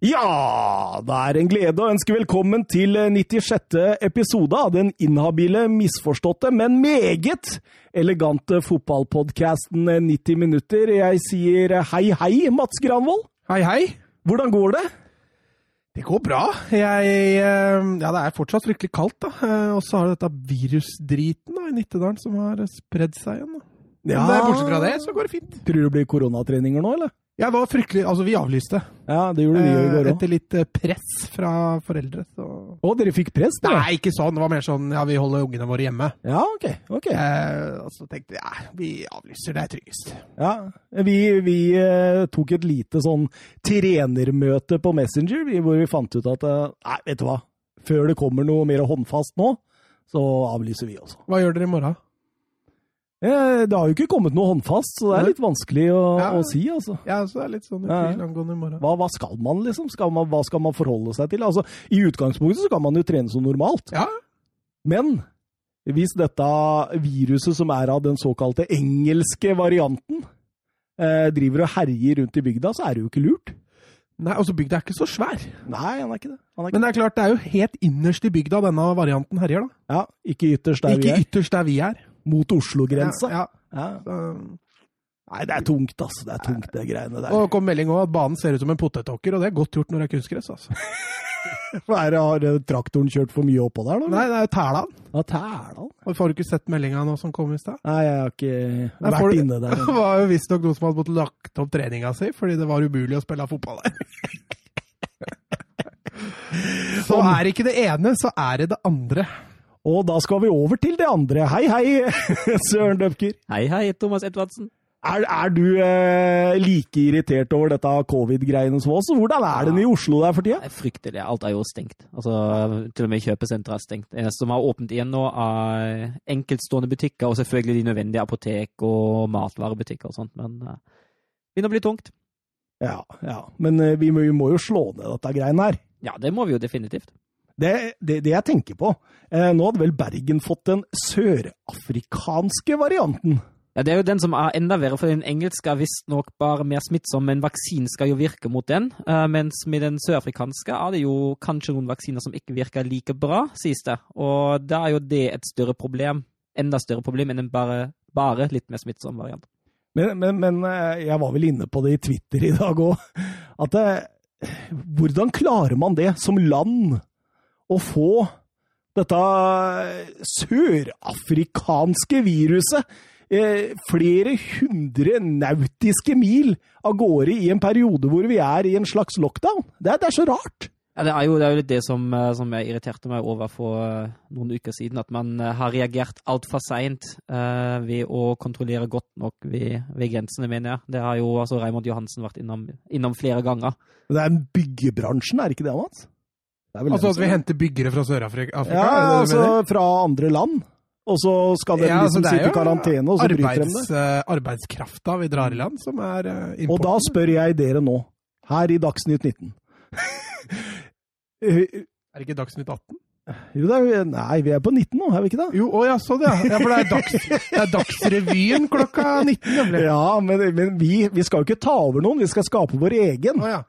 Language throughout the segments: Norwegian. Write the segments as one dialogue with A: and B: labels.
A: Ja, det er en glede å ønske velkommen til 96. episode av den inhabile, misforståtte, men meget elegante fotballpodkasten 90 minutter. Jeg sier eh, hei, hei, Mats Granvold.
B: Hei, hei.
A: Hvordan går det?
B: Det går bra. Jeg, eh, ja, det er fortsatt fryktelig kaldt, da. Eh, Og så har du dette virusdriten da, i Nittedalen som har eh, spredd seg igjen. Da. Men
A: Ja.
B: det er bortsett fra det, så går det fint.
A: Tror du det blir koronatreninger nå, eller?
B: Jeg var fryktelig, altså Vi avlyste
A: Ja, det gjorde vi jo i
B: eh,
A: går òg.
B: etter litt eh, press fra foreldre. Så.
A: Å, dere fikk press, dere?
B: Nei, ikke sånn. Det var mer sånn ja, vi holder ungene våre hjemme.
A: Ja, ok. ok.
B: Eh, og så tenkte jeg ja, vi avlyser, det er tryggest.
A: Ja, Vi, vi eh, tok et lite sånn trenermøte på Messenger, vi- hvor vi fant ut at eh, Nei, vet du hva. Før det kommer noe mer håndfast nå, så avlyser vi også.
B: Hva gjør dere i morgen?
A: Eh, Det har jo ikke kommet noe håndfast, så det er litt vanskelig å,
B: Ja.
A: å si, altså.
B: Ja, så er jeg litt sånn i
A: Ja, ja.
B: tvil angående i morgen.
A: Hva, hva skal man, liksom? Skal man, hva skal man forholde seg til? Altså, I utgangspunktet så kan man jo trene som normalt,
B: Ja,
A: men hvis dette viruset, som er av den såkalte engelske varianten, eh, driver og herjer rundt i bygda, så er det jo ikke lurt.
B: Nei, altså Bygda er ikke så svær.
A: Nei, han er ikke det. Han er ikke
B: Men det er klart, det er jo helt innerst i bygda denne varianten herjer. da.
A: Ja, ikke ytterst der vi
B: Ikke
A: er.
B: ytterst der vi er.
A: Mot Oslo-grensa.
B: Ja,
A: Ja. um,
B: ja.
A: Nei, det er tungt, altså. Det er tungt, det greiene der.
B: Og det kom melding om at banen ser ut som en potetåker, og det er godt gjort når det er kunstgress. altså.
A: er det, har eh, traktoren kjørt for mye oppå der, da?
B: Nei, det er jo Tæland.
A: Ja, tælan.
B: Og Får du ikke sett meldinga nå som kom i stad?
A: Nei, jeg har ikke
B: Nei,
A: vært
B: får du-
A: inne der.
B: Det var jo visstnok noen som hadde måttet lagt opp treninga si fordi det var umulig å spille fotball der. Så
A: Sånn.
B: er ikke det ene, så er det det andre.
A: Og da skal vi over til det andre. Hei, hei, Søren Døpker.
C: Hei, hei, Thomas Edvardsen.
A: Er, er du eh, like irritert over dette covid-greiene som oss? Hvordan er den i Oslo der for tida?
C: Det er fryktelig. Alt er jo stengt. Altså, til og med kjøpesenteret er stengt. Det eneste som har åpent igjen nå, er enkeltstående butikker og selvfølgelig de nødvendige apotek og matvarebutikker og sånt, men eh, det begynner å bli tungt.
A: Ja, ja. Men eh, vi må, vi må jo slå ned dette greiene her.
C: Ja, det må vi jo definitivt.
A: Det, det, det jeg tenker på eh, Nå hadde vel Bergen fått den sørafrikanske varianten.
C: Ja, Det er jo den som er enda verre, for den engelske er visstnok bare mer smittsom, men vaksinen skal jo virke mot den. eh, Mens med den sørafrikanske er det jo kanskje noen vaksiner som ikke virker like bra, sies det. Og da er jo det et større problem. Enda større problem enn en bare, bare litt mer smittsom variant.
A: Men, men, men eh, jeg var vel inne på det i Twitter i dag òg. At eh, hvordan klarer man det som land å få dette eh, sørafrikanske viruset eh, flere hundre nautiske mil av gårde i en periode hvor vi er i en slags lockdown? Det, er- det er så rart.
C: Ja, det er jo, det er jo litt det som, eh, som jeg irriterte meg over for eh, noen uker siden. At man eh, har reagert altfor seint uh, ved å kontrollere godt nok ved, ved grensene, mener jeg. Det har jo altså Raymond Johansen vært innom, innom flere ganger.
A: Men Det er byggebransjen, er det ikke det, Mats? Det er vel
B: Altså
A: den
B: at vi
A: som-
B: henter byggere fra Sør-Afrika? Afrika,
A: ja,
B: er det det du
A: altså
B: mener?
A: fra andre land. Og så skal de
B: Ja, altså,
A: liksom
B: det er
A: sitte i
B: jo
A: karantene, og så bryter de det.
B: arbeids, eh, arbeidskrafta vi drar i land, som er eh,
A: Og
B: importen.
A: da spør jeg dere nå, her i Dagsnytt 19 Eh,
B: Er det ikke Dagsnytt 18?
A: jo, det er, nei, vi er på 19 nå, er vi ikke det?
B: Jo, å ja, så det, ja. ja. For det er, dags, det er Dagsrevyen klokka 19, nemlig.
A: Ja, men, men vi, vi skal jo ikke ta over noen, vi skal skape vår egen.
B: Å ja.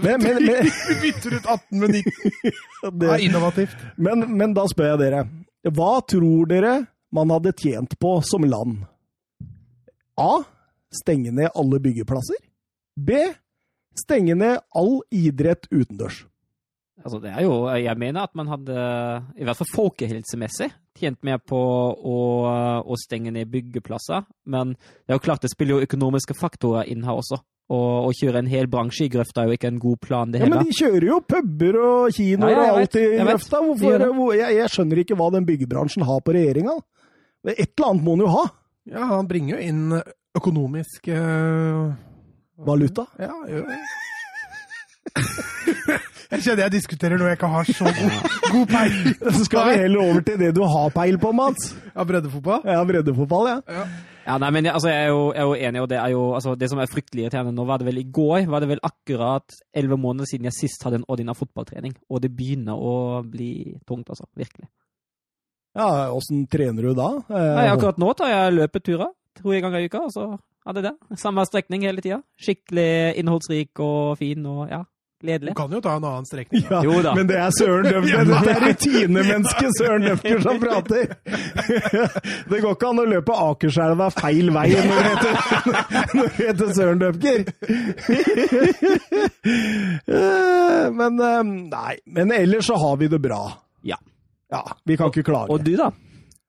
A: Men, men, men,
B: Vi bytter ut 18 med 19. Det er
A: det,
B: innovativt.
A: men, men da spør jeg dere, hva tror dere man hadde tjent på som land? A. Stenge ned alle byggeplasser. B. Stenge ned all idrett utendørs.
C: Altså, det er jo, jeg mener at man hadde, i hvert fall folkehelsemessig, tjent mer på å, å stenge ned byggeplasser. Men det er jo klart, det spiller jo økonomiske faktorer inn her også. Og å kjøre en hel bransje i grøfta er jo ikke en god plan, det
A: Ja, men
C: heller.
A: de kjører jo puber og kinoer
C: Ja, ja, jeg
A: og
C: vet,
A: alt i
C: jeg vet.
A: grøfta. Hvorfor-
C: De gjør det.
A: hvor- Jeg, jeg skjønner ikke hva den byggebransjen har på regjeringa. Men Et eller annet må den jo ha.
B: Ja, han bringer jo inn eh, økonomisk eh,
A: Valuta.
B: Ja, gjør det. Jeg kjenner jeg diskuterer noe jeg ikke har så god, god peiling på.
A: Så skal vi heller over til det du har peil på, Mats.
B: Ja, breddefotball?
A: Ja, breddefotball, ja.
C: Ja, nei, men jeg- altså, jeg, er jo, jeg er jo enig, og det er jo altså, Det som er fryktelig irriterende nå, var det vel i går var det vel akkurat elleve måneder siden jeg sist hadde en ordinær fotballtrening. Og det begynner å bli tungt, altså. Virkelig.
A: Ja, Åssen trener du da? Eh,
C: Nei, akkurat nå tar jeg løpeturer to ganger i uka, og så er det det. Samme strekning hele tida. Skikkelig innholdsrik og fin og ja.
B: Du
C: Gledelig.
B: kan jo ta en annen strekning. da.
A: Ja,
C: Jo da.
A: Men det er Søren Døfker. Dette er rutinemennesket Søren Døfker som prater. Det går ikke an å løpe Akerselva feil vei når du heter, når du heter Søren Døfker. Eh, Men eh, nei. Men ellers så har vi det bra.
C: Ja.
A: Ja, Vi kan ikke klage.
C: Og du, da?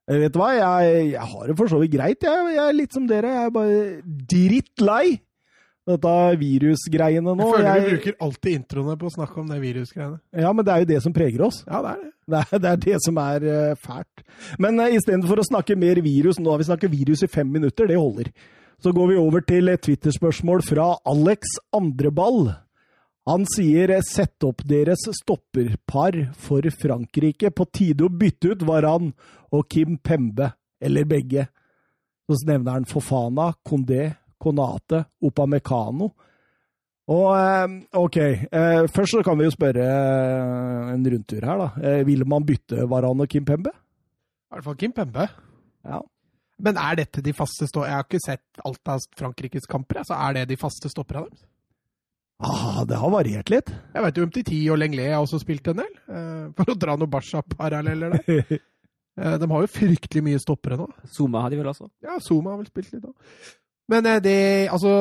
A: Eh, Vet du hva, jeg, jeg har det for så vidt greit. Jeg, jeg er litt som dere. Jeg er bare drittlei dette virusgreiene nå.
B: Jeg føler vi
A: Jeg,
B: bruker alltid introene på å snakke om det virusgreiene.
A: ja, Men det er jo det som preger oss.
B: Ja, det er det.
A: Det er, det er det som er eh, fælt. Men uh, istedenfor å snakke mer virus, nå har vi snakket virus i fem minutter, det holder. Så går vi over til et Twitter-spørsmål fra Alex Andreball. Han sier eh, sett opp deres stopperpar for Frankrike. På tide å bytte ut Varan og Kim Pembe, eller begge. Så nevner han Fofana, Condé, Konate, Opamecano. Og eh, OK, eh, først så kan vi jo spørre eh, en rundtur her, da. Eh, Vil man bytte Varan og Kim Pembe?
B: I hvert fall Kim Pembe.
A: Ja.
B: Men er dette de faste stå... Jeg har ikke sett alt av Frankrikes kamper. Altså, er det de faste stopperne deres?
A: Ah, det har variert litt.
B: Jeg veit jo Umtiti og Lenglet har også spilt en del, eh, for å dra noen Barca-paralleller der. Eh, De har jo fryktelig mye stoppere nå.
C: Zuma har de vel også?
B: Ja, Zuma har vel spilt litt òg. Men eh, det Altså,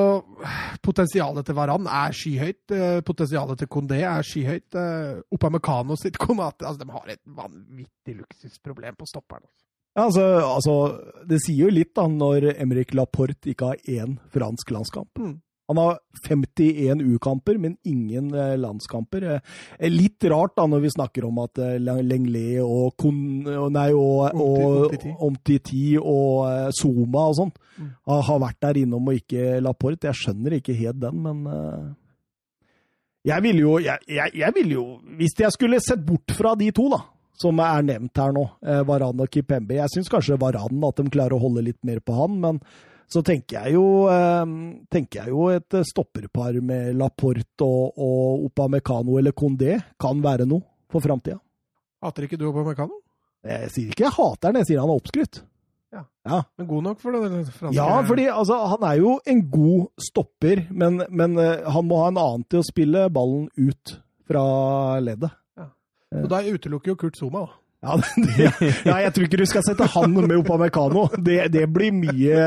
B: potensialet til Varan er skyhøyt. eh, Potensialet til Kondé er skyhøyt. eh, Opamecano sitt Konate Altså, de har et vanvittig luksusproblem på stopperen.
A: Ja, altså, altså, det sier jo litt da, når Emrik Laporte ikke har én fransk landskamp.
B: Mm.
A: Han har 51 U-kamper, men ingen eh, landskamper. Eh, litt rart da, når vi snakker om at eh, Leng- Lenglet og, Kon, og- nei, og, og
B: Omtiti- Omtiti.
A: Omtiti og eh, Zuma og sånn
B: Mm.
A: har- har vært der innom og ikke Laporte. Jeg skjønner ikke helt den, men eh, jeg ville jo, jeg, jeg, jeg ville jo Hvis jeg skulle sett bort fra de to, da, som er nevnt her nå, eh, Varan og Kipembe Jeg syns kanskje Varan, at de klarer å holde litt mer på han, men så tenker jeg jo, eh, tenker jeg jo et eh, stopperpar med Laporte og, og Opamecano eller Condé kan være noe for framtida.
B: Hater ikke du Opamecano?
A: Jeg sier ikke jeg hater han, jeg sier han er oppskrytt.
B: Ja.
A: ja.
B: Men god nok for det den franske
A: Ja, fordi altså, han er jo en god stopper, men, men eh, han må ha en annen til å spille ballen ut fra leddet.
B: Og da utelukker jo Kurt Zuma, da.
A: Ja, det, ja, jeg tror ikke du skal sette han med Opamecano. Det, det blir mye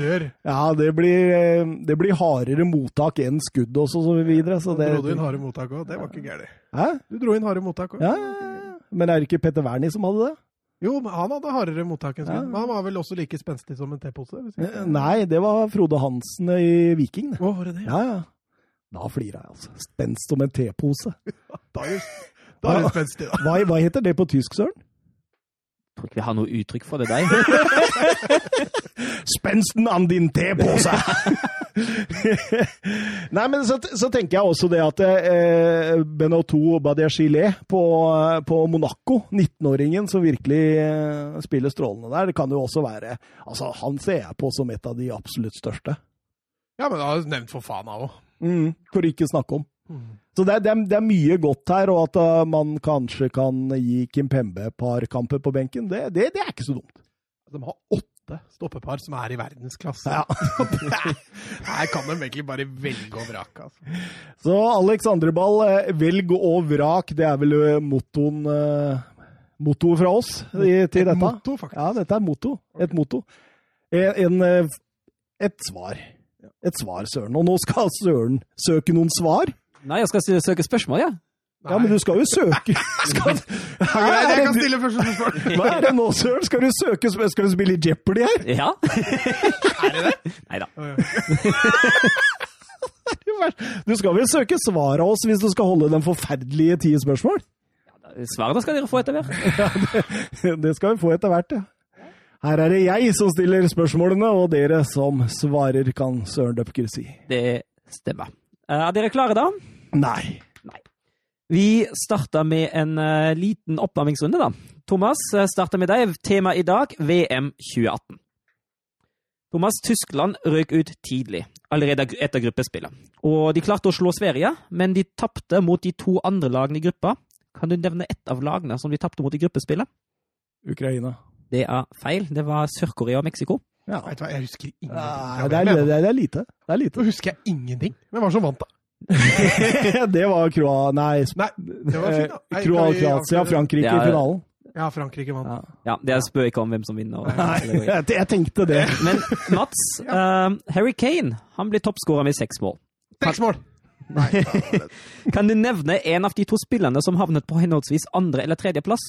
B: Rør.
A: Ja, det blir, eh, det blir hardere mottak enn skudd og så videre. Så
B: Du
A: det,
B: dro inn harde mottak òg. Det var ikke gærent.
A: Hæ?
B: Du dro inn harde mottak òg.
A: Ja, ja, ja. men er det ikke Petter Wernie som hadde det?
B: Jo, men han hadde hardere mottak enn skudd.
A: Ja.
B: Men han var vel også like spenstig som en tepose? hvis ikke-
A: Eh, Nei, det var Frode Hansen i Viking, det.
B: Å, var det det?
A: Ja, ja. Da flirer jeg, altså. Spenst som en tepose.
B: Da er du- da er du spenstig, da.
A: Hva, hva heter det på tysk, Søren?
C: Jeg tror ikke vi har noe uttrykk for det der.
A: spensten an din tepose! Nei, men så, så tenker jeg også det at eh, Benoto Badiachile på, på Monaco, 19-åringen som virkelig eh, spiller strålende der, det kan jo også være Altså, han ser jeg på som et av de absolutt største.
B: Ja, men da har du nevnt for faen av òg.
A: Mm, for ikke å snakke om. Så det er, det, er, det er mye godt her, og at eh, man kanskje kan gi Kim Pembe et par kamper på benken, det, det, det er ikke så dumt.
B: De har åtte stoppepar som er i verdensklasse.
A: Ja.
B: Her kan de egentlig bare velge og vrake. Altså.
A: Så Alex Andreball, eh, velg og vrak, det er vel eh, mottoen eh, mottoet fra oss i, til
B: Et
A: dette?
B: motto, faktisk.
A: Ja, dette er motto. Et motto. En, en, eh, et svar. Et svar, Søren. Og nå skal Søren søke noen svar?
C: Nei, jeg skal si- søke spørsmål, ja.
A: Ja, men du skal jo søke skal,
B: Nei,
A: Hva
B: jeg
A: er
B: kan
A: det,
B: stille første spørsmål.
A: du- hva er det nå, Søren? Skal du søke sp- Skal du spille i Jeopardy her?
C: Ja. er det det? Nei da.
A: Du skal vel søke svar av oss hvis du skal holde den forferdelige ti spørsmål?
C: Svarene skal dere få etter hvert.
A: Det skal vi få etter hvert, ja. Her er det jeg som stiller spørsmålene, og dere som svarer, kan Søren Døpker si.
C: Det stemmer. Eh, Er dere klare, da?
A: Nei.
C: Vi starter med en eh, liten oppvarmingsrunde, da. Thomas, eh, starter med deg. Tema i dag VM 2018. Thomas, Tyskland røk ut tidlig, allerede gr- etter gruppespillet. Og de klarte å slå Sverige, men de tapte mot de to andre lagene i gruppa. Kan du nevne ett av lagene som de tapte mot i gruppespillet?
A: Ukraina.
C: Det er feil. Det var Sør-Korea og Mexico.
A: Ja.
B: Vet du hva, jeg husker ingenting.
A: Nei,
B: fra
A: det er,
B: VM.
A: det, er, det er lite. Det er lite.
B: Nå husker jeg ingenting. Hvem var det som vant, da?
A: det var Kroa... Nei, Sp-
B: Nei, det var fint, da. Nei,
A: Kroa-
B: vi-
A: Kroatia, Frankrike
C: Ja,
A: i
C: det-
A: finalen.
B: Ja, Frankrike vant.
C: Ja, det er spøk om hvem som vinner.
A: Nei, jeg jeg tenkte det.
C: Men Mats, eh, Harry Kane han blir toppskårer med seks mål.
B: Seks mål!
C: Kan du nevne en av de to spillerne som havnet på henholdsvis andre- eller tredjeplass?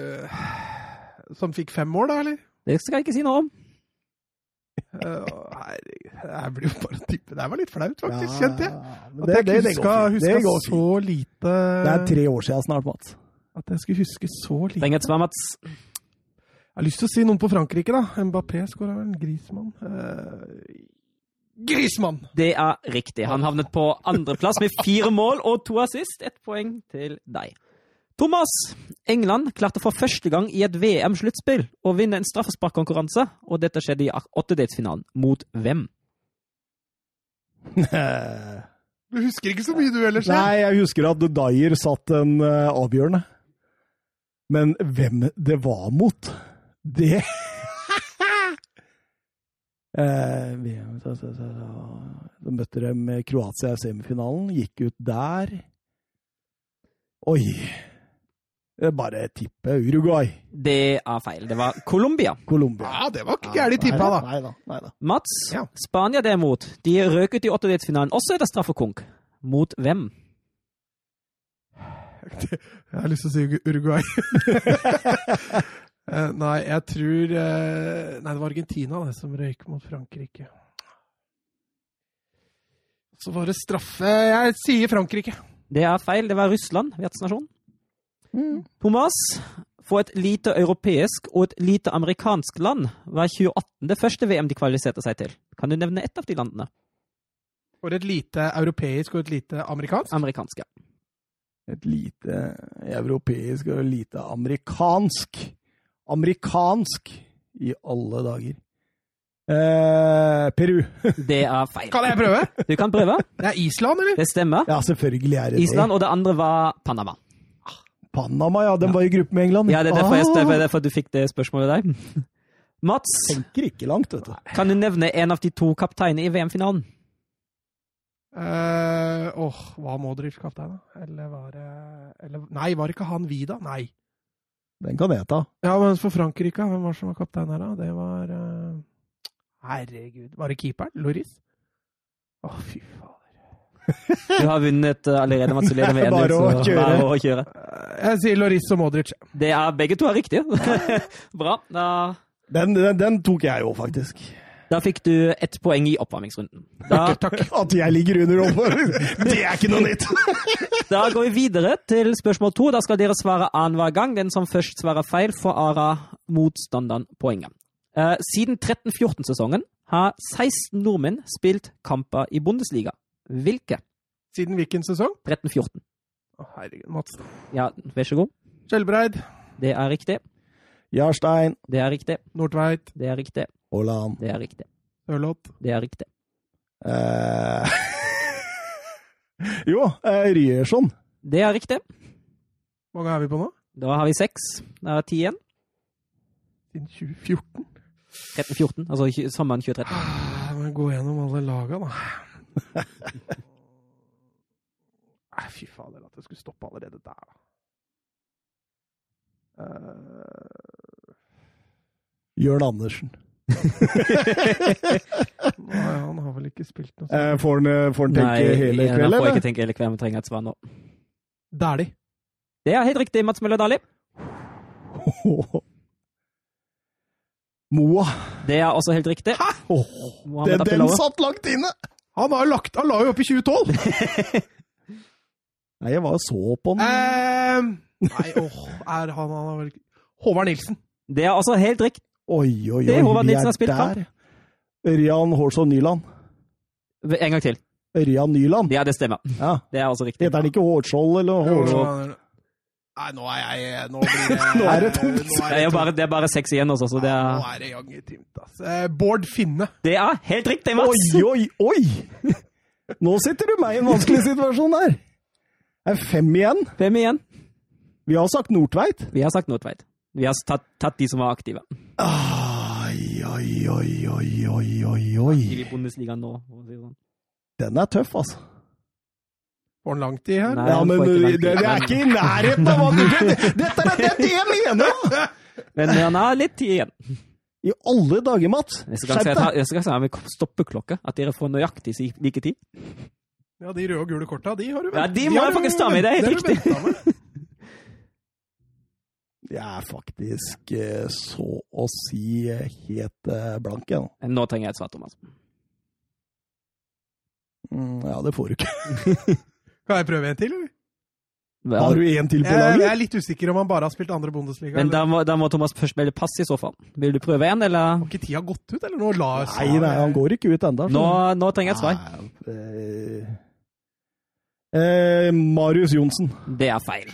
B: Eh, Som fikk fem mål, da, eller?
C: Det skal jeg ikke si noe om.
B: Eh, Herregud, jeg blir jo bare å tippe. Det her var litt flaut, faktisk,
A: Ja,
B: kjente jeg.
A: men
B: At
A: Det,
B: jeg
A: det,
B: ikke
A: det,
B: huska,
A: går fint. det
B: huska
A: går fint.
B: så lite
A: Det er tre år siden snart, Mats.
B: At jeg skulle huske så lite
C: Trenger et svar, Mats.
B: Jeg har lyst til å si noen på Frankrike, da. Mbappé skåra vel en grismann. Eh, grismann!
C: Det er riktig. Han havnet på andreplass med fire mål og to assist. Ett poeng til deg. Thomas, England klarte for første gang i et VM-sluttspill å vinne en straffesparkkonkurranse, og dette skjedde i åttedelsfinalen. Mot hvem?
A: Nei,
B: Du husker ikke så mye, du ellers? ja?
A: jeg husker at Dyer satt en eh, avgjørende. Men hvem det var mot, det Eh, vi- så- så- så- Så møtte de Kroatia i semifinalen, gikk ut der. Oi! Det er Bare tippe Uruguay.
C: Det er feil. Det var Colombia.
A: Colombia.
B: Ja, det var ikke gærent tippa, da.
A: Nei da. Nei da.
C: Mats,
B: Ja.
C: Spania derimot, de røk ut i åttedelsfinalen også etter straffekonk. Mot hvem?
B: Jeg har lyst til å si Ur- Uruguay. Eh, nei, jeg tror eh, Nei, det var Argentina det som røyk mot Frankrike. Så var det straffe Jeg sier Frankrike.
C: Det er feil. Det var Russland, vertsnasjon.
A: Mm.
C: Thomas, for et lite europeisk og et lite amerikansk land var 2018 det første VM de kvalifiserte seg til. Kan du nevne ett av de landene?
B: For et lite europeisk og et lite amerikansk.
C: Amerikanske.
A: et lite europeisk og lite amerikansk. Amerikansk i alle dager. Eh, Peru.
C: Det er feil.
B: Kan jeg prøve?
C: Du kan prøve.
B: Det er Island, eller?
C: Det stemmer.
A: Ja, selvfølgelig er det det.
C: Island, og det andre var Panama.
A: Panama, ja. Den var i gruppe med England.
C: Ja, det er derfor, jeg, det
A: Ah,
C: er derfor du fikk det spørsmålet der. Mats,
A: Tenker ikke langt, vet du.
C: kan du nevne en av de to kapteinene i VM-finalen?
B: Eh, Åh, hva må dere kaptein, da? Eller var det eller, Nei, var det ikke han Vida? Nei.
A: Den kan jeg ta.
B: Ja, men for Frankrike, hvem var det som var kaptein her, da? Det var eh, Herregud, var det keeperen? Loris? Å, fy fader.
C: Du har vunnet eh, allerede, Mats. Du leder med en
A: Bare å
C: så
A: kjøre.
C: Bare å kjøre.
B: Eh, Jeg sier Loris og Modric.
C: Det er begge to er riktige. Bra. Da,
A: Den, den, den tok jeg jo, faktisk.
C: da fikk du ett poeng i oppvarmingsrunden. Da,
A: At jeg ligger under overfor, det er ikke noe nytt!
C: da går vi videre til spørsmål to. Da skal dere svare annenhver gang. Den som først svarer feil, får ara motstanderen poenget. Eh, siden 13-14-sesongen har 16 nordmenn spilt kamper i Bundesliga. Hvilke?
B: Siden hvilken sesong?
C: 13-14.
B: Å, herregud, Mats.
C: Ja, vær så god.
B: Skjelbreid,
C: Det er riktig.
A: Jarstein,
C: Det er riktig.
B: Nordtveit,
C: Det er riktig.
A: Haaland
C: Det er riktig.
B: Ørloth,
C: Det er riktig.
A: eh... Jo, eh, Ryerson.
C: Det er riktig.
B: Hvor mange er vi på nå?
C: Da har vi seks. Da er ti igjen.
B: Siden 2014?
C: 13-14, altså tj- sommeren 2013.
B: Ah, må jeg gå gjennom alle laga, da. Nei, fy fader, at det skulle stoppe allerede der, da. Eh,
A: Jørn Andersen.
B: nei, han har vel ikke spilt noe
A: Eh,
B: sånt.
A: får han eh, får han tenke hele kveld,
C: jeg- da får jeg
A: eller?
C: ikke tenke hele kvelden, vi trenger et svar nå.
B: Dæhlie.
C: Det er helt riktig, Mats Møller Dali.
A: Moa.
C: Det er også helt riktig. Mohamed
A: Det-
C: Abdullawa.
A: satt langt inne!
B: Han, har lagt, han la jo opp i 2012!
A: Nei, jeg var og så på den.
B: Eh, nei, åh, er han, han har vel ikke Håvard Nilsen.
C: Det er også helt riktig.
A: Oi, oi, oi.
C: det er Håvard
A: vi
C: Nilsen har spilt kamp.
A: der. Ørjan Hårsson Nyland.
C: En gang til.
A: Ørjan Nyland.
C: Ja, det stemmer.
A: Ja.
C: Det er også riktig.
A: Heter han ikke Hårskjold eller Hårskjold?
B: Nei, nå er jeg eh, Nå, blir det,
A: Nå er det tomt.
B: Nå
C: Det er jo bare, det er bare seks igjen også, så det
B: Ja,
A: Ah.
C: er,
B: Nå er det jaggu tomt, ass. Eh, Bård Finne.
C: det er helt riktig, Mats!
A: Oi, oi, oi! Nå sitter du meg i en vanskelig situasjon der. Det er fem igjen.
C: Hvem igjen?
A: Vi har sagt Nordtveit.
B: Ah.
C: Vi har sagt Nordtveit. Vi har tatt, tatt de som var aktive.
A: Ai, oi, oi, oi, oi, oi, oi.
C: i Bundesliga nå. for å si det sånn.
A: Den er tøff, altså.
B: Får han langt i her?
C: Nei,
A: Ja,
C: han
A: men
C: får
A: det,
C: ikke langt.
A: det er ikke i nærheten av hva du det- Dette er det jeg mener! da!
C: Men han har litt tid igjen.
A: I alle dager, Mats.
C: Neste gang skal
A: Skjerp
C: jeg ta-
A: deg.
C: neste gang skal jeg ha med stoppeklokke. At dere får nøyaktig si- like tid.
B: Ja, de røde og gule korta, de har du
C: Ja,
B: vel-
C: de må
B: har du
C: jeg faktisk ta med, det er helt
B: har du
C: riktig.
B: ventet med.
A: Jeg er faktisk eh, så å si eh, helt eh, blank, jeg nå.
C: Nå trenger jeg et svar, Thomas.
A: Mm, Ja, det får du ikke.
B: Kan jeg prøve en til, eller?
A: Har du en til på
B: Jeg, jeg
A: laget?
B: er litt usikker om han bare har spilt andre Bundesliga.
C: Men
B: eller-
C: da må, da må Thomas først melde pass i så fall. Vil du prøve en, eller?
B: Har ikke tida gått ut, eller? Nå la
A: Nei, nei, han går ikke ut ennå.
C: Nå, nå trenger jeg et
A: Ah.
C: svar.
A: Eh, Marius Johnsen.
C: Det er feil.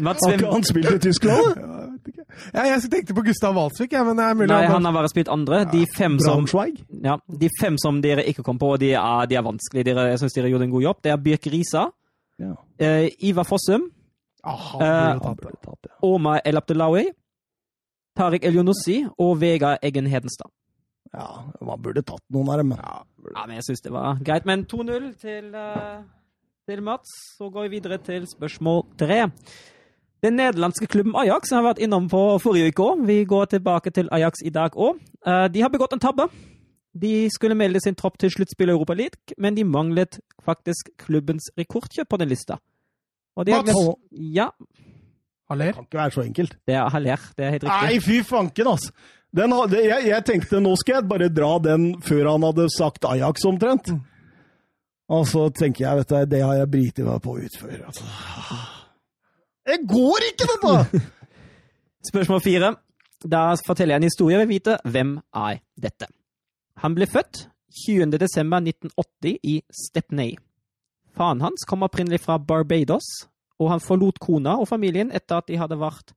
C: Mats,
A: Har
C: hvem
A: ikke han spilt i Tyskland? da?
B: Ja, jeg vet ikke. ja, jeg tenkte på Gustav Walsvik, ja, men det er mulig
C: Nei, han
B: bare-
C: har bare spilt andre. De fem som,
A: Braunschweig?
C: ja, de fem som dere ikke kom på, de er, de er vanskelige. Dere, jeg syns dere gjorde en god jobb. Det er Birk Risa,
A: Ja.
C: eh, Ivar Fossum,
B: ah, han burde jo
C: Eh,
B: tatt det.
A: tatt, ja.
C: Oma El Abdelawi, Tariq Elionussi og Vegard Eggen Hedenstad.
A: ja, man burde tatt noen av dem. men-
C: Ja, men jeg syns det var greit. Men 2-0 til, eh, til Mats. Så går vi videre til spørsmål tre. Den nederlandske klubben Ajax har vært innom på forrige uke òg. Vi går tilbake til Ajax i dag òg. De har begått en tabbe. De skulle melde sin tropp til sluttspill i Europa League, men de manglet faktisk klubbens rekordkjøp på den lista. Og de har
A: Mats!
C: glemt- Ja,
B: Han ler.
A: Det kan ikke være så enkelt.
C: det er Haller. Det er helt riktig.
A: Nei, fy fanken, altså! Den har- det- jeg, jeg tenkte nå skal jeg bare dra den før han hadde sagt Ajax, omtrent. Og så tenker jeg, vet du, det har jeg briti meg på å utføre. Altså. Det går ikke, dette!
C: Spørsmål fire. Da forteller jeg en historie ved vite hvem er dette. Han ble født 20. desember 1980 i Stepney. Faren hans kom opprinnelig fra Barbados, og han forlot kona og familien etter at de hadde vært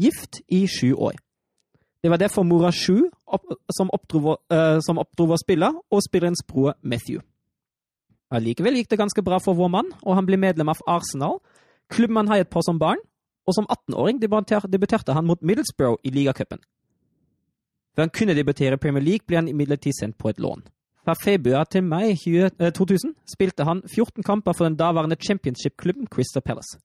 C: gift i sju år. Det var derfor mora Sju opp, som, oppdro, eh, som oppdro å spille, og spillerens bror Matthew. Allikevel gikk det ganske bra for vår mann, og han ble medlem av Arsenal, klubben han heiet på som barn, og som 18-åring debuter- debuterte han mot Middlesbrough i ligacupen. Før han kunne debutere i Premier League, ble han imidlertid sendt på et lån. Fra februar til mai 20, eh, 2000 spilte han 14 kamper for den daværende championship-klubben Crystal Palace.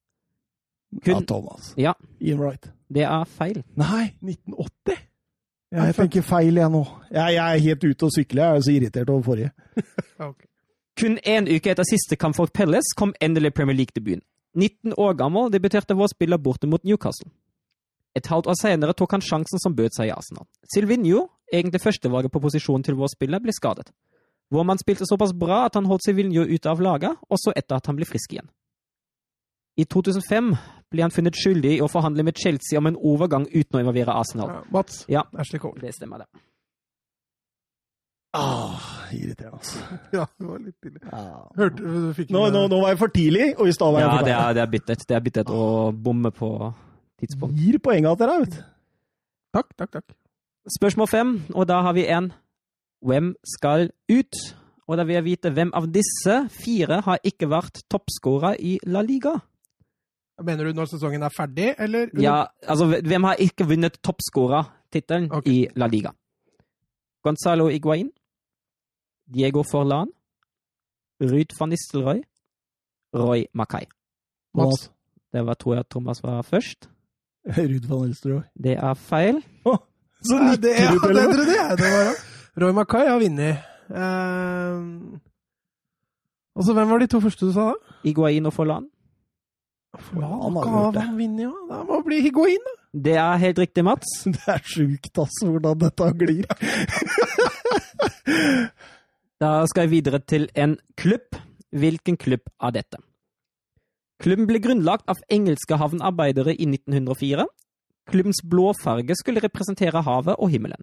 A: Ja,
C: Kun,
A: Thomas.
C: Ja.
A: Ian Wright.
C: det er feil.
A: Nei,
B: 1980?
A: jeg tenker feil, jeg nå. Jeg, jeg er helt ute å sykle. Jeg er så irritert over forrige.
B: Ja, ok.
C: Kun én uke etter siste kamp for Palace kom endelig Premier League-debuten. 19 år gammel debuterte vår spiller borte mot Newcastle. Et halvt år senere tok han sjansen som bød seg i Arsenal. Silvinho, egentlig førstevalget på posisjonen til vår spiller, ble skadet. Vår mann spilte såpass bra at han holdt Silvinho ute av laget, også etter at han ble frisk igjen. I 2005 ble han funnet skyldig i å forhandle med Chelsea om en overgang uten å involvere Arsenal.
B: Ja, Mats.
C: Ja.
B: Ashley Cole.
C: Det stemmer, det.
A: Ah, irriterende, altså.
B: Ja, det var litt tidlig.
A: Ja.
B: Hørte du fikk
A: Nå, nå, nå var jeg for tidlig, og i stad var jeg
C: Ja,
A: for
C: det
A: tidlig.
C: er, det er bittert. Det er bittert å bomme på tidspunkt.
A: Gir poenget til deg, vet du.
B: Takk, takk, takk.
C: Spørsmål fem, og da har vi en Hvem skal ut? Og da vil jeg vite hvem av disse fire har ikke vært toppskårer i La Liga?
B: Mener du når sesongen er ferdig, eller?
C: Ja, altså hvem har ikke vunnet toppskårer-tittelen
B: Ok.
C: i La Liga? Gonzalo Iguain, Diego Forlan, Ruud van Nistelrooy, Roy Mackay.
B: Mats.
C: Det var, tror jeg Thomas var først.
A: Ruud van Elsterøe.
C: Det er feil.
A: Så
B: Nei, det, ja,
A: nikker du til
B: det,
A: eller noe?
B: det, det, det var, det. Roy Mackay har vunnet. Ehm, altså, hvem var de to første du sa da?
C: Iguain og Forlan.
A: Forlan har
B: Hva
A: gjort det.
B: han vinner, ja? Da må det bli Higuain, da.
C: Det er helt riktig, Mats.
A: Det er sjukt, altså, hvordan dette glir.
C: Da skal jeg videre til en klubb. Hvilken klubb er dette? Klubben ble grunnlagt av engelske havnearbeidere i 1904. Klubbens blå farge skulle representere havet og himmelen.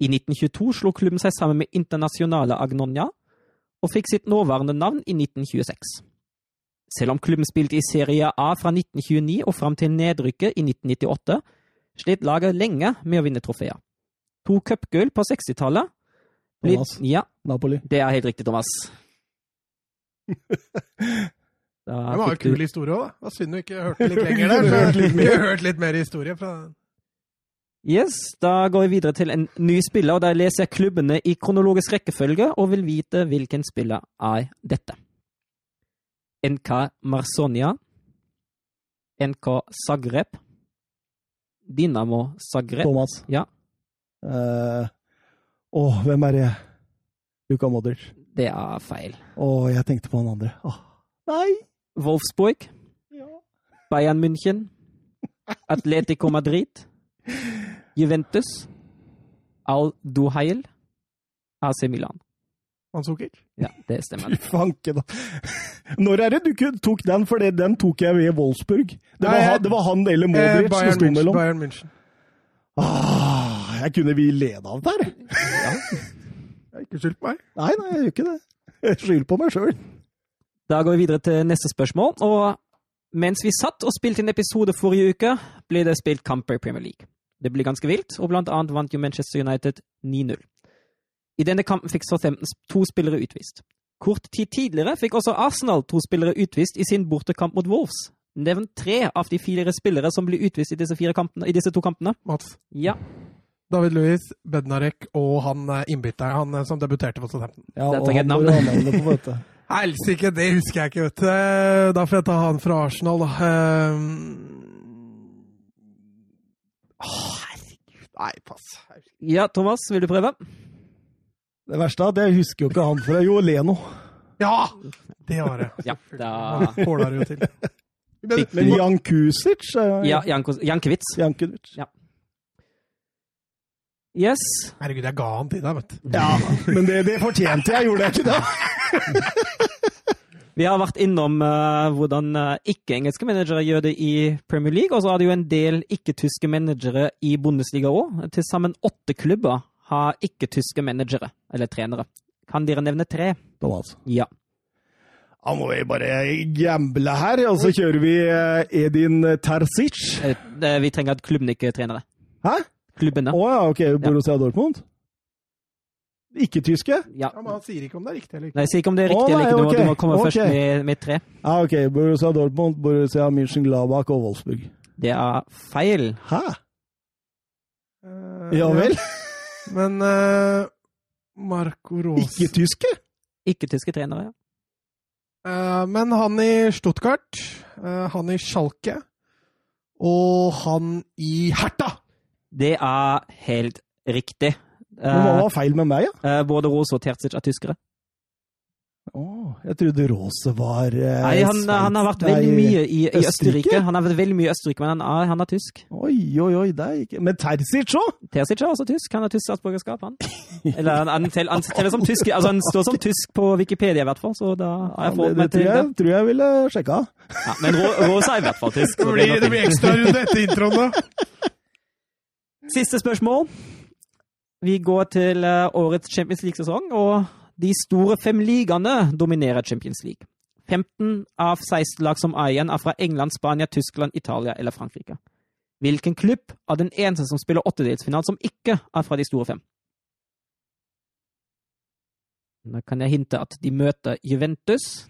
C: I 1922 slo klubben seg sammen med Internasjonale Agnonia, og fikk sitt nåværende navn i 1926. Selv om klubben spilte i Serie A fra 1929 og fram til nedrykket i 1998, slet laget lenge med å vinne trofeer. To cupgull på 60-tallet ble-
A: Thomas.
C: Ja,
A: Napoli.
C: det er helt riktig, Thomas. Da
B: Det var jo
C: fikk du-
B: kul historie òg, da. Det var synd du ikke hørte litt
A: Hørte
B: lenger der.
A: litt- hørte
B: for
A: litt
B: Vi har hørt litt mer historie fra den.
C: Yes, Da går vi videre til en ny spiller, og der leser jeg klubbene i kronologisk rekkefølge og vil vite hvilken spiller er dette. NK Marsonia, NK Zagreb, Dinamo Zagreb
A: Thomas.
C: Ja.
A: Eh, Å, hvem er det? Luka Modric.
C: Det er feil.
A: Å, jeg tenkte på han andre. Åh. Nei!
C: Wolfsburg, Bayern München, Atletico Madrid, Juventus, Al Duhail, AC Milan.
B: Mansukic?
C: Ja, det stemmer.
A: Fanken. Når er det du kun- tok den? For det- den tok jeg ved Wolfsburg. Det var,
B: Nei, jeg-
A: han, det var han eller
B: Eh,
A: Modric det
B: Bayern,
A: sto
B: München,
A: mellom.
B: Bayern München.
A: Ah, jeg kunne vi lede av det her.
B: Ja, Ikke skyld på meg.
A: Nei, nei, jeg gjør ikke det. Jeg skylder på meg sjøl.
C: Da går vi videre til neste spørsmål. Og mens vi satt og spilte en episode forrige uke, ble det spilt kamper i Premier League. Det ble ganske vilt, og blant annet vant jo Manchester United 9-0. I denne kampen fikk Southampton to spillere utvist. Kort tid tidligere fikk også Arsenal to spillere utvist i sin bortekamp mot Wolves. Nevn tre av de fire spillere som ble utvist i disse, fire kampene, i disse to kampene.
B: Mats.
C: Ja,
B: David Louis, Bednarek og han eh, innbytteren han eh, som debuterte for Southampton.
A: Ja,
C: Der
A: og
C: tar jeg
A: han
C: et
A: må
C: navn.
A: du ha navnet på, vet du.
B: Helsike, det husker jeg ikke, vet du. Eh, Da får jeg ta han fra Arsenal, da. Ehm. Eh, Åh, herregud. Nei, pass.
C: ja Thomas, vil du prøve?
A: Det verste er at jeg husker jo ikke han fra Jo Leno.
B: Ja! Det var det.
C: Ja, da...
B: Da får dere jo til. Men,
A: Men Jan Kusic eh,
C: Ja, Janko- Jankiewicz.
A: Jankovic.
C: Yes.
B: herregud, jeg ga han til deg, vet du.
A: Ja, men det, det fortjente jeg, gjorde jeg ikke det?
C: Vi har vært innom eh, hvordan eh, ikke-engelske managere gjør det i Premier League, og så er det jo en del ikke-tyske managere i Bundesliga òg. Til sammen åtte klubber har ikke-tyske managere, eller trenere. Kan dere nevne tre?
A: Thomas.
C: Ja.
A: Da må vi bare gamble her, og så kjører vi eh, Edin Terzic.
C: Eh, eh, Vi trenger at klubben ikke er trenere.
A: Hæ? Å
C: Klubbene.
A: ja, ok. Borussia Dortmund? Ikke-tyske?
C: Ja.
B: Ja, men han sier ikke om det er riktig eller ikke.
C: Nei, si ikke om det er riktig
A: Å, nei,
C: eller ikke. Du må,
A: ok,
C: du må komme
A: ok.
C: først med, med tre.
A: Ja, ok. Borussia Dortmund, Borussia München, Gladbach og Wolfsburg.
C: Det er feil.
A: Hæ?
B: Eh,
A: Ja vel?
B: Men eh, Marco Rose
A: Ikke-tyske?
C: Ikke-tyske trenere. ja.
B: Eh, Men han i Stuttgart, eh, han i Schalke og han i Herta!
C: Det er helt riktig.
A: Men
C: Eh,
A: Hva var feil med meg, ja?
C: eh, både Rose og Terzic er tyskere.
A: Å, jeg trodde Rose var eh,
C: Nei, han,
A: Sveits-
C: han har vært
A: Nei,
C: veldig mye i, i
A: Østerrike?
C: Østerrike. Han har vært veldig mye i Østerrike, men han er, han er tysk.
A: Oi, oi, oi. Det er ikke Men Terzic òg?
C: Terzic er også altså tysk. Han har tysk statsborgerskap, han. Eller han, han, tel, han teller som tysk. Altså, han står som tysk på Wikipedia, i hvert fall, så da
A: Ja,
C: har jeg
A: det,
C: forholdt
A: det
C: meg
A: tror
C: til det.
A: jeg, tror jeg ville sjekka.
C: Ja, men Ro- Rose er i hvert fall tysk. så
B: Det
C: det
B: blir,
C: er
B: det
C: noe
B: blir ekstrarunde etter introen, da.
C: fint. Siste spørsmål. Vi går til eh, årets Champions League-sesong, og de store fem ligaene dominerer Champions League. 15 av 16 lag som er igjen, er fra England, Spania, Tyskland, Italia eller Frankrike. Hvilken klubb er den eneste som spiller åttedelsfinale som ikke er fra de store fem? Da kan jeg hinte at de møter Juventus.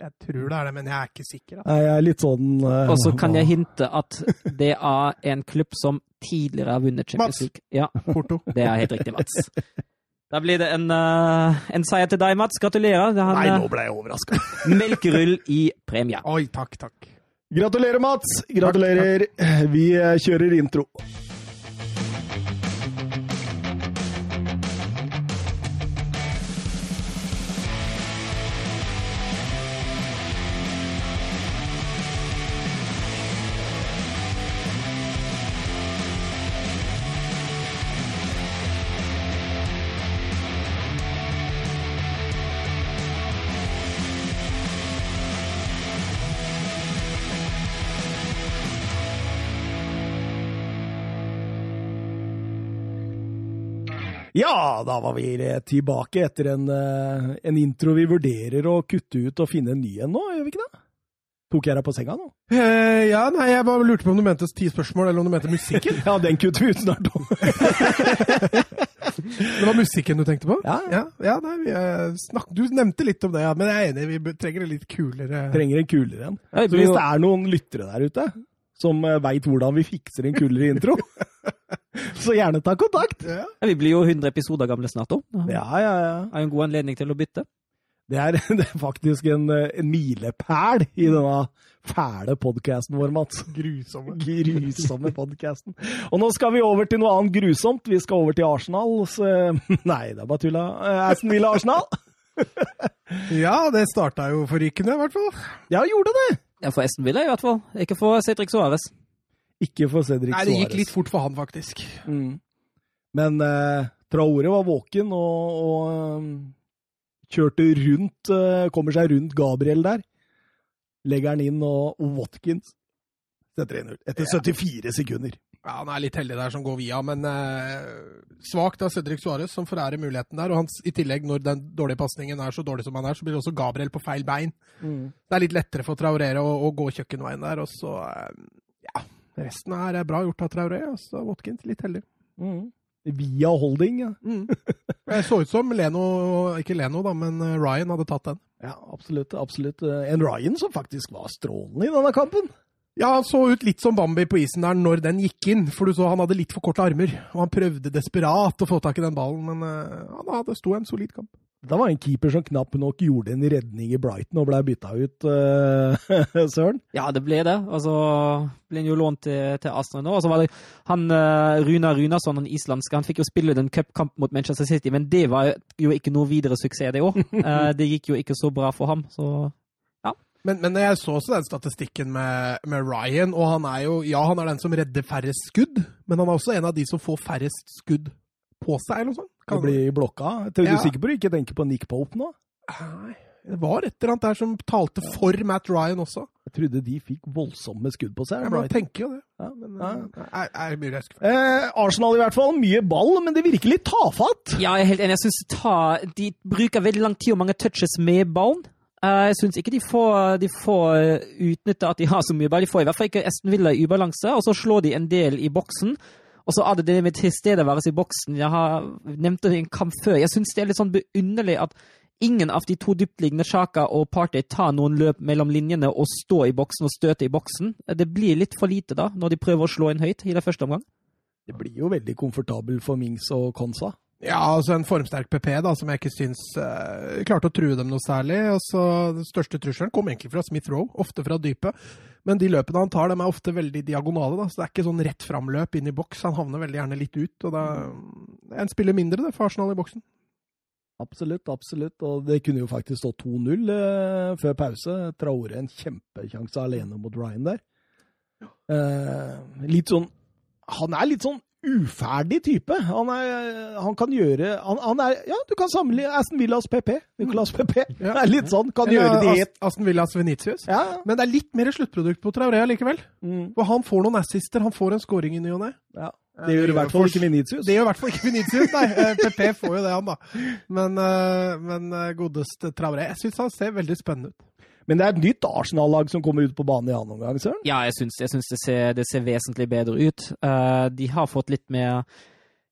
B: Jeg tror det er det, men jeg er ikke sikker. Da.
A: Nei, Jeg er litt sånn eh,
C: Og så kan
A: hva-
C: jeg hinte at det er en klubb som tidligere har vunnet
B: Mats.
C: Champions League. Ja,
B: Porto.
C: det er helt riktig, Mats. Da blir det en, eh, en seier til deg, Mats. Gratulerer. Det er
A: Nei,
C: en
A: nå ble jeg overraska.
C: eh, melkerull i premie.
B: Oi, takk, takk.
A: Gratulerer, Mats! Gratulerer. Vi eh, kjører intro. Ja, da var vi eh, tilbake etter en, eh, en intro vi vurderer å kutte ut og finne en ny en nå, gjør vi ikke det? Tok jeg deg på senga nå?
B: Eh, ja, nei, jeg bare lurte på om du mente ti spørsmål, eller om du mente musikken.
A: Ja, den kutter vi ut snart.
B: Det var musikken du tenkte på?
A: Ja.
B: ja, ja, nei, vi, eh, snakk, du nevnte litt om det, ja, men jeg er enig, vi b- trenger en litt kulere
A: Trenger en kulere en.
C: Ja, det
A: Så
C: blir
A: hvis
C: jo-
A: det er noen lyttere der ute som veit hvordan vi fikser en kulere intro. Så gjerne ta kontakt!
B: Ja.
C: Ja, vi blir jo 100 episoder gamle snart òg. Det
A: Ja, ja, ja.
C: er jo en god anledning til å bytte.
A: Det er, det er faktisk en, eh, en milepæl i denne fæle podkasten vår, Mats.
B: Grusomme.
A: Grusomme podkasten. Og nå skal vi over til noe annet grusomt. Vi skal over til Arsenal. Så, nei, det er bare tulla. Eh, Aston Villa Arsenal?
B: Ja, det starta jo forrykende, i hvert fall.
A: Ja, gjorde det!
C: Ja, for Esten Villa, i hvert fall. Ikke for Cedric Suárez.
A: Ikke for Cedric
B: Nei,
A: Suárez.
B: det gikk litt fort for han, faktisk.
A: Mm. Men eh, Traore var våken og, og eh, kjørte rundt, eh, kommer seg rundt Gabriel der. Legger han inn, og, og Watkins setter 1-0. Etter 74 sekunder.
B: Ja, Han er litt heldig der som går via, men eh, svakt av Cedric Suárez, som forærer muligheten der. Og han, s- i tillegg, når den dårlige pasningen er så dårlig som han er, så blir også Gabriel på feil bein. Det er litt lettere for Traoré å, å gå kjøkkenveien der, og så eh, Ja. Resten er eh, bra gjort av Traoré, og så Watkins litt heldig.
A: Via holding, ja.
B: Mm. Det så ut som Leno, ikke Leno da, men eh, Ryan hadde tatt den.
A: ja absolutt, absolutt. Eh, En Ryan som faktisk var strålende i denne kampen.
B: Ja, han så ut litt som Bambi på isen der når den gikk inn, for du så han hadde litt for korte armer. Og han prøvde desperat å få tak i den ballen, men eh, han hadde sto en solid kamp.
A: Det var en keeper som knapt nok gjorde en redning i Brighton og blei bytta ut, eh, søren.
C: Ja, det ble det. Og så ble han jo lånt til, til Astrid nå. Og så var det han eh, Runa Runason, den islandske, han fikk jo spille den cupkampen mot Manchester City, men det var jo ikke noe videre suksess det år. Eh, det gikk jo ikke så bra for ham, så
B: Men, men jeg så også den statistikken med, med Ryan, og han er jo Ja, han er den som redder færrest skudd, men han er også en av de som får færrest skudd på seg, eller noe sånt.
A: Det
B: Kan-
A: blir blokka. Er du
B: Ja.
A: sikker på du ikke tenker på Nick Pope nå?
B: Nei, det var et eller annet der som talte for Matt Ryan også.
A: Jeg trodde de fikk voldsomme skudd på seg.
B: Jeg bare
A: Brighton.
B: tenker jo det.
A: Ja,
B: Men,
A: ja.
B: eh, er, er mye jeg er skuffet.
A: Eh, Arsenal i hvert fall. Mye ball, men det virker litt tafatt.
C: Ja, jeg er helt enig. Jeg synes det tar, De bruker veldig lang tid og mange touches med ballen. Eh, jeg syns ikke de får, de får utnytta at de har så mye ball. De får i hvert fall ikke Esten Villa i ubalanse, og så slår de en del i boksen. Og så er det det med tilstedeværelse i boksen. Jeg har nevnt det i en kamp før. Jeg syns det er litt sånn beunderlig at ingen av de to dyptliggende Sjaka og Party tar noen løp mellom linjene og står i boksen og støter i boksen. Det blir litt for lite da, når de prøver å slå inn høyt i det første omgang.
A: Det blir jo veldig komfortabel for Mings og Konsa.
B: Ja, altså en formsterk PP da, som jeg ikke syns eh, klarte å true dem noe særlig. Og så Den største trusselen kom egentlig fra Smith Roe, ofte fra dypet. Men de løpene han tar, de er ofte veldig diagonale, da, så det er ikke sånn rett fram-løp inn i boks. Han havner veldig gjerne litt ut, og da det er en spiller mindre det, for Arsenal i boksen.
A: Absolutt, absolutt. Og det kunne jo faktisk stå 2-0 eh, før pause. Traore en kjempekjanse alene mot Ryan der. Eh, litt sånn Han er litt sånn uferdig type. Han, er, han kan gjøre han, han er, Ja, du kan sammenligne Aston Villas PP. Nicolas PP.
B: Ja. altså.
A: Det er litt sånn. Kan gjøre det i ett.
B: Ast- Aston Villas Venitius.
A: Ja.
B: Men det er litt mer sluttprodukt på Traorea likevel.
A: Mm.
B: For han får noen assister, han får en scoring i ny og ne.
A: ja. Det gjør i hvert fall ikke Vinicius.
B: Det gjør i hvert fall ikke Vinicius, nei. Eh, PP får jo det, han da. Men, eh, men eh, godeste Traoré. Jeg syns han ser veldig spennende ut.
A: Men det er et nytt Arsenal-lag som kommer ut på banen i annen omgang, søren.
C: Ja, jeg syns, jeg syns det, ser, det ser vesentlig bedre ut. Eh, de har fått litt mer,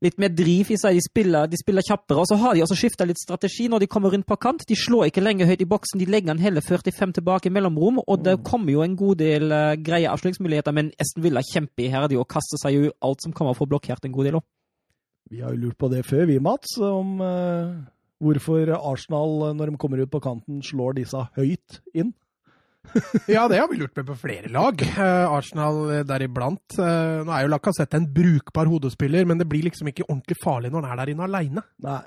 C: litt mer driv i seg. De spiller, de spiller kjappere. Og så har de også skifta litt strategi når de kommer rundt på kant. De slår ikke lenger høyt i boksen, de legger den heller 45 tilbake i mellomrom. Og det kommer jo en god del eh, greie avslutningsmuligheter, men Esten Villa er kjempeiherdig og kaster seg jo alt som kommer, for blokkert en god del òg.
A: Vi har jo lurt på det før, vi, Mats, om eh, hvorfor Arsenal, eh, når de kommer ut på kanten, slår disse høyt inn.
B: Ja, det har vi lurt med på flere lag. Eh, Arsenal eh, deriblant. Eh, nå er jo Lacassette en brukbar hodespiller, men det blir liksom ikke ordentlig farlig når han er der inne aleine.
A: Nei.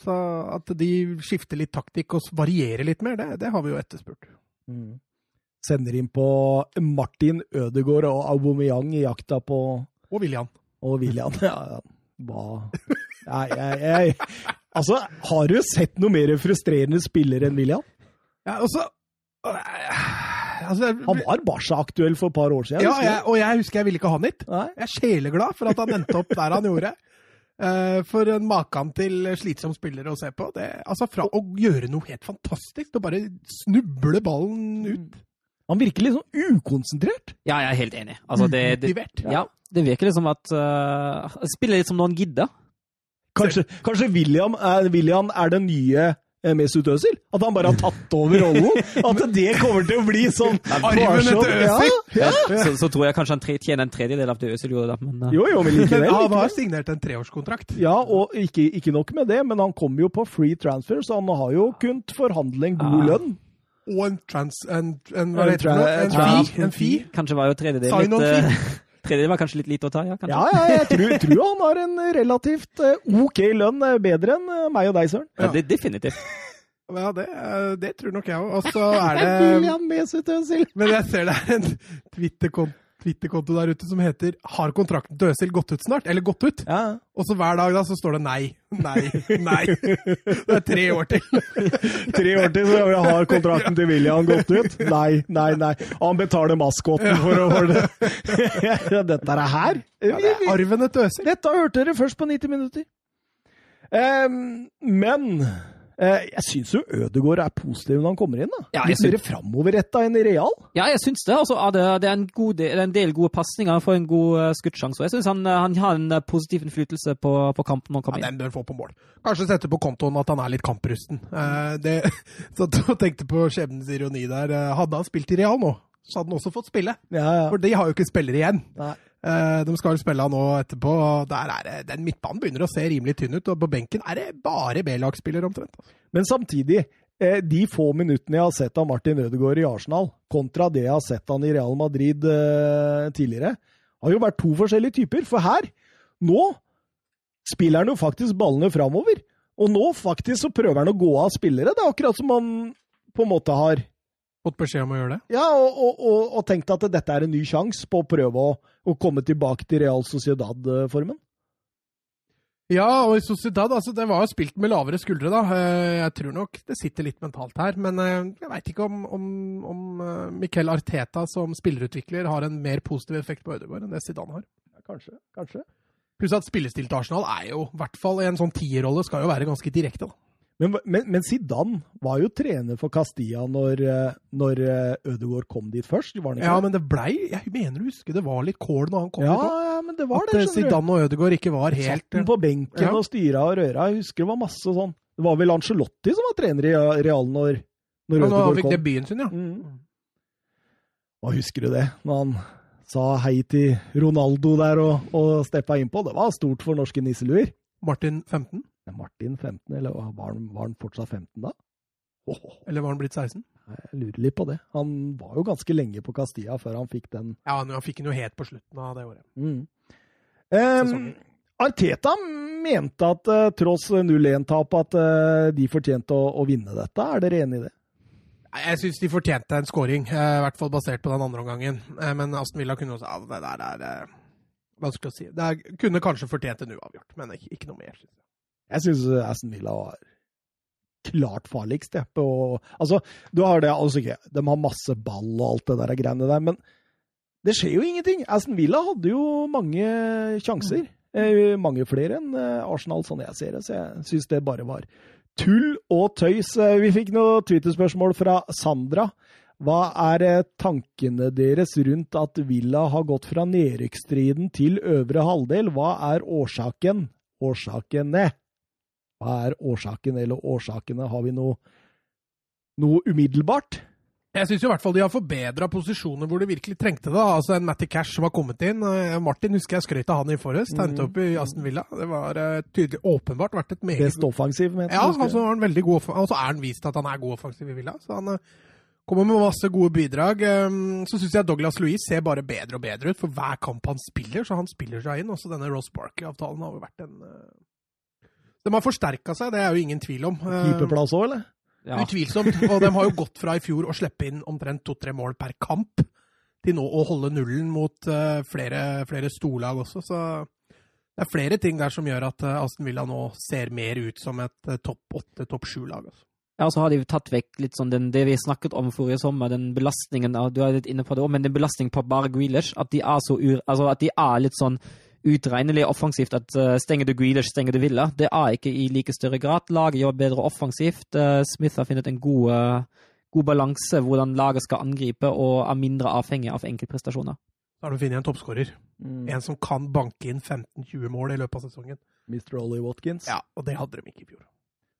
B: så at de skifter litt taktikk og s- varierer litt mer, det, det har vi jo etterspurt. Mm.
A: Sender inn på Martin Ødegaard og Aubameyang i jakta på
B: Og William.
A: Og William. Ja, ja. Hva Nei, jeg, jeg Altså, har du sett noe mer frustrerende spiller enn William?
B: Ja, og så eh, altså,
A: Han var Barca-aktuell for et par år siden.
B: ja,
A: husker
B: jeg,
A: du?
B: og jeg husker jeg ville ikke ha han hit.
A: Nei?
B: Jeg er sjeleglad for at han endte opp der han gjorde. Eh, For en makan til slitsom spiller å se på. Det, altså Fra å gjøre noe helt fantastisk til å bare snuble ballen ut.
A: Han virker litt sånn ukonsentrert.
C: Ja, jeg er helt enig. Altså, det, det,
B: Umotivert.
C: ja, det virker litt som at eh, Spiller litt som når han gidder.
A: Kanskje, kanskje William, er, William er den nye eh, Mesut Özil. At han bare har tatt over rollen. At det kommer til å bli sånn
B: Arven etter Özil.
A: Ja, ja.
C: Så, så tror jeg kanskje han tre, tjener en tredjedel av det Øzil gjorde, da. Men, eh,
A: Jo, jo, men
B: Men
A: likevel.
B: han har
A: likevel.
B: signert en treårskontrakt.
A: Ja, og ikke, ikke nok med det, men han kom jo på free transfer, så han har jo kunnet forhandle en god
C: Ja.
A: lønn.
B: Og en trans... En, en, hva
A: En
B: heter det?
A: tra-
B: En
A: trans-
B: fee? En fee?
C: Kanskje var jo tredjedel
B: Sign
C: litt
B: on
C: eh, Tredjedel var kanskje litt lite å ta, ja. kanskje.
A: Ja, ja, jeg tror, tror han har en relativt eh, OK lønn, eh, bedre enn eh, meg og deg, Søren.
C: Ja, det, definitivt.
B: Ja, det, eh, det tror nok jeg òg. Og så er
A: Det er
B: det
A: William Mesut Özil.
B: Men jeg ser det er en Twitter-kon- Twitter-konto der ute som heter 'Har kontrakten til Øzil gått ut snart?' Eller 'gått ut?'
A: Ja.
B: Og så hver dag da så står det nei, nei, nei. Det er tre år til.
A: Tre år til, så har kontrakten til William gått ut. Nei, nei, nei. Og han betaler maskoten for å holde det. Dette er her.
B: Ja, det er arven etter Øzil.
A: Dette hørte dere først på 90 minutter. Em, men eh, jeg syns jo Ødegaard er positiv når han kommer inn. da.
C: Ja, jeg
A: Litt mer framoverretta enn i Real.
C: Ja, jeg syns det. Altså, ja, det, det, er en god del, eller en del gode pasninger. Han får en god eh, skuttsjanse. Og jeg syns han, eh, han har en eh, positiv innflytelse på, på kampen når han
B: Ja,
C: kommer inn.
B: den bør få på mål. Kanskje sette på kontoen at han er litt kamprusten. Eh, det, så jeg tenkte på skjebnens ironi der. Eh, Hadde han spilt i Real nå, så hadde han også fått spille.
A: Ja, ja.
B: For de har jo ikke spillere igjen.
A: Nei.
B: Eh, de skal jo spille nå etterpå. og Der er det, den midtbanen begynner å se rimelig tynn ut, og på benken er det bare B-lagsspillere omtrent. altså.
A: Men samtidig, eh, de få minuttene jeg har sett av Martin Ødegaard i Arsenal, kontra det jeg har sett han i Real Madrid eh, tidligere, har jo vært to forskjellige typer. For her, nå, spiller han jo faktisk ballene framover. Og nå faktisk så prøver han å gå av spillere. Det er akkurat som han på en måte har
B: Fått beskjed om å gjøre det.
A: ja, og, og, og, og tenkt at dette er en ny sjanse på å prøve å, å komme tilbake til Real Sociedad-formen.
B: Ja, og i Sociedad, altså, det var jo spilt med lavere skuldre, da. Eh, Jeg tror nok det sitter litt mentalt her. Men eh, jeg veit ikke om, om, om eh, Miquel Arteta som spillerutvikler har en mer positiv effekt på Ødegaard enn det Zidane har.
A: Kanskje, kanskje.
B: Pluss at spillestilen til Arsenal er jo, i hvert fall i en sånn tierrolle, skal jo være ganske direkte, da.
A: Men, men, men Zidane var jo trener for Castilla når, eh, når eh, Ødegaard kom dit først. Var han ikke
B: Ja,
A: det?
B: men det blei Jeg mener å huske det var litt kål når han kom
A: ja,
B: dit òg.
A: ja, men det var
B: At
A: det,
B: eh,
A: skjønner du.
B: Zidane og Ødegaard ikke var helt eh,
A: Satt han på benken
B: Ja.
A: og styra og røra. Jeg husker det var masse sånn. Det var vel Angelotti som var trener i eh, Real når, når
B: Ja, Nå
A: Ødegaard
B: fikk
A: kom.
B: debuten sin, ja.
A: Mm. Og husker du det, når han sa hei til Ronaldo der og, og steppa innpå? Det var stort for norske nisseluer.
B: Martin 15?
A: Men Martin 15, eller var han, var han fortsatt 15 da? Åh.
B: Eller var han blitt 16?
A: Jeg lurer litt på det. Han var jo ganske lenge på Castilla før han fikk den.
B: Ja, han han fikk den jo helt på slutten av det året.
A: Ehm,
B: Sesongen.
A: Arteta mente at eh, tross 0-1-tap at eh, de fortjente å, å vinne dette. Er dere enig i det?
B: Nei, Jeg syns de fortjente en scoring, eh, i hvert fall basert på den andre omgangen. Eh, Men Aston Villa kunne også ja, Det der er eh, vanskelig å si. Det er, kunne kanskje fortjent en uavgjort, men ikke, ikke noe mer. synes jeg.
A: Jeg syns Aston Villa var klart farligst. Jeg, på, altså, du har det, altså ikke, De har masse ball og alt det der greiene der, men det skjer jo ingenting. Aston Villa hadde jo mange sjanser. Eh, mange flere enn eh, Arsenal, sånn jeg ser det. Så jeg syns det bare var tull og tøys. Eh, Vi fikk noe Twitter-spørsmål fra Sandra. Hva er eh, tankene deres rundt at Villa har gått fra nedrykksstriden til øvre halvdel? Hva er årsaken? Årsakene. Hva er årsaken eller årsakene? Har vi noe, noe umiddelbart?
B: Jeg syns i hvert fall de har forbedra posisjoner hvor de virkelig trengte det. da. Altså En Matty Cash som har kommet inn. eh, Martin husker jeg skrøt av han i forrest. Tegnet opp i Aston Villa. Det var eh, tydelig, åpenbart vært et meget
A: Best offensiv, mener
B: Ja, altså,
A: jeg.
B: og så har han veldig god off- og så er han vist at han er god offensiv i Villa. Så han eh, kommer med masse gode bidrag. Ehm, Så syns jeg Douglas Louise ser bare bedre og bedre ut for hver kamp han spiller. Så han spiller seg inn. Også denne Ross Barkley-avtalen har jo vært en eh, De har forsterka seg, det er jo ingen tvil om. Ehm,
A: Keeperplass òg, eller?
C: Ja.
B: Utvilsomt. Og de har jo gått fra i fjor å slippe inn omtrent to-tre mål per kamp, til nå å holde nullen mot eh, flere, flere storlag også. Så det er flere ting der som gjør at eh, Aston Villa nå ser mer ut som et eh, topp åtte, topp sju-lag. Altså.
C: Ja, og så har de jo tatt vekk litt sånn den, det vi snakket om forrige sommer, den belastningen av, Du er litt inne på det òg, men den belastningen på bare Grealish, at de er så ur... Altså at de er litt sånn utregnelig offensivt at eh, stenger du Grealish, stenger du Villa. Det er ikke i like større grad. Laget gjør bedre offensivt. Eh, Smith har funnet en god, eh, god balanse hvordan laget skal angripe, og er mindre avhengig av enkeltprestasjoner.
B: Da har du funnet en toppskårer.
A: Mm.
B: En som kan banke inn 15-20 mål i løpet av sesongen.
A: Mr. Ollie Watkins.
B: Ja, Og det hadde de ikke i fjor.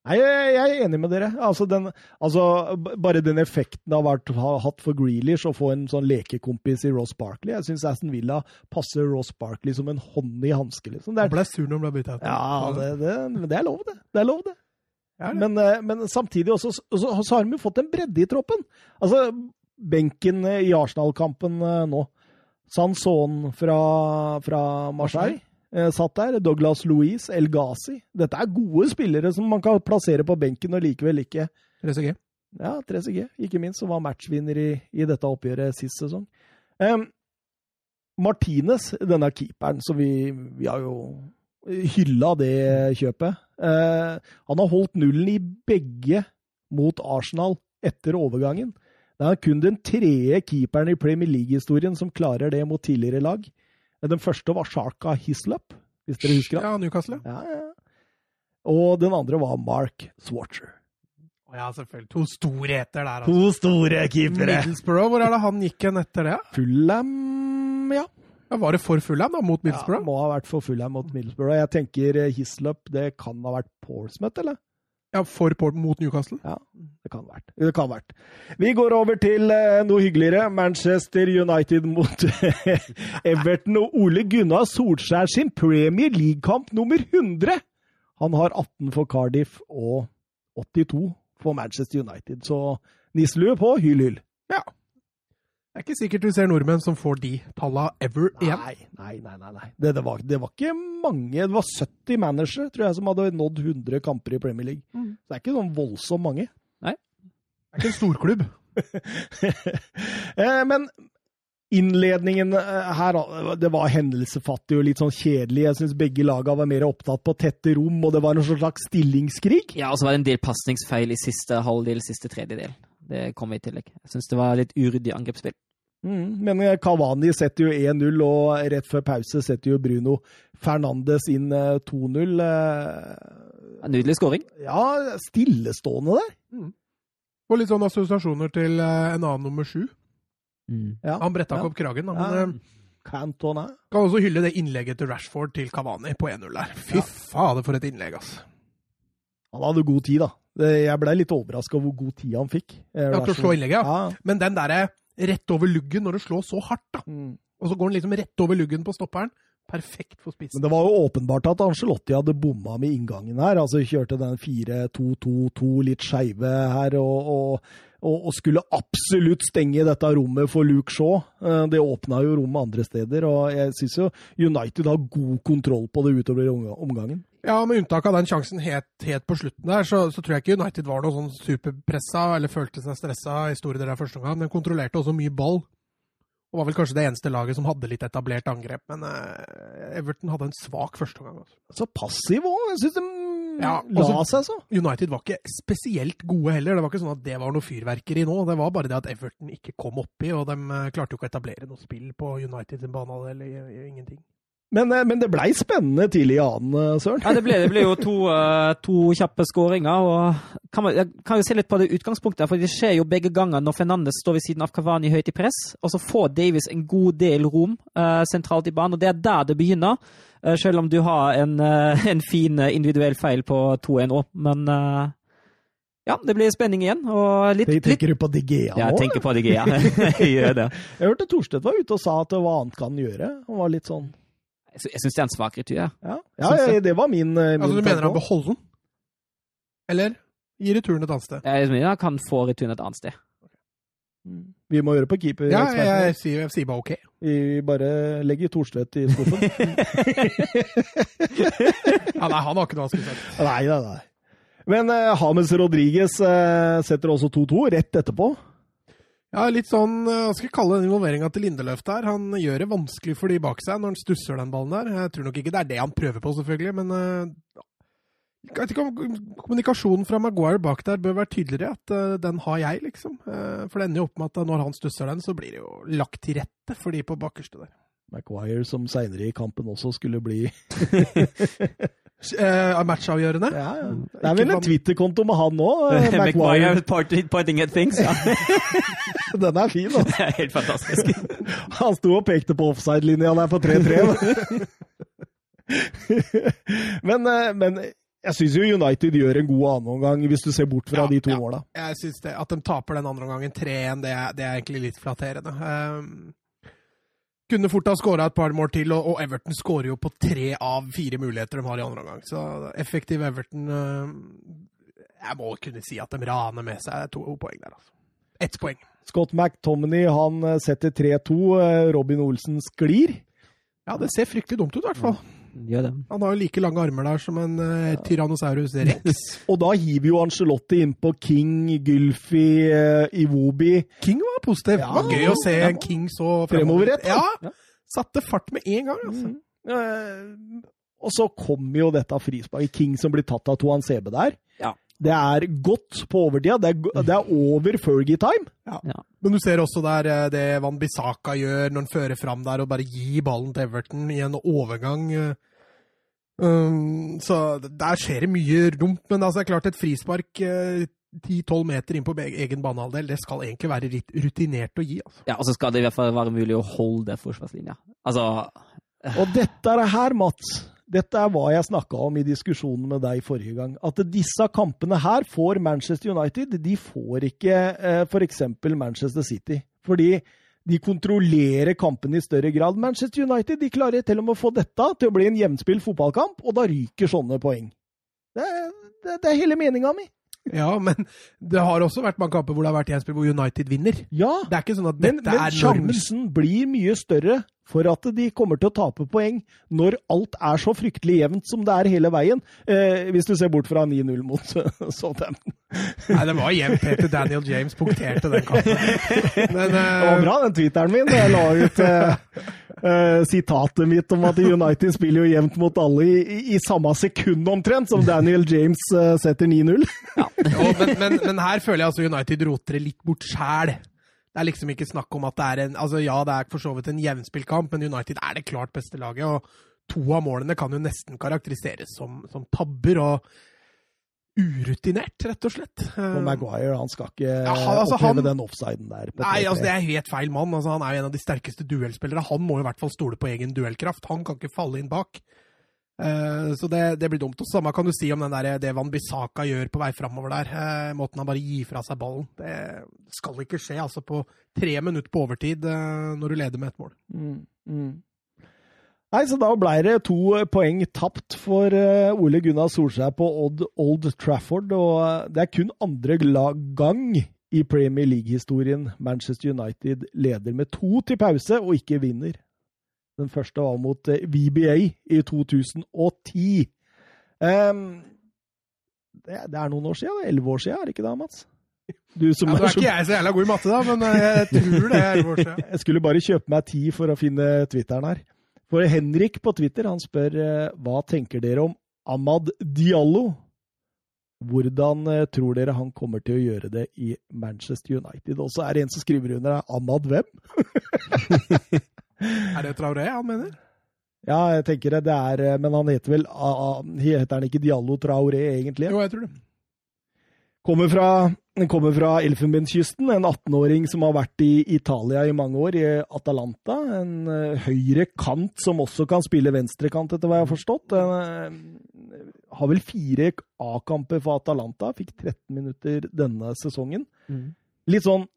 A: Nei, jeg jeg er enig med dere. Altså, den, altså b- Bare den effekten det har vært, ha, hatt for Grealish å få en sånn lekekompis i Ross Barkley. Jeg syns Aston Villa passer Ross Barkley som en hånd i hanske. Liksom. Det
B: Han
A: er,
B: ble sur når han ble bytta ut.
A: ja, det, det, men det er lov, det. Det er lov, det.
B: Ja, det.
A: Men, eh, men samtidig også, så, så har de jo fått en bredde i troppen. Altså, benken eh, i Arsenal-kampen eh, nå. Sanson fra, fra Marseille eh, satt der. Douglas Louise, El Ghazi. Dette er gode spillere som man kan plassere på benken og likevel ikke
B: 3CG.
A: ja, 3CG, ikke minst, som var matchvinner i, i dette oppgjøret sist sesong. Em, Martinez, denne keeperen, som vi, vi har jo hylla det kjøpet eh, Han har holdt nullen i begge mot Arsenal etter overgangen. Det er kun den tredje keeperen i Premier League-historien som klarer det mot tidligere lag. Den første var Sharka Hislop, hvis dere husker han.
B: Ja, Newcastle.
A: Ja, ja. Og den andre var Mark Swatcher.
B: Å Ja, selvfølgelig. To storheter der, altså.
A: To store
B: Middlesbrough, hvor er det han gikk hen etter det?
A: Fulham, ja.
B: Ja, var det for Fulham, da, mot Middlesbrough?
A: Ja, må ha vært for Fulham mot Middlesbrough. Jeg tenker eh, Hislop, det kan ha vært Portsmouth, eller?
B: Ja, for Port mot Newcastle.
A: Det kan ha vært. Det kan ha vært. Vi går over til eh, noe hyggeligere. Manchester United mot Everton og Ole Gunnar Solskjær sin Premier League-kamp nummer 100. Han har 18 for Cardiff og 82 for Manchester United, så nisselue på, hyll, hyll.
B: Det er ikke sikkert vi ser nordmenn som får de talla ever igjen.
A: Nei, nei, nei. nei, nei. Det, det, var, det var ikke mange. Det var 70 managere tror jeg, som hadde nådd 100 kamper i Premier League.
B: Mm.
A: Så det er ikke sånn voldsomt mange.
B: Det er ikke en storklubb.
A: Eh, Men innledningen eh, her, da, det var hendelsefattig og litt sånn kjedelig. Jeg syns begge laga var mer opptatt på tette rom, og det var en slags stillingskrig.
C: Ja, og så var det en del pasningsfeil i siste halvdel, siste tredjedel. Det kom i tillegg. Jeg syns det var litt uryddig angrepsspill.
A: Mm, Men eh, Cavani setter jo 1-0, og rett før pause setter jo Bruno Fernandes inn eh, 2-0. Eh,
C: Nydelig skåring.
A: Ja, stillestående der.
B: Og litt sånn assosiasjoner til eh, en annen nummer sju.
C: Mm.
A: Ja.
B: Han bretta
A: Ja.
B: ikke opp kragen, da,
A: Ja.
B: men eh,
A: Cantona.
B: kan også hylle det innlegget til Rashford til Kavani på 1-0 der. Fy
A: Ja.
B: fader, for et innlegg, altså.
A: Han hadde god tid, da. Det- Jeg blei litt overraska over hvor god tid han fikk. Eh,
B: Ja, til å
A: Rashford.
B: slå innlegget, ja.
A: Ja.
B: Men den derre rett over luggen når du slår så hardt, da.
A: Mm.
B: Og så går den liksom rett over luggen på stopperen. Perfekt for spissen.
A: Men det var jo åpenbart at Angelotti hadde bomma med inngangen her. Altså kjørte den 4-2-2-2 litt skeive her, og, og, og, og skulle absolutt stenge dette rommet for Luke Shaw. Eh, Det åpna jo rommet andre steder, og jeg syns jo United har god kontroll på det utover omga- omgangen.
B: Ja, med unntak av den sjansen helt, helt på slutten der, så, så tror jeg ikke United var noe sånn superpressa eller følte seg stressa i store deler av første omgang. Den kontrollerte også mye ball. Og var vel kanskje det eneste laget som hadde litt etablert angrep. Men eh, Everton hadde en svak første omgang. Altså.
A: Så passiv òg. Jeg syns de
B: Ja, altså,
A: la
B: også-
A: seg altså. så.
B: United var ikke spesielt gode heller. Det var ikke sånn at det var noe fyrverkeri nå. Det var bare det at Everton ikke kom oppi, og de eh, klarte jo ikke å etablere noe spill på United sin bane eller eh, ingenting.
A: Men, eh, men det blei spennende tidlig i annen, eh, Søren.
C: Ja, det ble, det ble jo to, eh, to kjappe skåringer. og kan man, Jeg kan jo se litt på det utgangspunktet, for det skjer jo begge ganger når Fernandes står ved siden av Cavani høyt i press, og så får Davies en god del rom eh, sentralt i banen, og det er der det begynner. eh, selv om du har en, eh, en fin eh, individuell feil på 2-1 òg, men eh, ja, det blir spenning igjen. Og litt,
A: Det
C: litt
A: tenker du på Digea
C: Ja, jeg
A: nå?
C: tenker på det, Gea. Jeg gjør det.
A: Jeg hørte Thorstvedt var ute og sa at hva annet kan han gjøre? Han var litt sånn
C: Jeg sy- Jeg syns det er en svak retur. Ja.
A: Ja, ja, ja det var min, eh, min
B: Altså, du mener
A: tanke også.
B: han beholder den? Eller gir returen et annet sted?
C: Jeg mener han kan få returen et annet sted.
A: Mm. Vi må høre på keeper.
B: Ja, jeg, jeg, sier, jeg sier bare ok.
A: Vi bare legger Thorstvedt i skuffen.
B: Ja, nei, han har ikke noe han skulle sagt.
A: nei, nei, nei. Men eh, James Rodriguez eh, setter også 2-2 rett etterpå.
B: Ja, litt sånn, eh, Hva skal jeg kalle den involveringa til Lindeløf der? Han gjør det vanskelig for de bak seg når han stusser den ballen der. Jeg tror nok ikke det er det han prøver på, selvfølgelig, men eh, jeg vet ikke om kommunikasjonen fra Maguire bak der bør være tydeligere. At eh, den har jeg, liksom. Eh, For det ender jo opp med at når han stusser den, så blir det jo lagt til rette for de på bakerste der.
A: Maguire, som seinere i kampen også skulle bli
B: Eh, Er matchavgjørende?
A: ja, ja. Det er vel en Twitter-konto med han nå, eh, Maguire.
C: Maguire pointing, pointing at things. Ja.
A: Den er fin, altså.
C: Det er helt fantastisk.
A: Han sto og pekte på offside-linja der på 3-3. men, eh, men Jeg syns jo United gjør en god annenomgang, hvis du ser bort fra
B: Ja,
A: de to
B: ja.
A: måla.
B: Jeg synes det, At de taper den andre omgangen 3-1, det, er- det er egentlig litt flatterende. Ehm, kunne fort ha skåra et par mål til, og, og Everton skårer jo på tre av fire muligheter de har i andre omgang. Så effektiv Everton ehm, Jeg må kunne si at de raner med seg to poeng der, altså. Ett poeng.
A: Scott McTominay han eh, setter 3-2. eh, Robin Olsen sklir.
B: Ja, det ser fryktelig dumt ut, i hvert fall.
C: Gjør det.
B: Mm. Han har jo like lange armer der som en eh, Tyrannosaurus rex.
A: Og da hiver jo Angelotti innpå King, Gylfi, eh, Iwobi.
B: King var positiv.
A: Ja,
B: det var gøy å se
A: ja.
B: en King så
A: Fremoverrett, da.
B: Ja. Satte fart med en gang, altså.
A: Eh, Og så kommer jo dette frisparket. King som blir tatt av Toan CB der.
C: Ja.
A: Det er godt på overtida. Det er, go- det er over Fergie-time.
B: Men du ser også der eh, det Van Bissaka gjør når han fører fram der og bare gir ballen til Everton i en overgang. eh. Um, så der skjer det mye dumt, men altså, det er klart et frispark eh, 10-12 meter inn på be- egen banehalvdel, det skal egentlig være rit- rutinert å gi. Altså.
C: Ja, og så skal det i hvert fall være mulig å holde forsvarslinja. Altså,
A: Og dette er her, Mats. Dette er hva jeg snakka om i diskusjonen med deg forrige gang. At disse kampene her får Manchester United. De får ikke eh, f.eks. Manchester City. Fordi de kontrollerer kampene i større grad. Manchester United de klarer til og med å få dette til å bli en jevnspilt fotballkamp, og da ryker sånne poeng. Det er, det, det er hele meninga mi.
B: Ja, men det har også vært mange kamper hvor det har vært gjenspill hvor United vinner.
A: Ja,
B: Det er ikke sånn at
A: men,
B: dette
A: men
B: er normen.
A: sjansen blir mye større for at de kommer til å tape poeng når alt er så fryktelig jevnt som det er hele veien, eh, hvis du ser bort fra 9-0 mot Southampton.
B: Nei, det var jevnt helt til Daniel James punkterte den kampen. Men,
A: Det var
B: eh,
A: bra, den tweeteren min. Jeg la ut eh, eh, sitatet mitt om at United spiller jo jevnt mot alle i, i, i samme sekund omtrent som Daniel James eh, setter 9-0.
B: jo, men, men, men her føler jeg altså United roter det litt bort sjæl. Det er liksom ikke snakk om at det er en Altså ja, det er for så vidt en jevnspilt kamp, men United er det klart beste laget. Og to av målene kan jo nesten karakteriseres som, som tabber og urutinert, rett og slett.
A: Og Maguire han skal ikke
B: Ja, han- altså,
A: oppleve
B: han-
A: den offsiden der. på
B: Nei,
A: 3-3.
B: altså det er helt feil mann. Altså, han er jo en av de sterkeste duellspillere. Han må i hvert fall stole på egen duellkraft. Han kan ikke falle inn bak. Eh, så det, det blir dumt. Og samme kan du si om den der, det Van Bissaka gjør på vei framover der. Eh, måten han bare gir fra seg ballen. Det skal ikke skje altså på tre minutter på overtid eh, når du leder med ett mål.
A: Mm, mm. Nei, så da ble det to eh, poeng tapt for eh, Ole Gunnar Solskjær på Odd Old Trafford, og eh, det er kun andre gla- gang i Premier League-historien Manchester United leder med to til pause og ikke vinner. Den første var mot eh, VBA i 2010. Ehm, det, det er noen år siden, det er elleve år siden, er det ikke det, Mats? Du som
B: Ja, nå
A: er
B: er
A: så
B: ikke jeg så jævla god i matte, da, men eh, jeg tror det er vår side.
A: jeg skulle bare kjøpe meg tid for å finne Twitteren her. For Henrik på Twitter han spør eh, hva tenker dere om Ahmad Diallo? Hvordan eh, tror dere han kommer til å gjøre det i Manchester United? Og så er det en som skriver under her, Ahmad hvem?
B: Er det Traoré han mener?
A: Ja, jeg tenker det, det er eh, Men han heter vel ah, ah, Heter han ikke Diallo Traoré, egentlig?
B: Jo, jeg tror det.
A: Kommer fra, kommer fra Elfenbenskysten, en 18-åring som har vært i Italia i mange år, i Atalanta. En eh, høyre kant som også kan spille venstrekant, etter hva jeg har forstått. En, eh, har vel fire A-kamper for Atalanta, fikk 13 minutter denne sesongen.
C: Mm.
A: Litt sånn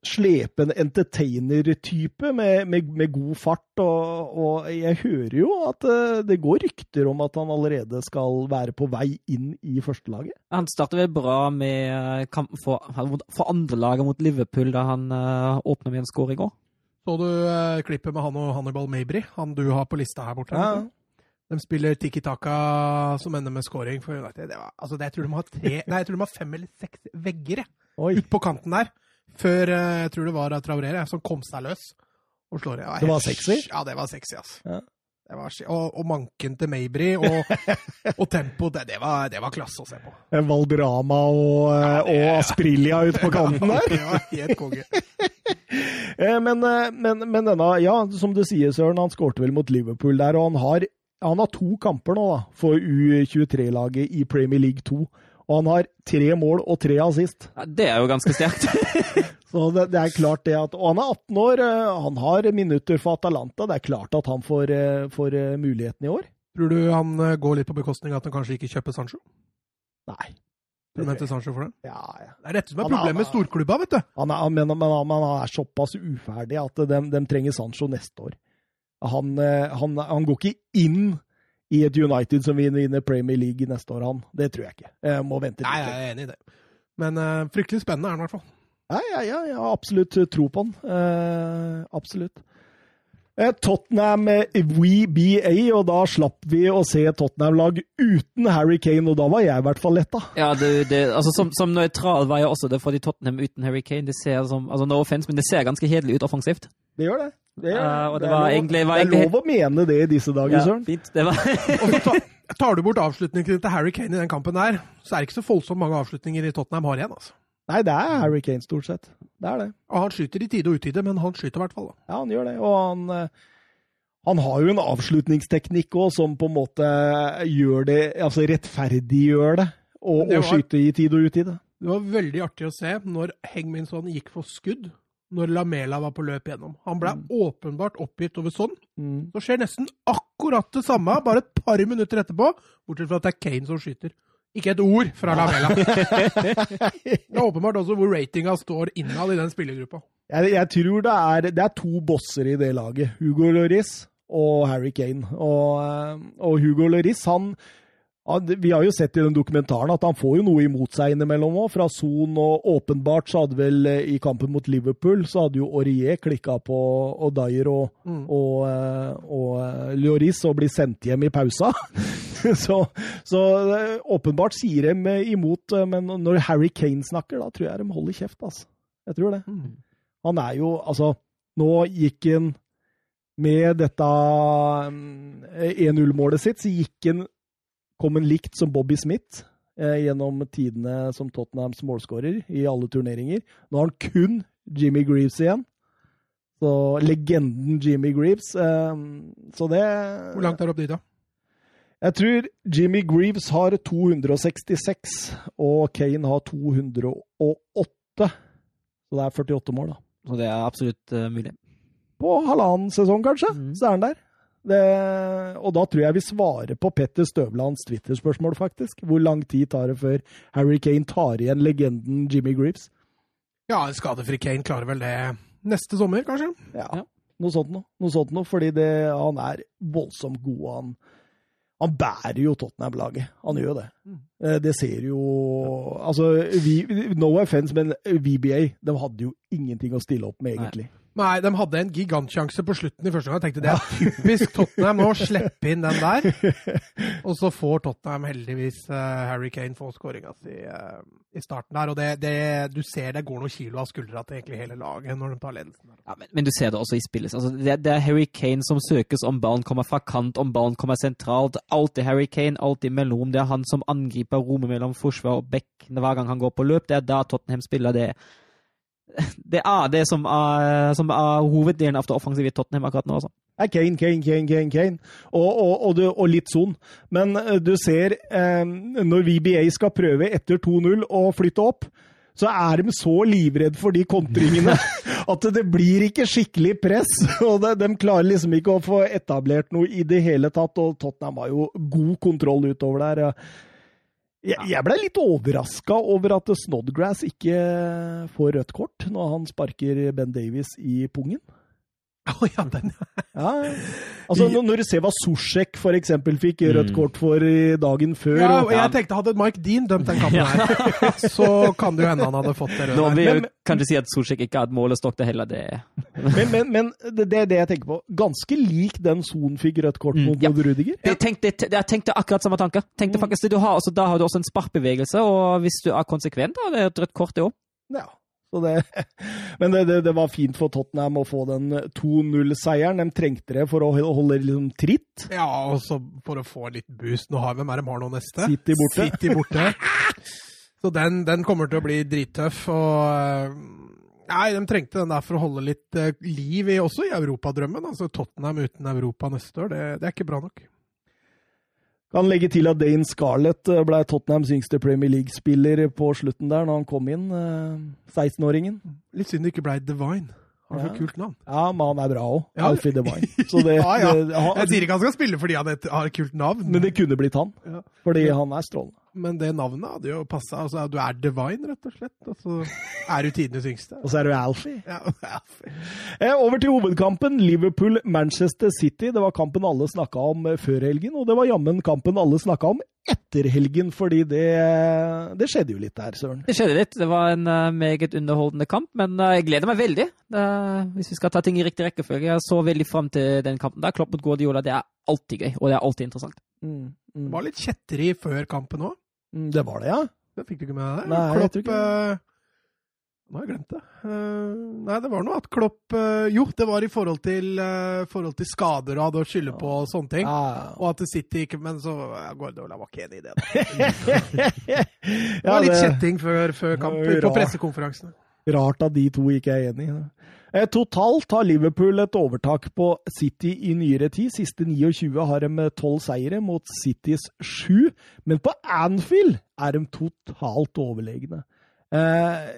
A: slepende entertainer-type, med, med, med god fart. Og, og jeg hører jo at eh, det går rykter om at han allerede skal være på vei inn i førstelaget.
C: Han startet vel bra med eh, kampen for, for andrelaget mot Liverpool da han uh, åpna med en score i går.
B: Så du eh, klippet med han og Hannibal Mabry, han du har på lista her borte? vet du? De spiller Tiki Taka som ender med scoring for United. Det var, altså, det, jeg, tror de har tre, nei, jeg tror de har fem eller seks vegger jeg,
A: Oi.
B: ut på kanten der. Før eh, jeg tror det var Traoré jeg, som kom seg løs og slår. Jeg,
A: Det var sexy?
B: Ja, det var sexy, altså.
A: Ja.
B: Det var, sk- og, og manken til Mabry og, og tempo, det, det, var, det var klasse å se på.
A: Valdrama Eh, og, eh, og Asprilia ute på kanten der.
B: Det var helt konge.
A: Eh, Men, eh, men, men denne, ja, som du sier, Søren, han skårte vel mot Liverpool der, og han har, han har to kamper nå da, for U23-laget i Premier League 2. Og han har tre mål og tre assist.
C: Ja, det er jo ganske sterkt.
A: Så det, det er klart det at, Og han er 18 år, eh, han har minutter for Atalanta. Det er klart at han får, eh, får eh, muligheten i år.
B: Tror du han eh, går litt på bekostning av at han kanskje ikke kjøper Sancho?
A: Nei.
B: Tror du mente Sancho for det?
A: Ja, ja.
B: Det er dette som er
A: Han er-
B: problemet med storklubba, vet du.
A: Han er, han, men, men, han- men han er såpass uferdig at de, de trenger Sancho neste år. Han, eh, han, han går ikke inn i et United som vinner vinner Premier League neste år, han. Det tror jeg ikke. Jeg må vente
B: Nei, jeg er enig i det. Men eh, fryktelig spennende er han i hvert fall.
A: Ja, ja, ja, jeg har absolutt tro på han. Eh, absolutt. Eh, Tottenham eh, WeBA, og da slapp vi å se Tottenham-lag uten Harry Kane, og da var jeg i hvert fall letta.
C: Ja, det, det, altså som, som nøytral var jeg også det fordi Tottenham uten Harry Kane det ser som, altså No offense, men det ser ganske hederlig ut offensivt.
A: Det gjør det. Det,
C: Ja, Eh, og det
A: er
C: var
A: lov-
C: egentlig- var
A: det er
C: egentlig-
A: lov å mene det i disse dager, Søren.
C: fint. Det var
B: Og så tar, tar du bort avslutningen til Harry Kane i den kampen der, så er det ikke så voldsomt mange avslutninger i Tottenham har igjen. altså.
A: Nei, det er Harry Kane, stort sett. Det er det.
B: Og han skyter i tide og utide, men han skyter i hvert fall. da.
A: Ja, han gjør det. Og han, eh, han har jo en avslutningsteknikk òg som på en måte eh, gjør det Altså rettferdiggjør det. Og,
B: Men det
A: og
B: var-
A: skyte i tid og utide.
B: Det var veldig artig å se når Hengminson gikk for skudd, når Lamela var på løp gjennom. Han ble åpenbart oppgitt over sånn.
A: Mm.
B: Så skjer nesten akkurat det samme, bare et par minutter etterpå, bortsett fra at det er Kane som skyter. Ikke et ord fra Lamela. Det er åpenbart også hvor ratinga står innad i den spillergruppa.
A: Jeg, jeg tror det er, det er to bosser i det laget. Hugo Lloris og Harry Kane. Og, eh, og Hugo Lloris, han han- vi har jo sett i den dokumentaren at han får jo noe imot seg innimellom òg, fra Son. Og åpenbart så hadde vel eh, i kampen mot Liverpool så hadde jo Aurier klikka på og Dyer og,
B: Mm.
A: og, eh, og eh, Lloris og blir sendt hjem i pausa. så, så eh, åpenbart sier de eh, imot, eh, men når Harry Kane snakker, da tror jeg de holder kjeft, altså. Jeg tror det.
B: Mm.
A: Han er jo Altså, nå gikk han med dette mm, 1-0-målet sitt, så gikk han Kom han likt som Bobby Smith eh, gjennom tidene som Tottenhams målskårer i alle turneringer. Nå har han kun Jimmy Greaves igjen. Så legenden Jimmy Greaves. Eh, så det
B: Hvor langt er det opp dit, da?
A: Jeg tror Jimmy Greaves har 266, og Kane har 208. Så det er 48 mål, da
C: Så det er absolutt eh, mulig.
A: på halvannen sesong, kanskje.
C: Mm.
A: Så er han der. Det, og da tror jeg vi svarer på Petter Støvlands Twitter-spørsmål, faktisk. Hvor lang tid tar det før Harry Kane tar igjen legenden Jimmy Greaves?
B: Ja, en skadefri Kane klarer vel det neste sommer, kanskje?
A: Ja,
C: Ja.
A: Noe sånt noe. Noe sånt noe fordi det, han er voldsomt god. Han, han bærer jo Tottenham-laget. Han gjør jo det.
B: Mm.
A: Eh, Det ser jo Altså, vi, no offense, men VBA de hadde jo ingenting å stille opp med,
C: Nei.
A: egentlig.
B: Nei, de hadde en gigantsjanse på slutten i første gang. Jeg tenkte det er typisk Tottenham å slippe inn den der. Og så får Tottenham heldigvis eh, Harry Kane få skåringa si eh, i starten der. Og det, det, du ser det går noen kilo av skuldra til egentlig hele laget når de tar ledelsen. der.
C: Ja, men, men du ser det også i spillet. Altså, det, det er Harry Kane som søkes om ballen kommer fra kant, om ballen kommer sentralt. Alltid Harry Kane, alltid mellom. Det er han som angriper rommet mellom forsvar og back hver gang han går på løp. Det er da Tottenham spiller det. Det er det som er, som er hoveddelen av det offensive i Tottenham akkurat nå. Altså.
A: Det er Kane, Kane, Kane, Kane, Kane. Og, og, og, du, og litt son. Men eh, du ser, eh, når VBA skal prøve etter 2-0 å flytte opp, så er de så livredd for de kontringene at det blir ikke skikkelig press. og det, De klarer liksom ikke å få etablert noe i det hele tatt, og Tottenham har jo god kontroll utover der. ja. Jeg, jeg ble litt overraska over at Snodgrass ikke får rødt kort når han sparker Ben Davies i pungen.
B: Å ja, den
A: Ja. Altså, når- når du ser hva Zuzek for eksempel fikk rødt kort for i dagen før
B: Mm. ja,
A: og,
B: og jeg tenkte hadde Mike Dean dømt den kampen her, så kan det jo hende han hadde fått det
C: Nå
B: røde.
C: vil jeg
A: men-
C: kanskje si at Solskjær ikke har et målestokk, det heller. Det
A: Men, men, men det, det er det jeg tenker på. Ganske lik den Son fikk rødt kort
C: Mm,
A: mot
C: ja.
A: Odd Rudiger.
C: Jeg tenkte, jeg tenkte akkurat samme tanke. Tenkte
A: Mm.
C: faktisk det du har, altså, Da har du også en sparkbevegelse, og hvis du er konsekvent, da er det et rødt kort, det òg.
A: Ja. Så det, men det, det, det var fint for Tottenham å få den 2-0-seieren. De trengte det for å holde liksom tritt.
B: Ja, og så for å få litt boost. Nå har Hvem er det de har nå neste?
A: City borte.
B: City borte. Så den, den kommer til å bli drittøff. Og eh, Nei, de trengte den der for å holde litt eh, liv i også i europadrømmen. Altså Tottenham uten Europa neste år, det, det er ikke bra nok.
A: Kan legge til at Dane Scarlett eh, ble Tottenhams yngste Premier League-spiller på slutten der, når han kom inn. eh, 16-åringen.
B: Litt synd det ikke ble Divine. Han har
A: Ja.
B: så kult navn.
A: Ja, men han er bra òg.
B: Ja.
A: Alfie Devine. Så det,
B: Ja, ja.
A: det- han,
B: Jeg sier ikke han skal spille fordi han het- har et kult navn,
A: men det kunne blitt han.
B: Ja.
A: Fordi han er strålende.
B: men det navnet hadde jo passa. Altså, du er divine, rett og slett. Og så er du tidenes yngste.
A: Og så er det Alfie.
B: Ja, ja, fy.
A: Eh, Over til hovedkampen. Liverpool-Manchester City. Det var kampen alle snakka om eh, før helgen, og det var jammen kampen alle snakka om etter helgen, fordi det, det skjedde jo litt der, søren.
C: Det skjedde litt. Det var en eh, meget underholdende kamp, men eh, jeg gleder meg veldig. Eh, hvis vi skal ta ting i riktig rekkefølge. Jeg så veldig fram til den kampen. der. Klopp mot Guardiola, det er alltid gøy, og det er alltid interessant.
A: Mm,
B: Det
A: mm.
B: var litt kjetteri før kampen òg.
A: Mm, Det var det, ja.
B: Det fikk du ikke med deg?
A: Nei, jeg
B: Klopp,
A: tror ikke
B: eh, Nå har jeg glemt det. Eh, nei, det var noe at Klopp eh, Jo, det var i forhold til, eh, forhold til skader og hadde å skylde på og sånne ting.
A: Ja,
B: Og at City ikke Men så ja, Guardiola var ikke enig i det. Da.
A: det
B: Det var litt kjetting før, før kamp,
A: Det var
B: på
A: rart.
B: pressekonferansene.
A: Rart at de to ikke er enige. Eh, Totalt har Liverpool et overtak på City i nyere tid. Siste 29 har de eh, tolv seire mot Citys sju. Men på Anfield er de totalt overlegne. Eh,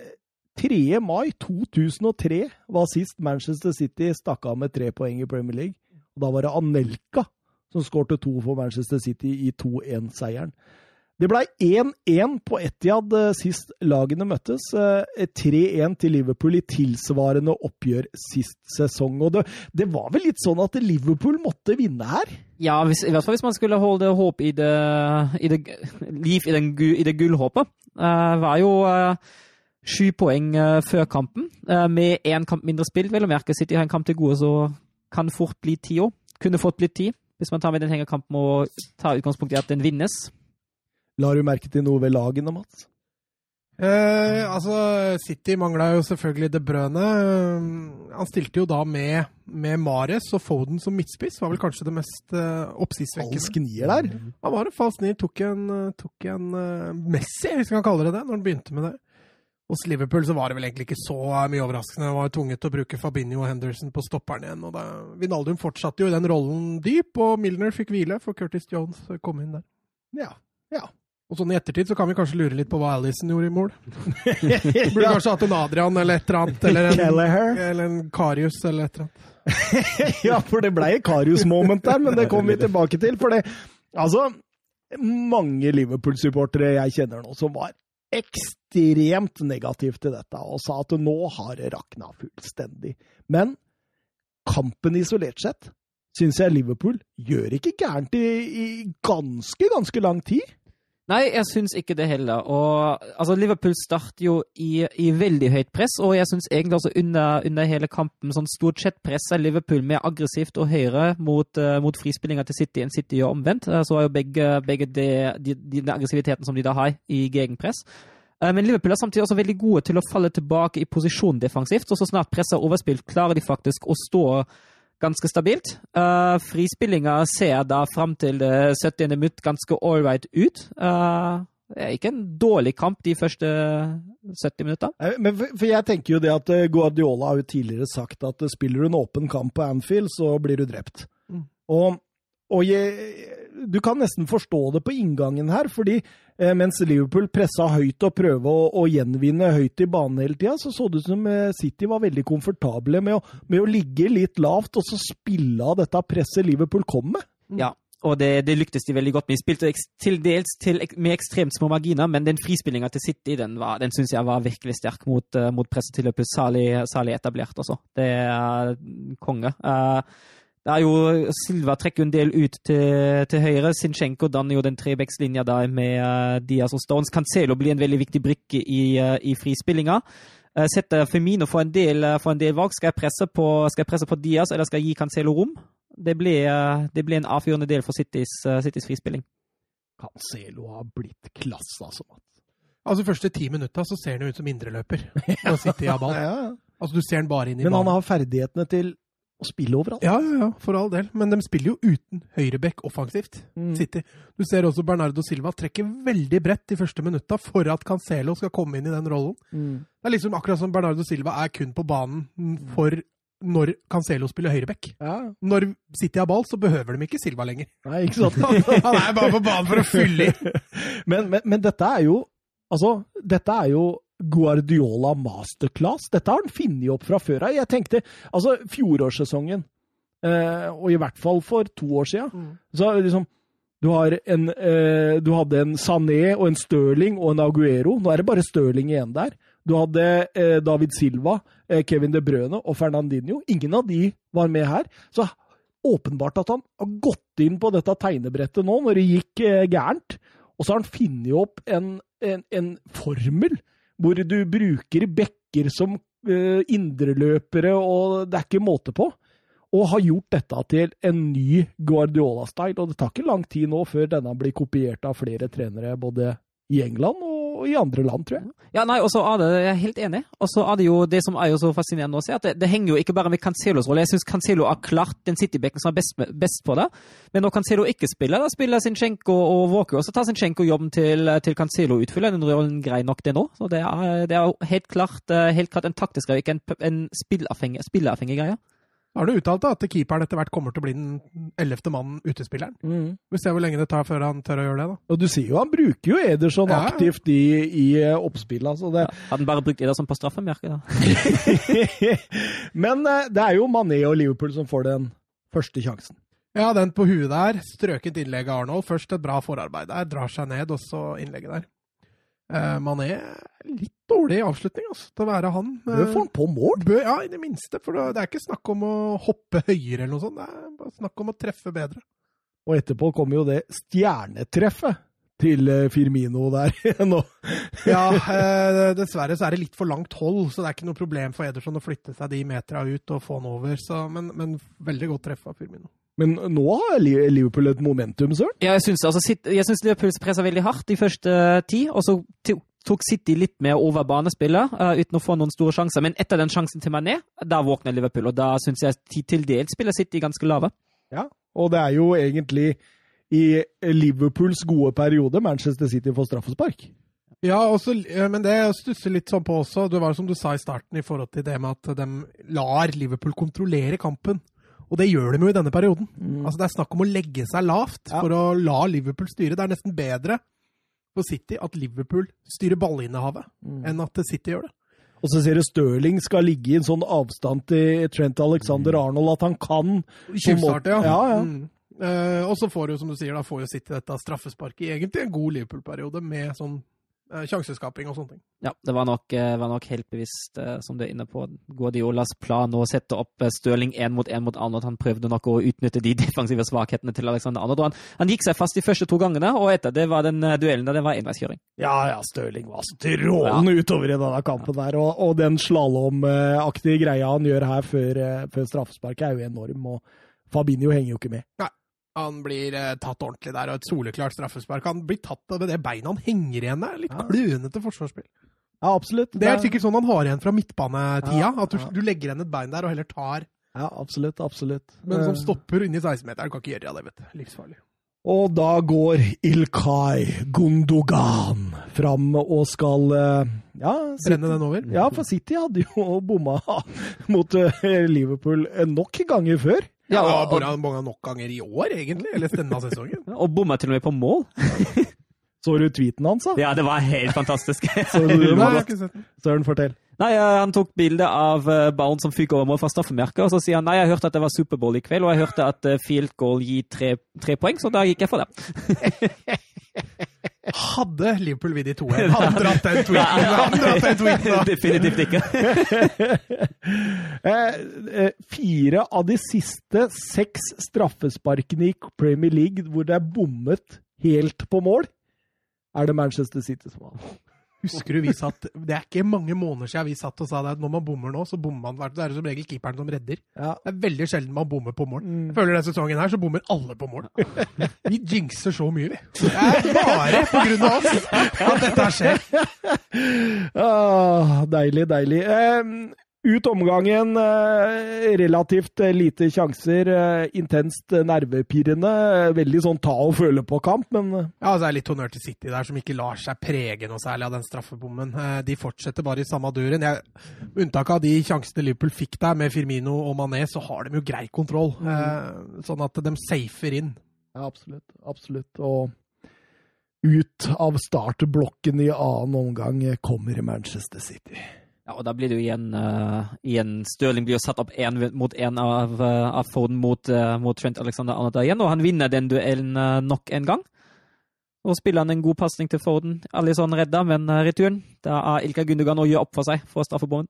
A: 3. mai 2003 var sist Manchester City stakk av med tre poeng i Premier League. Og da var det Anelka som skårte to for Manchester City i 2-1-seieren. Det ble 1-1 på Etiad eh, sist lagene møttes. eh, 3-1 til Liverpool i tilsvarende oppgjør sist sesong. Og det, det var vel litt sånn at Liverpool måtte vinne her?
C: Ja, hvis, i hvert fall hvis man skulle holde håp i det, i det Liv i, den, gu- i det gullhåpet. Uh, var jo eh, sju poeng eh, før kampen, eh, med én kamp mindre spilt. Vel å merke City har en kamp til gode, så kan fort bli ti òg. Kunne fått litt tid. Hvis man tar med den hengekampen og tar utgangspunkt i at den vinnes.
A: La du merke til noe ved lagene, Mats?
B: Eh, altså, City mangla jo selvfølgelig De Brøne. han stilte jo da med, med Mares og Foden som midtspiss. Var vel kanskje det mest uh,
A: Falsk
B: oppsiktsvekkende.
A: nier der?
B: Han var en falsk nier. Tok en, eh, tok en eh, Messi, hvis vi kan kalle det det, når han begynte med det. Hos Liverpool så var det vel egentlig ikke så eh, mye overraskende. Han var tvunget til å bruke Fabinho og Henderson på stopperen igjen. Og da, Vinaldum fortsatte jo i den rollen dyp, og Milner fikk hvile, for Curtis Jones eh, kom inn der.
A: Ja.
B: Og sånn i ettertid så kan vi kanskje lure litt på hva Alison gjorde i mål. Burde
A: ja.
B: kanskje hatt en Adrian eller et eller annet. Eller en,
A: Kelleher.
B: eller en Karius eller et eller annet.
A: Ja, for det ble et Karius-moment der, men det kommer vi tilbake til. For det Altså, mange Liverpool-supportere jeg kjenner nå, som var ekstremt negative til dette og sa at nå har det rakna fullstendig. Men kampen isolert sett syns jeg Liverpool gjør ikke gærent i, i ganske, ganske lang tid.
C: Nei, jeg syns ikke det heller. Og, altså, Liverpool starter jo i, i veldig høyt press, og jeg syns egentlig også under, under hele kampen sånn stort sett presser Liverpool mer aggressivt og høyere mot, eh, mot frispillinga til City enn City gjør omvendt. Eh, så er jo begge, begge de, de, de, den aggressiviteten som de da har i gegenpress. Eh, Men Liverpool er samtidig også veldig gode til å falle tilbake i posisjon defensivt. Og så snart presset er overspilt, klarer de faktisk å stå ganske stabilt. Eh, frispillinga ser da fram til det 70. minutt ganske ålreit ut. Eh, det er ikke en dårlig kamp de første 70 minutta.
A: Eh, Men for, for jeg tenker jo det at eh, Guardiola har jo tidligere sagt at eh, spiller du en åpen kamp på Anfield, så blir du drept.
B: Mm.
A: Og, og jeg, du kan nesten forstå det på inngangen her, fordi eh, mens Liverpool pressa høyt og prøvde å, å gjenvinne høyt i banen hele tida, så så det ut som eh, City var veldig komfortable med å, med å ligge litt lavt og så spille av dette presset Liverpool kom med.
C: Og det, det lyktes de veldig godt med. De spilte eks- til dels til, ek- med ekstremt små marginer, men den frispillinga til City den, var- den syns jeg var virkelig sterk mot, eh, mot presset til Liverpool. Særlig, særlig etablert, altså. Det er konge. Eh, det er jo Silva trekker jo en del ut til, til høyre. Sinchenko danner jo den trebekslinja der med eh, Diaz og Stones. Cancelo blir en veldig viktig brikke i, eh, i frispillinga. Eh, setter Femino for en del, eh, for en del valg. Skal jeg presse på, skal jeg presse på Diaz, eller skal jeg gi Cancelo rom? det ble, eh, det ble en avgjørende del for Citys, eh, Citys frispilling.
A: Cancelo har blitt klasse, altså. Mats.
B: Altså første ti minutta så ser han jo ut som indreløper. Nå sitter jeg av ball.
A: Ja, ja.
B: Altså du ser han bare inn i
A: Men han
B: banen.
A: har ferdighetene til å spille overalt.
B: Ja, ja, ja, for all del. Men de spiller jo uten høyrebekk offensivt.
A: Mm.
B: City. Du ser også Bernardo Silva trekker veldig bredt de første minutta for at Cancelo skal komme inn i den rollen.
A: Mm.
B: Det er liksom akkurat som Bernardo Silva er kun på banen for når Cancelo spiller høyrebekk.
A: ja.
B: Når City har ball, så behøver de ikke Silva lenger.
A: Nei, ikke sant?
B: Han er bare på banen for å fylle i.
A: men, men, men dette er jo Altså, dette er jo Guardiola masterclass. Dette har han funnet opp fra før av. Jeg tenkte Altså, fjorårssesongen, eh, og i hvert fall for to år siden,
B: Mm.
A: så er det liksom du, har en, eh, du hadde en Sané og en Stirling og en Aguero. Nå er det bare Stirling igjen der. Du hadde eh, David Silva, eh, Kevin De Brøne og Fernandinho. Ingen av de var med her. Så åpenbart at han har gått inn på dette tegnebrettet nå, når det gikk eh, gærent. Og så har han funnet opp en, en, en formel hvor du bruker bekker som eh, indreløpere, og det er ikke måte på. Og har gjort dette til en ny Guardiola-style. Og det tar ikke lang tid nå før denne blir kopiert av flere trenere, både i England og i andre land, tror jeg.
C: Ja, nei, og så er det, Jeg er helt enig. Og så er det jo det som er jo så fascinerende å se, at det, det henger jo ikke bare med Cancelos rolle. Jeg syns Cancelo har klart den City-bekken som er best, med- best på det. Men når Cancelo ikke spiller, da spiller Zinchenko og Walker. Og så tar Zinchenko jobben til, eh, til Cancelo og utfyller den rollen grei nok, det nå. Så det er, eh, det er jo helt klart, eh, helt klart en taktisk greie, ikke en, p- en spilleavhengig, spilleavhengig greie.
B: Da har du uttalt da, at keeperen etter hvert kommer til å bli den ellevte mannen, utespilleren. Vi ser hvor lenge det tar før han tør å gjøre det. da.
A: Og du ser jo han bruker jo Ederson
B: Ja.
A: aktivt i, i eh, oppspillet. Altså det,
C: Hadde han bare brukt Ederson på straffemerket, da.
A: Men eh, det er jo Mané og Liverpool som får den første sjansen.
B: Ja, den på huet der. Strøket innlegg av Arnold. Først et bra forarbeid der. Drar seg ned, og så innlegget der. Eh, Mané er litt dårlig i avslutning, altså, til å være han.
A: Nå får
B: Eh,
A: han på mål!
B: Bø, ja, i det minste. For det er ikke snakk om å hoppe høyere eller noe sånt. Det er bare snakk om å treffe bedre.
A: Og etterpå kommer jo det stjernetreffet til eh, Firmino der nå.
B: Ja, eh, dessverre så er det litt for langt hold, så det er ikke noe problem for Ederson å flytte seg de metera ut og få han over. Så, men, men veldig godt treff av Firmino.
A: Men nå har Li- Liverpool et momentum, søren.
C: Ja, jeg syns altså, Sit- jeg syns Liverpool presser veldig hardt de første eh, ti, og så to- tok City litt mer over banespillet eh, uten å få noen store sjanser. Men etter den sjansen til Mané, da våkner Liverpool, og da syns jeg ti- til dels spiller City ganske lave.
A: Og det er jo egentlig i Liverpools gode periode Manchester City får straffespark.
B: Ja, og så- eh, men det stusser litt sånn på også. Det var som du sa i starten i forhold til det med at de lar Liverpool kontrollere kampen. Og det gjør de jo i denne perioden. Altså Det er snakk om å legge seg
A: Mm.
B: lavt
A: Ja.
B: for å la Liverpool styre. Det er nesten bedre for City at Liverpool styrer ballinnehavet,
A: Mm.
B: enn at City gjør det.
A: Og så ser du Stirling skal ligge i en sånn avstand til Trent Alexander Arnold at han kan
B: Tjuvstart, ja.
A: Ja, ja.
B: Mm. Eh, og så får jo, som du sier, da får jo City dette straffesparket i egentlig en god Liverpool-periode med sånn eh, sjanseskaping og sånne ting.
C: Ja, det var nok, eh, var nok helt bevisst, eh, som du er inne på, Guardiolas plan å sette opp eh, Stirling én mot én mot Arnold. Han prøvde nok å utnytte de defensive svakhetene til Alexander Arnold. Og han, han gikk seg fast de første to gangene, og etter det var den eh, duellen der det var enveiskjøring.
A: Ja, ja, Stirling var strålende utover i denne kampen der, og, og den slalåmaktige greia han gjør her før, eh, før straffesparket er jo enorm, og Fabinho henger jo ikke med.
B: Han blir eh, tatt ordentlig der, og et soleklart straffespark. Han blir tatt av det beinet han henger igjen der. Litt
A: Ja.
B: klønete forsvarsspill.
A: Ja, absolutt.
B: Det er sikkert sånn han har igjen fra midtbanetida.
A: Ja,
B: At du,
A: ja.
B: du legger igjen et bein der og heller tar.
A: Ja, absolutt, absolutt.
B: Men som
A: Eh,
B: stopper inni 16-meteren, kan ikke gjøre det, vet du. Livsfarlig.
A: Og da går Ilkay Gundogan fram og skal eh, Ja, City,
B: Brenne den over.
A: ja for City hadde jo bomma mot eh, Liverpool eh, nok ganger før.
B: Ja,
C: Ja, og-
B: og, nok ganger i år, egentlig. Eller denne sesongen.
C: Og bomma til og med på mål.
A: Så du tweeten hans, da?
C: Ja, det var helt fantastisk.
A: Så du
B: Nei,
A: den,
B: jeg har
A: da?
B: ikke sett den.
A: Søren, fortell.
C: Nei, eh, han tok bilde av eh, ballen som fyker over mål fra straffemerket, og så sier han nei, jeg hørte at det var Superbowl i kveld, og jeg hørte at eh, field goal gir tre, tre poeng, så da gikk jeg for det.
B: Hadde Liverpool vunnet 2-1, hadde dratt den tweeten. Hadde dratt den tweeten da.
C: Definitivt ikke.
A: Eh, eh, fire av de siste seks straffesparkene i Premier League hvor det er bommet helt på mål, er det Manchester City som har.
B: Husker du vi satt Det er ikke mange måneder siden vi satt og sa det at når man bommer nå, så bommer man hvert. Det er det som regel keeperen som redder.
A: Ja.
B: Det er veldig sjelden man bommer på mål. Jeg føler denne sesongen her så bommer alle på mål. Vi jinxer så mye, vi. Det er bare på grunn av oss at dette her skjer.
A: Ah, deilig, deilig. Eh, ut omgangen, eh, relativt eh, lite sjanser, eh, intenst eh, nervepirrende. eh, Veldig sånn ta og føle på kamp, men eh,
B: Ja, altså, det er Litt honnør til City der, som ikke lar seg prege noe særlig av den straffebommen. Eh, De fortsetter bare i samme duren. Jeg, med unntak av de sjansene Liverpool fikk der, med Firmino og Mané, så har de jo grei kontroll. Eh, Sånn at de safer inn.
A: ja, absolutt. Absolutt. Og ut av startblokken i annen omgang eh, kommer Manchester City.
C: Ja, og da blir det jo igjen, eh, igjen Stirling blir jo satt opp én mot én av, eh, av Foden mot, eh, mot Trent Alexander Arnold igjen, og han vinner den duellen eh, nok en gang. Og spiller han en god pasning til Foden. Alison redder, men eh, returen Da er Ilka Gundogan å gjøre opp for seg for straffebommen.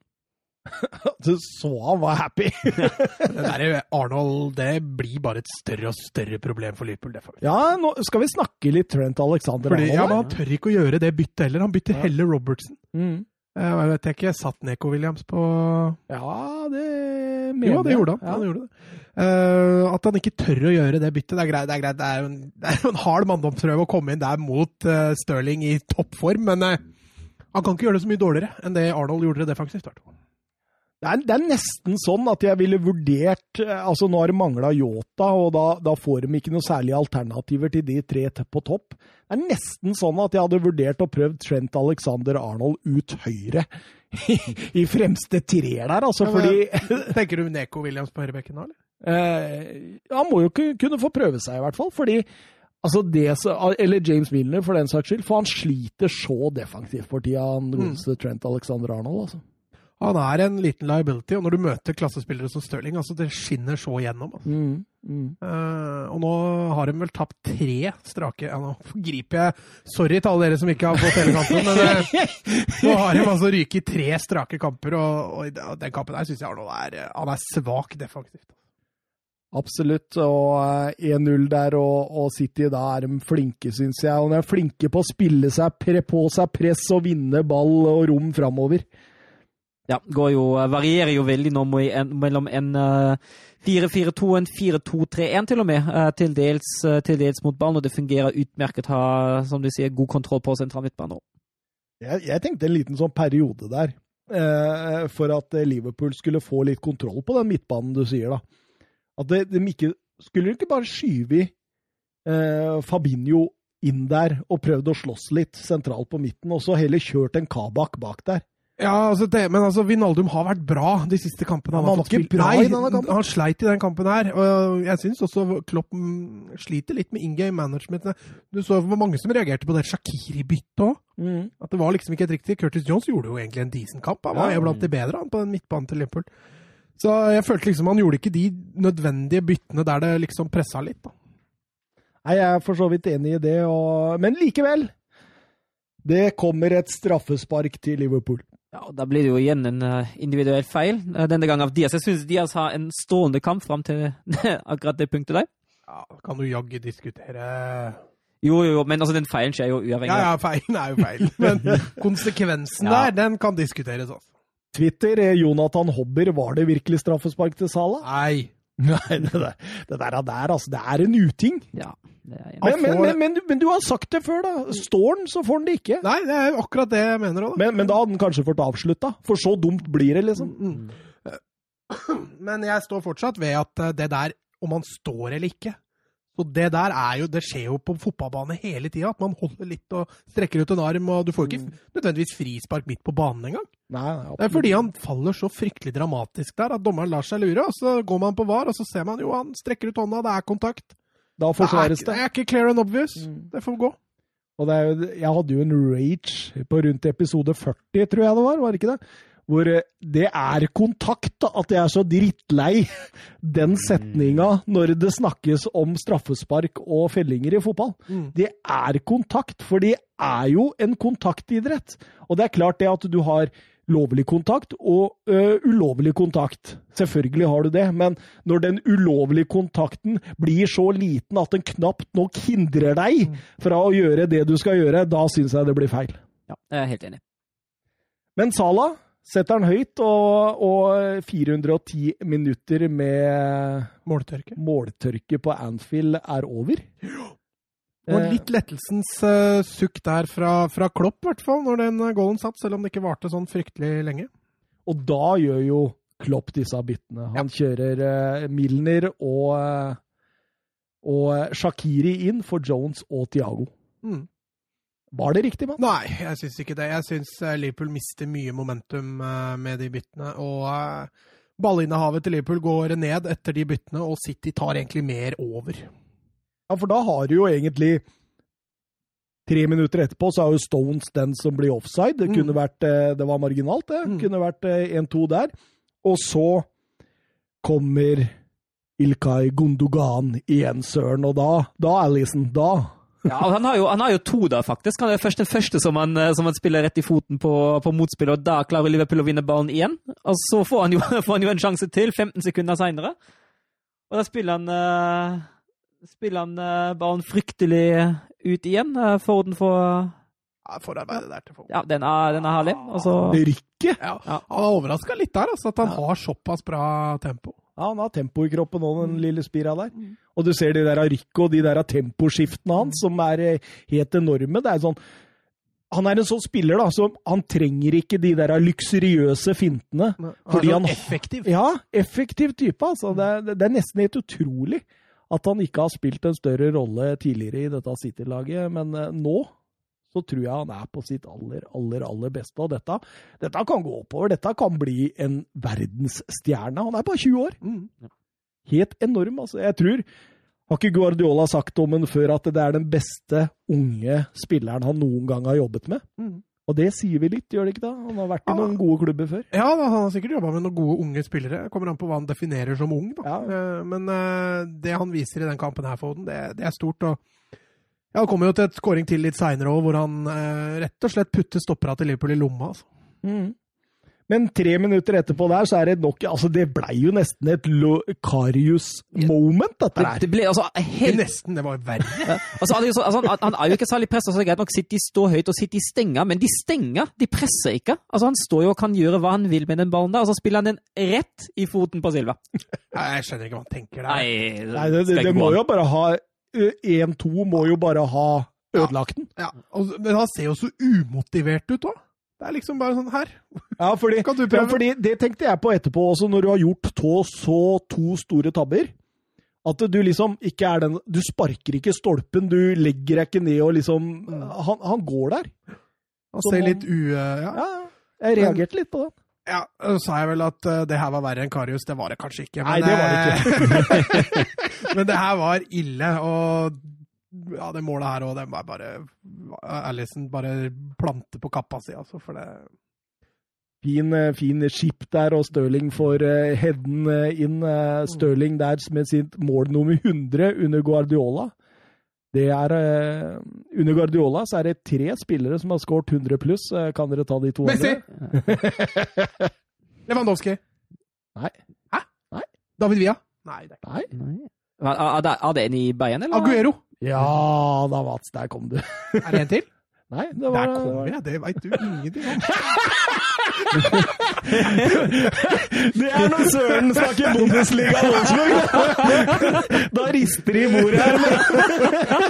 A: Du så han var happy!
B: Det der eh, Arnold det blir bare et større og større problem for Liverpool. Det får vi.
A: Ja, nå skal vi snakke litt Trent Alexander
B: Fordi, ja,
A: Arnold.
B: men Han tør ikke å gjøre det byttet heller. Han bytter
A: Ja.
B: heller Robertson.
A: Mm.
B: Eh, Jeg vet ikke, jeg satt Neko Williams på
A: Ja, det mener
B: Jo, det
A: jeg.
B: gjorde han.
A: Ja.
B: han gjorde det. Eh, at han ikke tør å gjøre det byttet, det er greit. Det er, greit. Det er, jo, en, det er jo en hard manndomsprøve å komme inn der mot eh, Stirling i toppform, men eh, han kan ikke gjøre det så mye dårligere enn det Arnold gjorde det defensivt. i hvert fall.
A: Det er, det er nesten sånn at jeg ville vurdert eh, Altså, nå har det mangla Yota, og da, da får de ikke noe særlige alternativer til de tre t- på topp. Det er nesten sånn at jeg hadde vurdert å prøvd Trent Alexander Arnold ut høyre i, i fremste treer der, altså,
B: Ja,
A: fordi
B: men- Tenker du Neko Williams på høyrebekken nå, eller?
A: Eh, han må jo ku- kunne få prøve seg, i hvert fall. Fordi altså det, så- Eller James Milner, for den saks skyld. For han sliter så defensivt for tida, han
B: Mm.
A: godeste Trent Alexander Arnold. altså.
B: Han er en liten liability, og når du møter klassespillere som Stirling, altså det skinner så gjennom. Altså. Eh, og nå har de vel tapt tre strake ja, Nå griper jeg Sorry til alle dere som ikke har fått hele kampen, men eh, nå har de altså ryket i tre strake kamper, og, og i den- den kampen der syns jeg Arnold er, eh, han er svak defensivt.
A: Absolutt. Og eh, 1-0 der, og, og City, da er de flinke, syns jeg. Og de er flinke på å spille seg pre på seg press og vinne ball og rom framover.
C: Ja, går jo, eh, varierer jo veldig nå må i en, mellom en eh, 4-4-2 og en 4-2-3-1 til og med, eh, til, dels, eh, til dels mot ballen, og det fungerer utmerket, har, som du sier, god kontroll på sentral midtbane.
A: Jeg, jeg tenkte en liten sånn periode der, eh, for at eh, Liverpool skulle få litt kontroll på den midtbanen du sier, da. At det, de ikke Skulle de ikke bare skyve eh, Fabinho inn der og prøvd å slåss litt sentralt på midten, og så heller kjørt en Kabak bak der?
B: Ja, altså det, men altså, Vinaldum har vært bra de siste kampene.
A: Han
B: har
A: var
B: fått
A: ikke
B: spilt.
A: bra
B: Nei,
A: i denne kampen.
B: Han sleit i den kampen her. Og jeg syns også Klopp mm, sliter litt med in game management. Du så hvor mange som reagerte på det Shakiri-byttet òg.
A: Mm.
B: At det var liksom ikke et riktig. Curtis Jones gjorde jo egentlig en decent kamp. Han var
C: Ja.
B: jo blant de bedre han, på den midtbanen til Liverpool. Så jeg følte liksom han gjorde ikke de nødvendige byttene der det liksom pressa litt. da.
A: Nei, jeg er for så vidt enig i det, og, men likevel. Det kommer et straffespark til Liverpool.
C: Ja, og Da blir det jo igjen en eh, individuell feil, eh, denne gangen av Diaz. Jeg syns Diaz har en strålende kamp fram til akkurat det punktet der.
B: Ja, Kan du jaggu diskutere
C: Jo, jo, jo, men altså, den feilen skjer jo uavhengig.
B: Ja, ja, feilen er jo feil. Men konsekvensen
C: Ja.
B: der, den kan diskuteres. altså.
A: Twitter, eh, Jonathan Hobber, var det virkelig straffespark til Salah?
B: Nei.
A: Nei, det der, det der, er der altså, det er en uting.
C: Ja, det er jeg enig i.
A: Men, men,
B: får
A: men,
B: det.
A: men, men du har sagt det før, da. Står den, så får den det ikke.
B: Nei, det er jo akkurat det jeg mener òg, da.
A: Men, men da hadde den kanskje fått avslutta, for så dumt blir det, liksom.
B: Mm. Eh, Men jeg står fortsatt ved at eh, det der, om han står eller ikke Så det der er jo, det skjer jo på fotballbane hele tida, at man holder litt og strekker ut en arm, og du får ikke
A: Mm.
B: nødvendigvis frispark midt på banen engang.
A: Nei, nei,
B: Det er fordi han faller så fryktelig dramatisk der at dommeren lar seg lure, og så går man på VAR, og så ser man jo han strekker ut hånda, det er kontakt.
A: Da
B: Det er,
A: forsvares
B: ikke-
A: det.
B: det er ikke clear and obvious.
A: Mm.
B: Det får gå.
A: Og det er, jo- jeg hadde jo en rage på rundt episode 40, tror jeg det var, var det ikke det? Hvor eh, det er kontakt, da, at jeg er så drittlei den setninga når det snakkes om straffespark og fellinger i fotball. Det er kontakt, for det er jo en kontaktidrett. Og det er klart det at du har lovlig kontakt og ø, ulovlig kontakt. Selvfølgelig har du det, men når den ulovlige kontakten blir så liten at den knapt nok hindrer deg fra å gjøre det du skal gjøre, da syns jeg det blir feil.
C: Ja, jeg er helt enig.
A: Men Sala setter den høyt, og, og 410 minutter med
B: Måltørke.
A: måltørke på Anfield er over.
B: Og litt lettelsens eh, sukk der fra, fra Klopp, i hvert fall, når den eh, goalen satt, selv om det ikke varte sånn fryktelig lenge.
A: Og da gjør jo Klopp disse byttene. Han kjører eh, Milner og, eh, og Shakiri inn for Jones og Thiago.
B: Mm.
A: Var det riktig, mann?
B: Nei, jeg syns ikke det. Jeg syns eh, Liverpool mister mye momentum eh, med de byttene. Og eh, ballinnehavet til Liverpool går ned etter de byttene, og City tar egentlig mer over.
A: Ja, for da har du jo egentlig Tre minutter etterpå så er jo Stones den som blir offside. Det,
B: Mm.
A: kunne vært, eh, det var marginalt, det.
B: Mm.
A: Kunne vært eh, 1-2 der. Og så kommer Ilkay Gundogan igjen, søren. Og da, da Alison, da
C: Ja, og han, har jo, han har jo to der, faktisk. Han er først den første som han, eh, som han spiller rett i foten på, på motspillet, og da klarer Liverpool å vinne ballen igjen. Og så får han jo, får han jo en sjanse til, 15 sekunder seinere. Og da spiller han eh, Spiller han eh, ballen fryktelig ut igjen. eh, Forden får
B: Ja, Forarbeidet der til folk.
C: Ja, den er, den er herlig. Og så
A: Rykke!
B: Ja.
C: Ja.
B: Han overraska litt der, altså, at han har såpass bra tempo.
A: Ja, han har tempo i kroppen òg, den lille spira der. Og du ser de der av Rico og de der av temposkiftene hans, som er eh, helt enorme. Det er sånn Han er en sånn spiller, da, som han trenger ikke de der av luksuriøse fintene. Fordi
B: er så
A: han-
B: effektiv.
A: Ja, effektiv type, altså. Det er, det er nesten helt utrolig at han ikke har spilt en større rolle tidligere i dette City-laget, men eh, nå så tror jeg han er på sitt aller, aller, aller beste. Og dette, dette kan gå oppover. Dette kan bli en verdensstjerne. Han er bare 20 år
B: Mm.
A: helt enorm. Altså. Jeg tror Har ikke Guardiola sagt om den før at det er den beste unge spilleren han noen gang har jobbet med?
B: Mm.
A: Og det sier vi litt, gjør det ikke da? Han har vært i
B: Ja.
A: noen gode klubber før.
B: Ja, da, han har sikkert jobba med noen gode unge spillere. Kommer an på hva han definerer som ung. Da.
A: Ja.
B: Eh, Men eh, det han viser i den kampen her, Foden, det, det er stort. Og ja, det kommer jo til et scoring til litt seinere òg, hvor han eh, rett og slett putter stoppera til Liverpool i lomma. Altså.
A: Men tre minutter etterpå der, så er det nok Altså, det blei jo nesten et Karius-moment, dette
C: det,
A: her.
C: det blir altså
B: Det er
C: helt
B: Nesten, det var jo verre.
C: altså, han, er jo så- altså, han, han er jo ikke særlig pressa, så det er greit nok City står høyt og City stenger, men de stenger, de presser ikke. Altså, Han står jo og kan gjøre hva han vil med den ballen der, og så spiller han den rett i foten på Silva.
B: Nei, Jeg skjønner ikke hva han tenker der.
C: Nei,
A: Nei, det, det,
C: skal
A: det
C: ikke
A: må
C: gå
A: jo
C: an.
A: bare ha 1-2 må jo bare ha ødelagt den.
B: Ja, og, men han ser jo så umotivert ut òg. Det er liksom bare sånn her.
A: Ja, fordi
B: Kan du
A: Ja,
B: prøve?
A: fordi det tenkte jeg på etterpå også, når du har gjort to, så to store tabber. At du liksom ikke er den Du sparker ikke stolpen, du legger deg ikke ned og liksom Han, han går der.
B: Han
A: Som
B: ser
A: om-
B: litt u... eh, Ja.
A: Ja, jeg reagerte litt på det.
B: ja, så sa jeg vel at eh, det her var verre enn Karius. Det var det kanskje ikke. eh,
A: Nei, det var
B: det ikke. men det her var ille, og ja, det målet her òg, det var bare Alison bare plante på kappa si, altså, for det
A: Fin, eh, fin skip der, og Stirling får eh, headen eh, inn. eh, Stirling der med sitt mål nummer 100 under Guardiola. Det er eh, Under Guardiola så er det tre spillere som har skåret 100 pluss. Eh, Kan dere ta de to
B: Messi!
A: andre?
B: Lewandowski.
A: Nei.
B: Hæ?
A: Nei.
B: David Villa? Nei, det er ikke
A: Nei?
C: Nei. Er, er, det- er det en i Bayern, eller?
B: Aguero.
A: Ja da, Mats. Der kom du.
B: Er det en til?
A: Nei, det var
B: Der kommer jeg, det veit du ingenting om.
A: Det er når Søren snakker Bundesliga Wolfsburg! Da rister de i bordet her.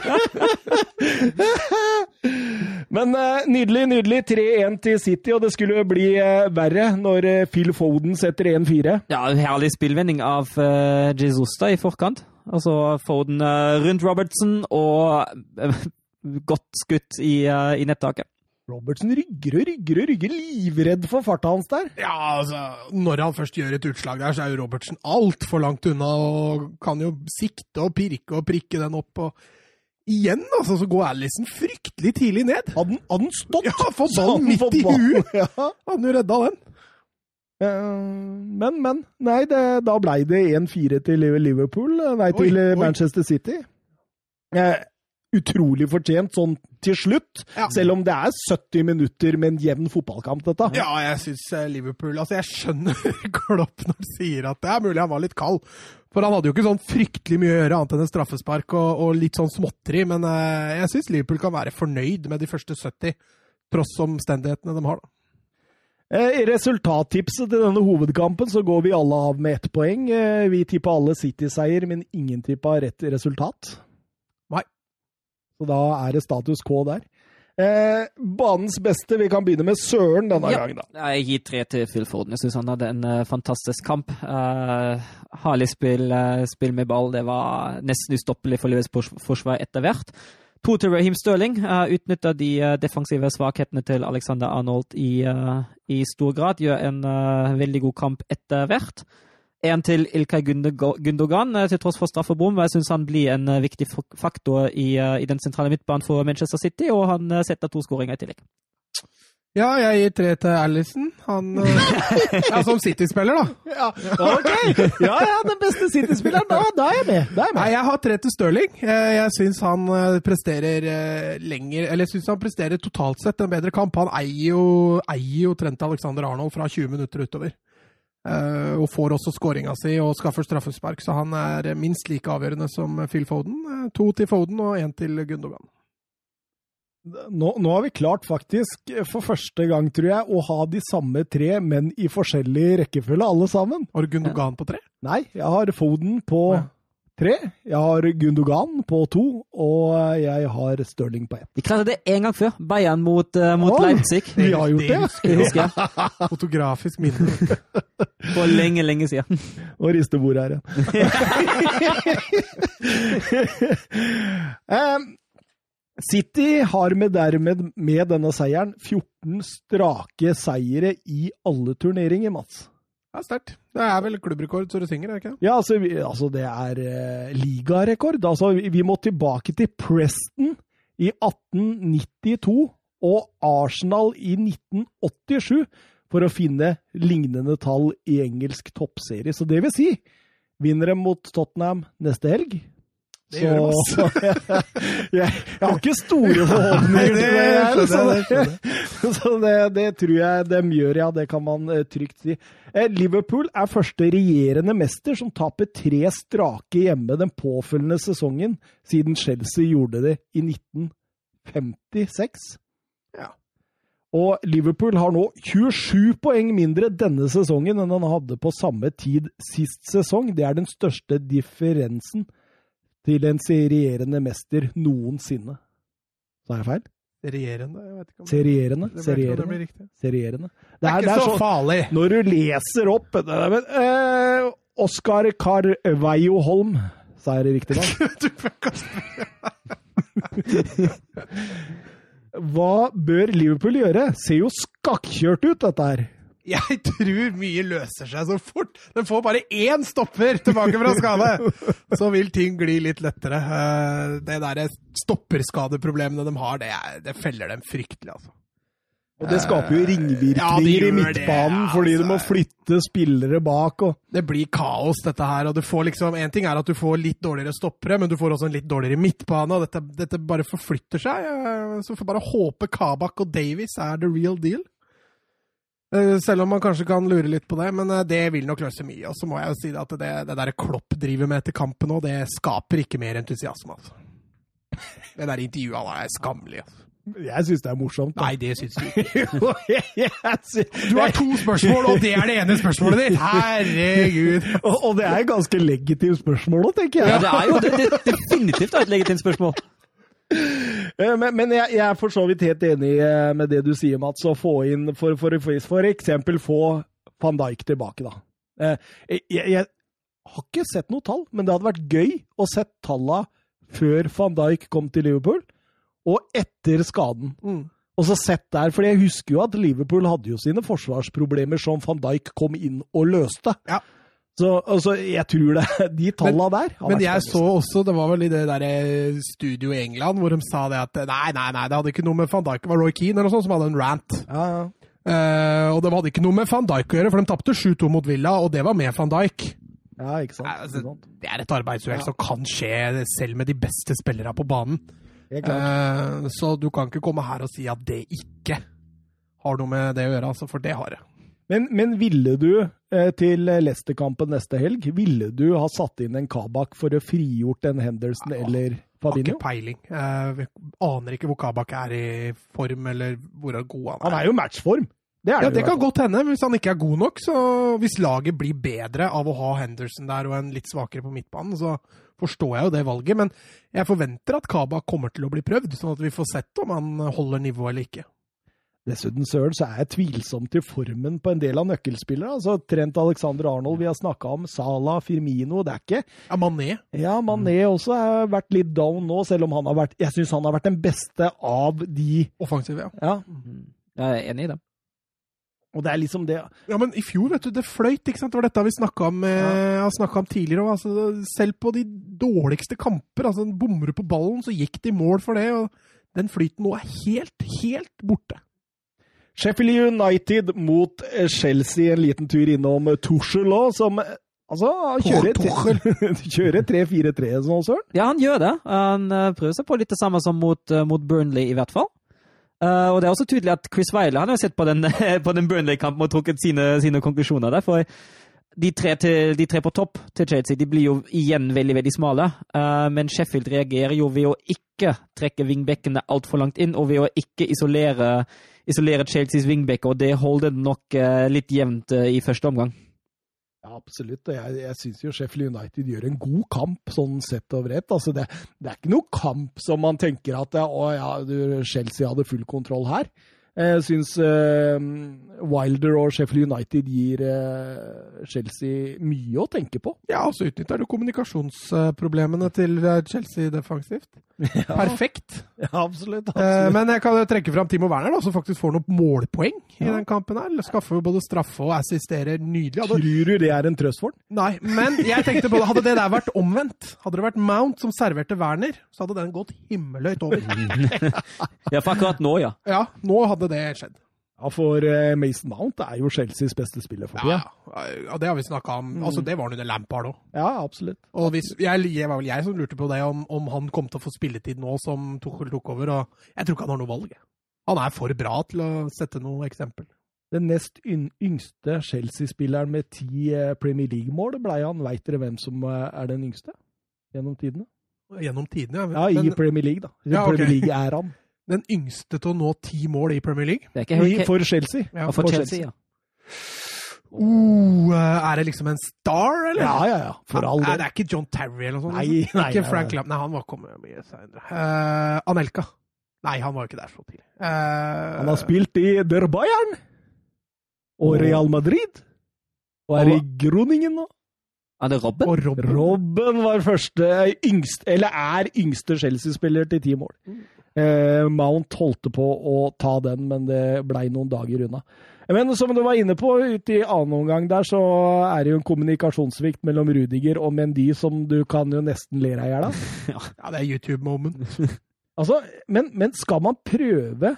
A: Men eh, nydelig, nydelig. 3-1 til City, og det skulle jo bli eh, verre når eh, Phil Foden setter 1-4.
C: Ja, en herlig spillvending av eh, Jesus da i forkant. Altså Foden eh, rundt Robertson og eh, godt skutt i, eh, i nettaket.
A: Robertsen rygger og rygger og rygger, livredd for farta hans der.
B: Ja, altså, når han først gjør et utslag der, så er jo Robertsen altfor langt unna, og kan jo sikte og pirke og prikke den opp, og igjen, altså, så går Allison fryktelig tidlig ned.
A: Hadde han- hadde han stått?
B: Ja, får
A: så
B: ballen
A: hadde han
B: midt
A: fått
B: i
A: ballen.
B: huet!
A: Ja.
B: Han jo redda den.
A: Eh, Men, men. Nei, det, da blei det 1-4 til Liverpool. eh, Nei, til
B: Oi,
A: eh,
B: oi.
A: Manchester City. Eh, utrolig fortjent sånn til slutt,
B: Ja.
A: selv om det er 70 minutter med en jevn fotballkamp, dette.
B: Ja, jeg syns Liverpool Altså, jeg skjønner Klopp når han sier at det er mulig han var litt kald. For han hadde jo ikke sånn fryktelig mye å gjøre, annet enn en straffespark og, og litt sånn småtteri. Men eh, jeg syns Liverpool kan være fornøyd med de første 70, tross omstendighetene de har, da.
A: Eh, I resultattipset til denne hovedkampen så går vi alle av med ett poeng. Eh, Vi tippa alle City-seier, men ingen tippa rett resultat.
B: Nei.
A: Så da er det status quo der. Eh, banens beste, vi kan begynne med Søren denne
C: Ja.
A: gangen, da.
C: Nei, Jeg gir tre til Phil Forden. Jeg syns han hadde en eh, fantastisk kamp. Eh, herlig spill, eh, spill med ball. Det var nesten ustoppelig for Lives forsvar etter hvert. To til Raheem Stirling. Uh, Utnytta de eh, defensive svakhetene til Alexander Arnold i, eh, i stor grad. Gjør en eh, veldig god kamp etter hvert. En til Ilkay Gundogo- Gundogan, eh, til tross for straffebom. Jeg syns han blir en eh, viktig fak- faktor i, eh, i den sentrale midtbanen for Manchester City, og han eh, setter to skåringer i tillegg.
B: Ja, jeg gir tre til Allison. Han eh, Ja, som City-spiller, da.
A: Ja, ok! Ja, ja, den beste City-spilleren. Da, da er jeg med. Da er jeg
B: Nei,
A: med.
B: jeg har tre til Stirling. Eh, Jeg syns han eh, presterer eh, lenger Eller jeg syns han presterer totalt sett en bedre kamp. Han eier jo, eier jo Trent Alexander Arnold fra 20 minutter utover. Eh, Og får også skåringa si og skaffer straffespark, så han er eh, minst like avgjørende som Phil Foden. Eh, To til Foden og én til Gundogan.
A: Nå, nå har vi klart faktisk, eh, for første gang, tror jeg, å ha de samme tre, men i forskjellig rekkefølge, alle sammen.
B: Har du Gundogan på tre?
A: Nei, jeg har Foden på
B: Ja.
A: tre, jeg har Gundogan på to, og jeg har Stirling på ett.
C: Vi klarte det én gang før. Bayern mot, eh, mot
A: Oi.
C: Leipzig.
A: Vi har gjort det.
C: Det husker jeg.
B: Fotografisk minne.
C: For lenge, lenge siden.
A: Og riste bordet her igjen. Em, Eh, City har med dermed med denne seieren 14 strake seire i alle turneringer, Mats.
B: Det er sterkt. Det er vel klubbrekord så det synger, er det ikke? det?
A: Ja, altså, vi, altså det er eh, ligarekord. Altså, vi, vi må tilbake til Preston i 1892 og Arsenal i 1987 for å finne lignende tall i engelsk toppserie. Så det vil si, vinner de mot Tottenham neste helg
B: Det gjør de,
A: så, jeg, jeg har ikke store forhåpninger. til det her,
B: Nei,
A: så
B: det skjønner jeg, det skjønner
A: så det, det tror jeg de gjør, ja. Det kan man eh, trygt si. Eh, Liverpool er første regjerende mester som taper tre strake hjemme den påfølgende sesongen, siden Chelsea gjorde det i 1956.
B: Ja.
A: Og Liverpool har nå 27 poeng mindre denne sesongen enn han hadde på samme tid sist sesong. Det er den største differensen til en serierende mester noensinne. Sa jeg feil?
B: Regjerende? Jeg vet ikke om det-
A: Serierende?
B: det blir- det
A: Serierende?
B: blir riktig.
A: serierende. Det er,
B: Det er ikke så
A: sånn-
B: farlig.
A: Når du leser opp det er, men, eh, Oskar Karveio Holm, sa jeg det riktig navn?
B: Du fikk oss-
A: Hva bør Liverpool gjøre? Ser jo skakkjørt ut, dette her.
B: Jeg tror mye løser seg så fort. Den får bare én stopper tilbake fra skade! Så vil ting gli litt lettere. Eh, Det derre stopperskadeproblemene de har, det, er, det feller dem fryktelig, altså.
A: Og det skaper jo ringvirkninger
B: Eh, Ja, det gjør
A: i midtbanen,
B: det,
A: fordi du må
B: altså.
A: flytte spillere bak og
B: det blir kaos, dette her. og du får liksom, En ting er at du får litt dårligere stoppere, men du får også en litt dårligere midtbane. og Dette, dette bare forflytter seg. eh, Så får bare håpe Kabak og Davies er the real deal. Eh, Selv om man kanskje kan lure litt på det, men eh, det vil nok løse mye. Og så må jeg jo si det at det, det der Klopp driver med etter kampen nå, det skaper ikke mer entusiasme, altså. Det der intervjuet han er skammelig. Altså.
A: Jeg syns det er morsomt. da.
B: Nei, det syns du ikke.
A: Jeg sy-
B: Du har to spørsmål, og det er det ene spørsmålet ditt! Herregud!
A: og, og det er et ganske legitimt spørsmål òg, tenker jeg.
C: Ja, det er jo det, det, definitivt et legitimt spørsmål.
A: Eh, Men, men jeg, jeg er for så vidt helt enig eh, med det du sier, Mats. Å få inn for, for, for, for eksempel få van Dijk tilbake, da. Eh, Jeg, jeg har ikke sett noe tall, men det hadde vært gøy å sett talla før van Dijk kom til Liverpool, og etter skaden.
B: Mm.
A: Og så sett der, for jeg husker jo at Liverpool hadde jo sine forsvarsproblemer som van Dijk kom inn og løste.
B: Ja.
A: Så altså, jeg tror det De talla der har
B: Men
A: vært
B: jeg
A: spennende.
B: så også, det var vel i det der eh, studio i England, hvor de sa det at eh, nei, nei, nei, det hadde ikke noe med van Dijk Det var Roy Keane eller noe sånt som hadde en rant.
A: ja, ja.
B: Eh, og det hadde ikke noe med van Dijk å gjøre, for de tapte 7-2 mot Villa, og det var med van Dijk.
A: ja, ikke sant. Ikke
B: Nei, altså,
A: sant?
B: det er et arbeidsuhell som kan skje selv med de beste spillerne på banen.
A: Helt klart.
B: Eh, så du kan ikke komme her og si at det ikke har noe med det å gjøre, altså, for det har det.
A: Men, men ville du eh, til Leicester-kampen neste helg, ville du ha satt inn en Kabak for å frigjort en Henderson eller
B: Har ikke
A: Fabinho?
B: peiling. Eh, vi aner ikke hvor Kabak er i form, eller hvor god han er.
A: Han er jo matchform. Det er
B: Ja,
A: det,
B: det kan godt hende. Hvis han ikke er god nok, så hvis laget blir bedre av å ha Henderson der og en litt svakere på midtbanen, så forstår jeg jo det valget. Men jeg forventer at Kaba kommer til å bli prøvd, sånn at vi får sett om han holder nivået eller ikke.
A: Dessuten, Søren, så er jeg tvilsom til formen på en del av nøkkelspillere. Altså, Trent Alexander Arnold vi har snakka om, Salah, Firmino Det er ikke
B: Ja, Mané.
A: Ja, Mané
B: Mm.
A: også har vært litt down nå, selv om han har vært Jeg syns han har vært den beste av de
B: Offensiv, ja.
A: Ja,
C: Jeg er enig i det.
A: Og det er liksom det
B: Ja, men i fjor, vet du, det fløyt, ikke sant? Det var dette vi snakka om, eh, har snakket om tidligere òg. Altså, selv på de dårligste kamper, altså bommer du på ballen, så gikk de i mål for det. og Den flyten nå er helt, helt borte.
A: Sheffield United mot eh, Chelsea. En liten tur innom eh, Tuchel òg, som eh, altså kjører
B: Tuchel.
A: tre- kjører 3-4-3 sånn, Søren.
C: Ja, han gjør det. Han eh, prøver seg på litt det samme som mot, eh, mot Burnley, i hvert fall. Eh, og det er også tydelig at Chris Wiley han har jo sett på den, på den Burnley-kampen og trukket sine, sine konklusjoner der. For de tre, til, de tre på topp til Chelsea de blir jo igjen veldig veldig smale. Eh, men Sheffield reagerer jo ved å ikke trekke vingbekkene altfor langt inn, og ved å ikke isolere, isolere Chelseas vingbekker. Og det holder den nok eh, litt jevnt eh, i første omgang.
A: Ja, absolutt. Og jeg, jeg syns jo Sheffield United gjør en god kamp, sånn sett over ett. Altså, det, det er ikke noe kamp som man tenker at det, å ja, du, Chelsea hadde full kontroll her. Jeg syns eh, Wilder og Sheffield United gir eh, Chelsea mye å tenke på.
B: Ja, og så utnytter du kommunikasjonsproblemene til eh, Chelsea defensivt. Perfekt.
A: Ja, absolutt.
B: Eh, men jeg kan jo trekke fram Timo Werner, da, som faktisk får noen målpoeng i den kampen. her. Skaffer jo både straffe og assisterer nydelig. Hadde,
A: Tror du det er en trøst for den?
B: nei, men jeg tenkte på det. Hadde det der vært omvendt, hadde det vært Mount som serverte Werner, så hadde den gått himmelhøyt over.
C: Ja, for akkurat nå, ja.
B: Ja, nå hadde det skjedd.
A: Ja, for eh, Mason Mount er jo Chelseas beste spiller for tida.
B: ja, det har vi snakka om. Altså, det var han under Lampard òg.
A: Ja, absolutt.
B: Og hvis, jeg, jeg var vel jeg som lurte på det, om, om han kom til å få spilletid nå som Tuchel tok over. Og jeg tror ikke han har noe valg. jeg. Han er for bra til å sette noe eksempel.
A: Den nest yn yngste Chelsea-spilleren med ti eh, Premier League-mål blei han. Veit dere hvem som eh, er den yngste gjennom tidene?
B: Gjennom tidene.
A: Ja, i
B: Men
A: Premier League, da. I
B: Ja, ok.
A: Premier League er han.
B: den yngste til å nå ti mål i Premier League.
C: Det er ikke
A: I,
C: helt
A: for Chelsea.
B: Ja,
C: Og for Chelsea, ja.
B: Oh, er det liksom en star, eller?
A: Ja, ja, ja. For all
B: Nei,
A: del.
B: det er ikke John Terry eller noe sånt.
A: Nei,
B: liksom.
A: nei,
B: ikke
A: nei,
B: Frank
A: nei.
B: Lapp. Nei, han var kommet mye seinere. Anelka. Nei, han var jo ikke der så tidlig. Eh,
A: Han har spilt i Der Bayern og Real Madrid. Og er i Groningen nå.
C: Er det Robben?
B: Og Robben.
A: Robben var første yngst, eller er yngste Chelsea-spiller til ti mål.
B: Mm.
A: Eh, Mount holdt på å ta den, men det blei noen dager unna. Men som du var inne på, ute i annen omgang der, så er det jo en kommunikasjonssvikt mellom Rudiger og Mendy som du kan jo nesten le deg i hjel av.
B: Ja, det er YouTube-moment.
A: Altså, men, men skal man prøve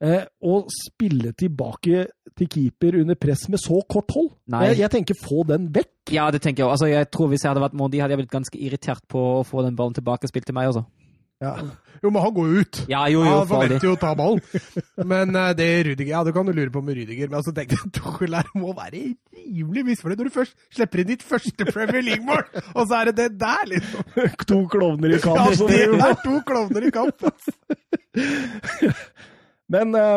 A: eh, å spille tilbake til keeper under press med så kort hold?
C: Nei.
A: Jeg, jeg tenker få den vekk.
C: Ja, det tenker jeg òg. Altså, jeg tror hvis jeg hadde vært Mondi, hadde jeg blitt ganske irritert på å få den ballen tilbake spilt til meg også.
B: Jo, men han går jo ut.
C: Ja, jo, jo,
B: han
C: for all del.
B: forventer jo å ta ballen. Men eh, det Rudiger Ja, du kan jo lure på med Rudiger, men altså, tenk deg Tuchel her må være rimelig misfornøyd når du først slipper inn ditt første Premier League-mål, og så er det det der, liksom!
A: To klovner i
B: Ja, altså,
A: kamp. som
B: det
A: driver med-
B: er to klovner i kamp!
A: Men eh,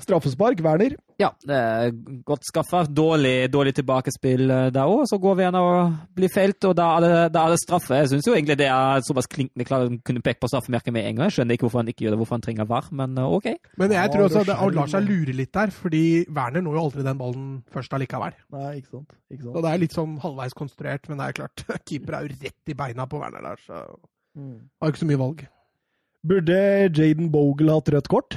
A: straffespark, Werner.
C: Ja, det er godt skaffa. Dårlig, dårlig tilbakespill eh, der òg. Så går vi igjen og blir felt, og da er det, da er det straffe. Jeg syns jo egentlig det er såpass klinkende klart at han kunne peke på straffemerket med en gang. Jeg skjønner ikke hvorfor han ikke gjør det, hvorfor han trenger VAR, men eh, OK.
B: Men jeg tror også
A: Ja, det
B: at han lar seg
A: skjer.
B: lure litt der, fordi Werner når jo aldri den ballen først allikevel.
A: Nei, ikke sant. Ikke sant.
B: Og det er litt sånn halvveis konstruert, men det er klart, keeper er jo rett i beina på Werner der, så
C: Mm.
B: har jo ikke så mye valg.
A: Burde Jaden Bogle hatt rødt kort?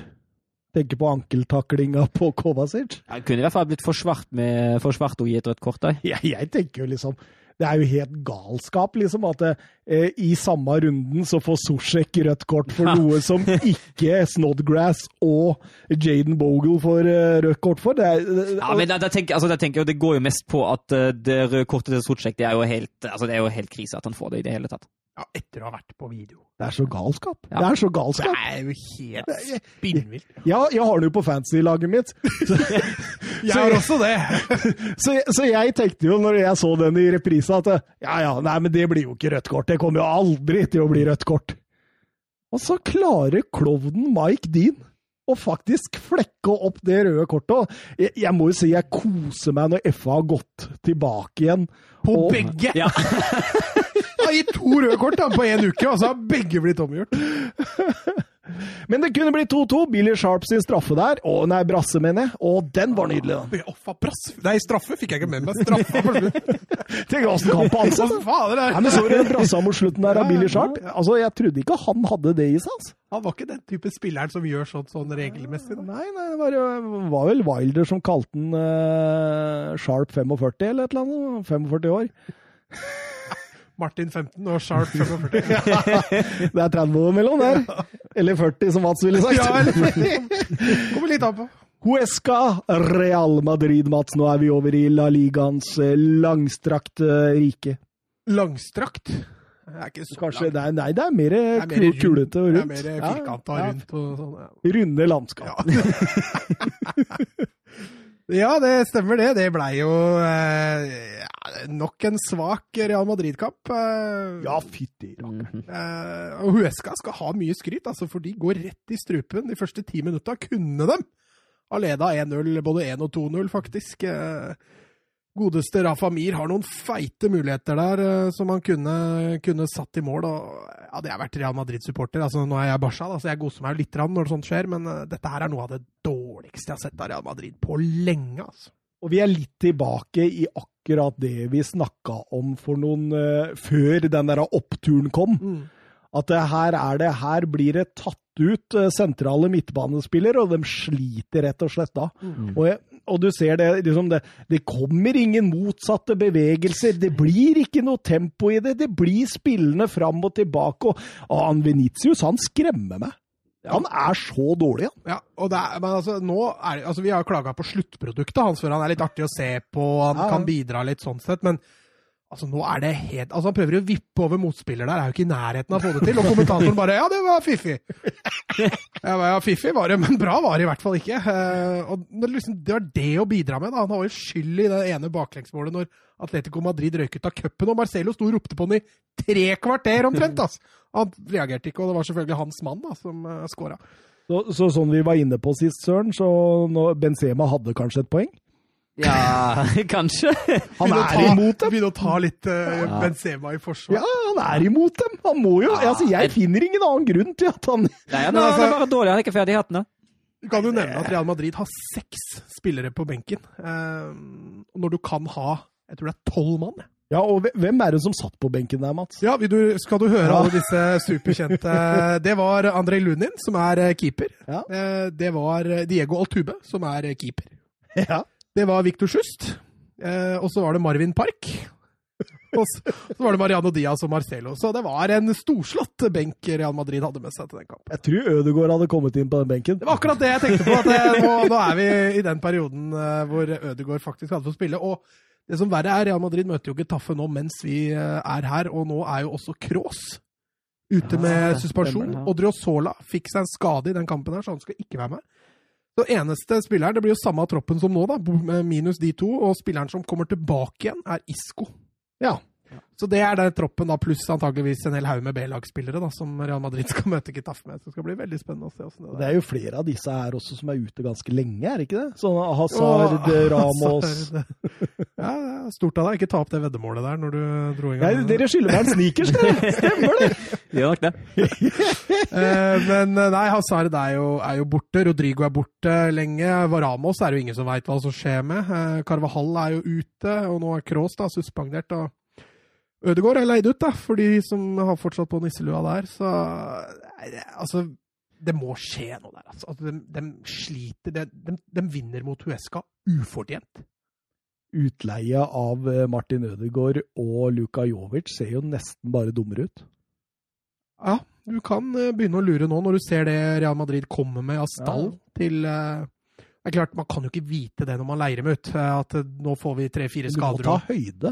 A: Tenker på ankeltaklinga på Kovacic.
C: Han kunne i hvert fall blitt for svart med for svart og gitt rødt kort der.
A: Jeg, jeg tenker jo liksom Det er jo helt galskap, liksom, at eh, i samme runden så får Sosjek rødt kort for noe som ikke Snodgrass og Jaden Bogle får eh, rødt kort for. Det er, eh,
C: Ja, men da, da, tenker, altså, da tenker jeg jo det går jo mest på at eh, det røde kortet til Socek, det er jo helt, altså, det er jo helt krise at han får det i det hele tatt.
B: Ja, etter å ha vært på video.
A: det er så galskap.
C: Ja.
A: Det er så
B: Det
A: galskap.
B: er jo helt spinnvilt.
A: Ja, jeg har det jo på fantasy-laget mitt. Så,
B: Jeg har også det!
A: Så, så jeg tenkte jo når jeg så den i reprisa at ja, ja, nei, men det blir jo ikke rødt kort. Det kommer jo aldri til å bli rødt kort. Og så klarer klovnen Mike Dean å faktisk flekke opp det røde kortet. Og Jeg, jeg må jo si jeg koser meg når FA har gått tilbake igjen.
B: På
A: Og-
B: begge!
C: Ja.
A: altså.
B: Han har gitt to røde kort da, på én uke, og så har begge blitt omgjort.
A: Men det kunne bli 2-2. Billy Sharp sin straffe der. Å, nei, brasse, mener jeg. Å, den var nydelig, da.
B: Ja, faen, brass. Nei, straffe fikk jeg ikke med meg. Straffe for slutt.
A: Tenk åssen kamp altså. han satt.
B: Hva faen er
A: Nei,
B: det?
A: men sorry, den brassa mot slutten der av
B: Ja,
A: Billy
B: ja.
A: Sharp. Altså, jeg trodde ikke han hadde det i seg, altså.
B: Han var ikke den type spilleren som gjør sånt sånn regelmessig. da.
A: Nei, nei, det var, jo- var vel Wilder som kalte den eh, Sharp 45 eller et eller annet. 45 år.
B: Martin 15 og Sharp
A: Det er
B: 45.
A: 30 år mellom der. Eller 40, som Mats ville sagt.
B: Ja, eller Kommer litt an på.
A: Huesca, Real Madrid, Mats. Nå er vi over i La Ligaens eh, langstrakte rike.
B: Langstrakt. Det er ikke så
A: Kanskje,
B: langt.
A: nei, nei, det er mer
B: Det er mer rundt.
A: kulete og rundt.
B: Det er mer
A: Ja,
B: firkanta
A: ja.
B: rundt og sånn. Ja.
A: Runde landskap.
B: Ja, det stemmer det. Det blei jo eh, ja, nok en svak Real Madrid-kamp. Eh,
A: Ja, fytti rakkeren.
C: Mhm.
B: eh, og Huesca skal ha mye skryt, altså, for de går rett i strupen de første ti minutta. Kunne dem ha leda 1-0, både 1 og 2-0, faktisk. Eh, godeste Rafa Mir har noen feite muligheter der eh, som han kunne, kunne satt i mål. Og, ja, det har vært Real Madrid-supporter. Altså, nå er jeg Barca, da, så jeg koser meg jo litt grann når sånt skjer, men eh, dette her er noe av det dårligste jeg har sett av Real Madrid på lenge. altså.
A: Og vi er litt tilbake i akkurat det vi snakka om for noen eh, før den der oppturen kom.
B: Mm.
A: At det her, er det, her blir det tatt ut eh, sentrale midtbanespillere, og de sliter rett og slett da.
B: Mm.
A: Og, jeg, og du ser det, liksom det, det kommer ingen motsatte bevegelser, det blir ikke noe tempo i det, det blir spillende fram og tilbake. Og, og han Venitius, han skremmer meg. Han er så dårlig, han.
B: Ja, og det er, men altså, nå er, det- altså, vi har klaga på sluttproduktet hans, for han er litt artig å se på, han
A: Ja, ja.
B: kan bidra litt sånn sett, men altså, nå er det helt Altså, han prøver å vippe over motspiller der, er jo ikke i nærheten av å få det til, og kommentatoren bare 'ja, det var fiffig'. Ja, men, ja fiffig var det, men bra var det i hvert fall ikke. Eh, og det, er liksom, det var det å bidra med, da. Han har jo skyld i det ene baklengsmålet når Atletico Madrid røyk ut av cupen, og Marcelo sto og ropte på han i tre kvarter omtrent, altså. Han reagerte ikke, og det var selvfølgelig hans mann da, som uh, skåra.
A: Så, så sånn vi var inne på sist, Søren, så nå- Benzema hadde kanskje et poeng?
C: Ja, kanskje.
A: Han
B: Begynne å
A: er
B: ta-
A: imot dem!
B: Begynne å ta litt eh, Benzema i forsvar.
A: Ja, han er imot dem! Han må jo Altså, jeg finner ingen annen grunn til at han
C: Nei, han,
B: Men altså-
C: han er bare dårlig. Han er ikke ferdig i hatten. da.
B: Du kan jo nevne at Real Madrid har seks spillere på benken. Eh, og når du kan ha jeg tror det er tolv mann. jeg.
A: Ja, og hve- hvem er det som satt på benken der, Mats?
B: Ja, vil du, Skal du høre
A: Ja.
B: alle disse superkjente Det var Andrej Lunin, som er eh, keeper.
A: Ja.
B: Eh, Det var Diego Altube, som er eh, keeper.
A: Ja.
B: Det var Victor Schust. Eh, og så var det Marvin Park. Og så, så var det Mariano Diaz og Marcelo. Så det var en storslått benk Real Madrid hadde med seg til den kampen.
A: Jeg tror Ødegaard hadde kommet inn på den benken.
B: Det var akkurat det jeg tenkte på. At det, nå, nå er vi i den perioden eh, hvor Ødegaard faktisk hadde fått spille. Og det som verre er, Real Madrid møter jo Getafe nå mens vi eh, er her, og nå er jo også Kroos ute
C: Ja,
B: med
C: det
B: suspensjon.
C: stemmer, ja.
B: Og Driosola fikk seg en skade i den kampen her, så han skal ikke være med. Så eneste spilleren, Det blir jo samme troppen som nå, da, bo- med minus de to. Og spilleren som kommer tilbake igjen, er Isco.
A: Ja.
B: Så det er den troppen, da, pluss antageligvis en hel haug med B-lagsspillere da, som Real Madrid skal møte Getafe med. Så det skal bli veldig spennende å se åssen det
A: Det
B: der
A: er jo flere av disse her også som er ute ganske lenge, er det ikke det? Sånn Hazard, Ramos
B: Hazard. Ja, det er stort av deg. Ikke ta opp det veddemålet der når du dro i
A: Nei,
B: gang.
A: dere skylder meg en sneakers, dere! Stemmer det!
C: Gjør nok det.
B: Eh, men eh, nei, Hazard er jo, er jo borte. Rodrigo er borte lenge. Varamos er det jo ingen som veit hva som skjer med. Eh, Carvajal er jo ute, og nå er Kroos da, suspendert. og Ødegaard er leid ut, da, for de som har fortsatt på nisselua der. Så nei, det- altså Det må skje noe der, altså. altså de, sliter. De, vinner mot Huesca ufortjent.
A: Utleie av eh, Martin Ødegaard og Luka Jovic ser jo nesten bare dummere ut.
B: Ja, du kan eh, begynne å lure nå når du ser det Real Madrid kommer med av stall til eh, Det er klart, man kan jo ikke vite det når man leier dem ut. eh, At eh, nå får vi tre-fire
A: Men Du må
B: skader.
A: ta
B: og-
A: høyde.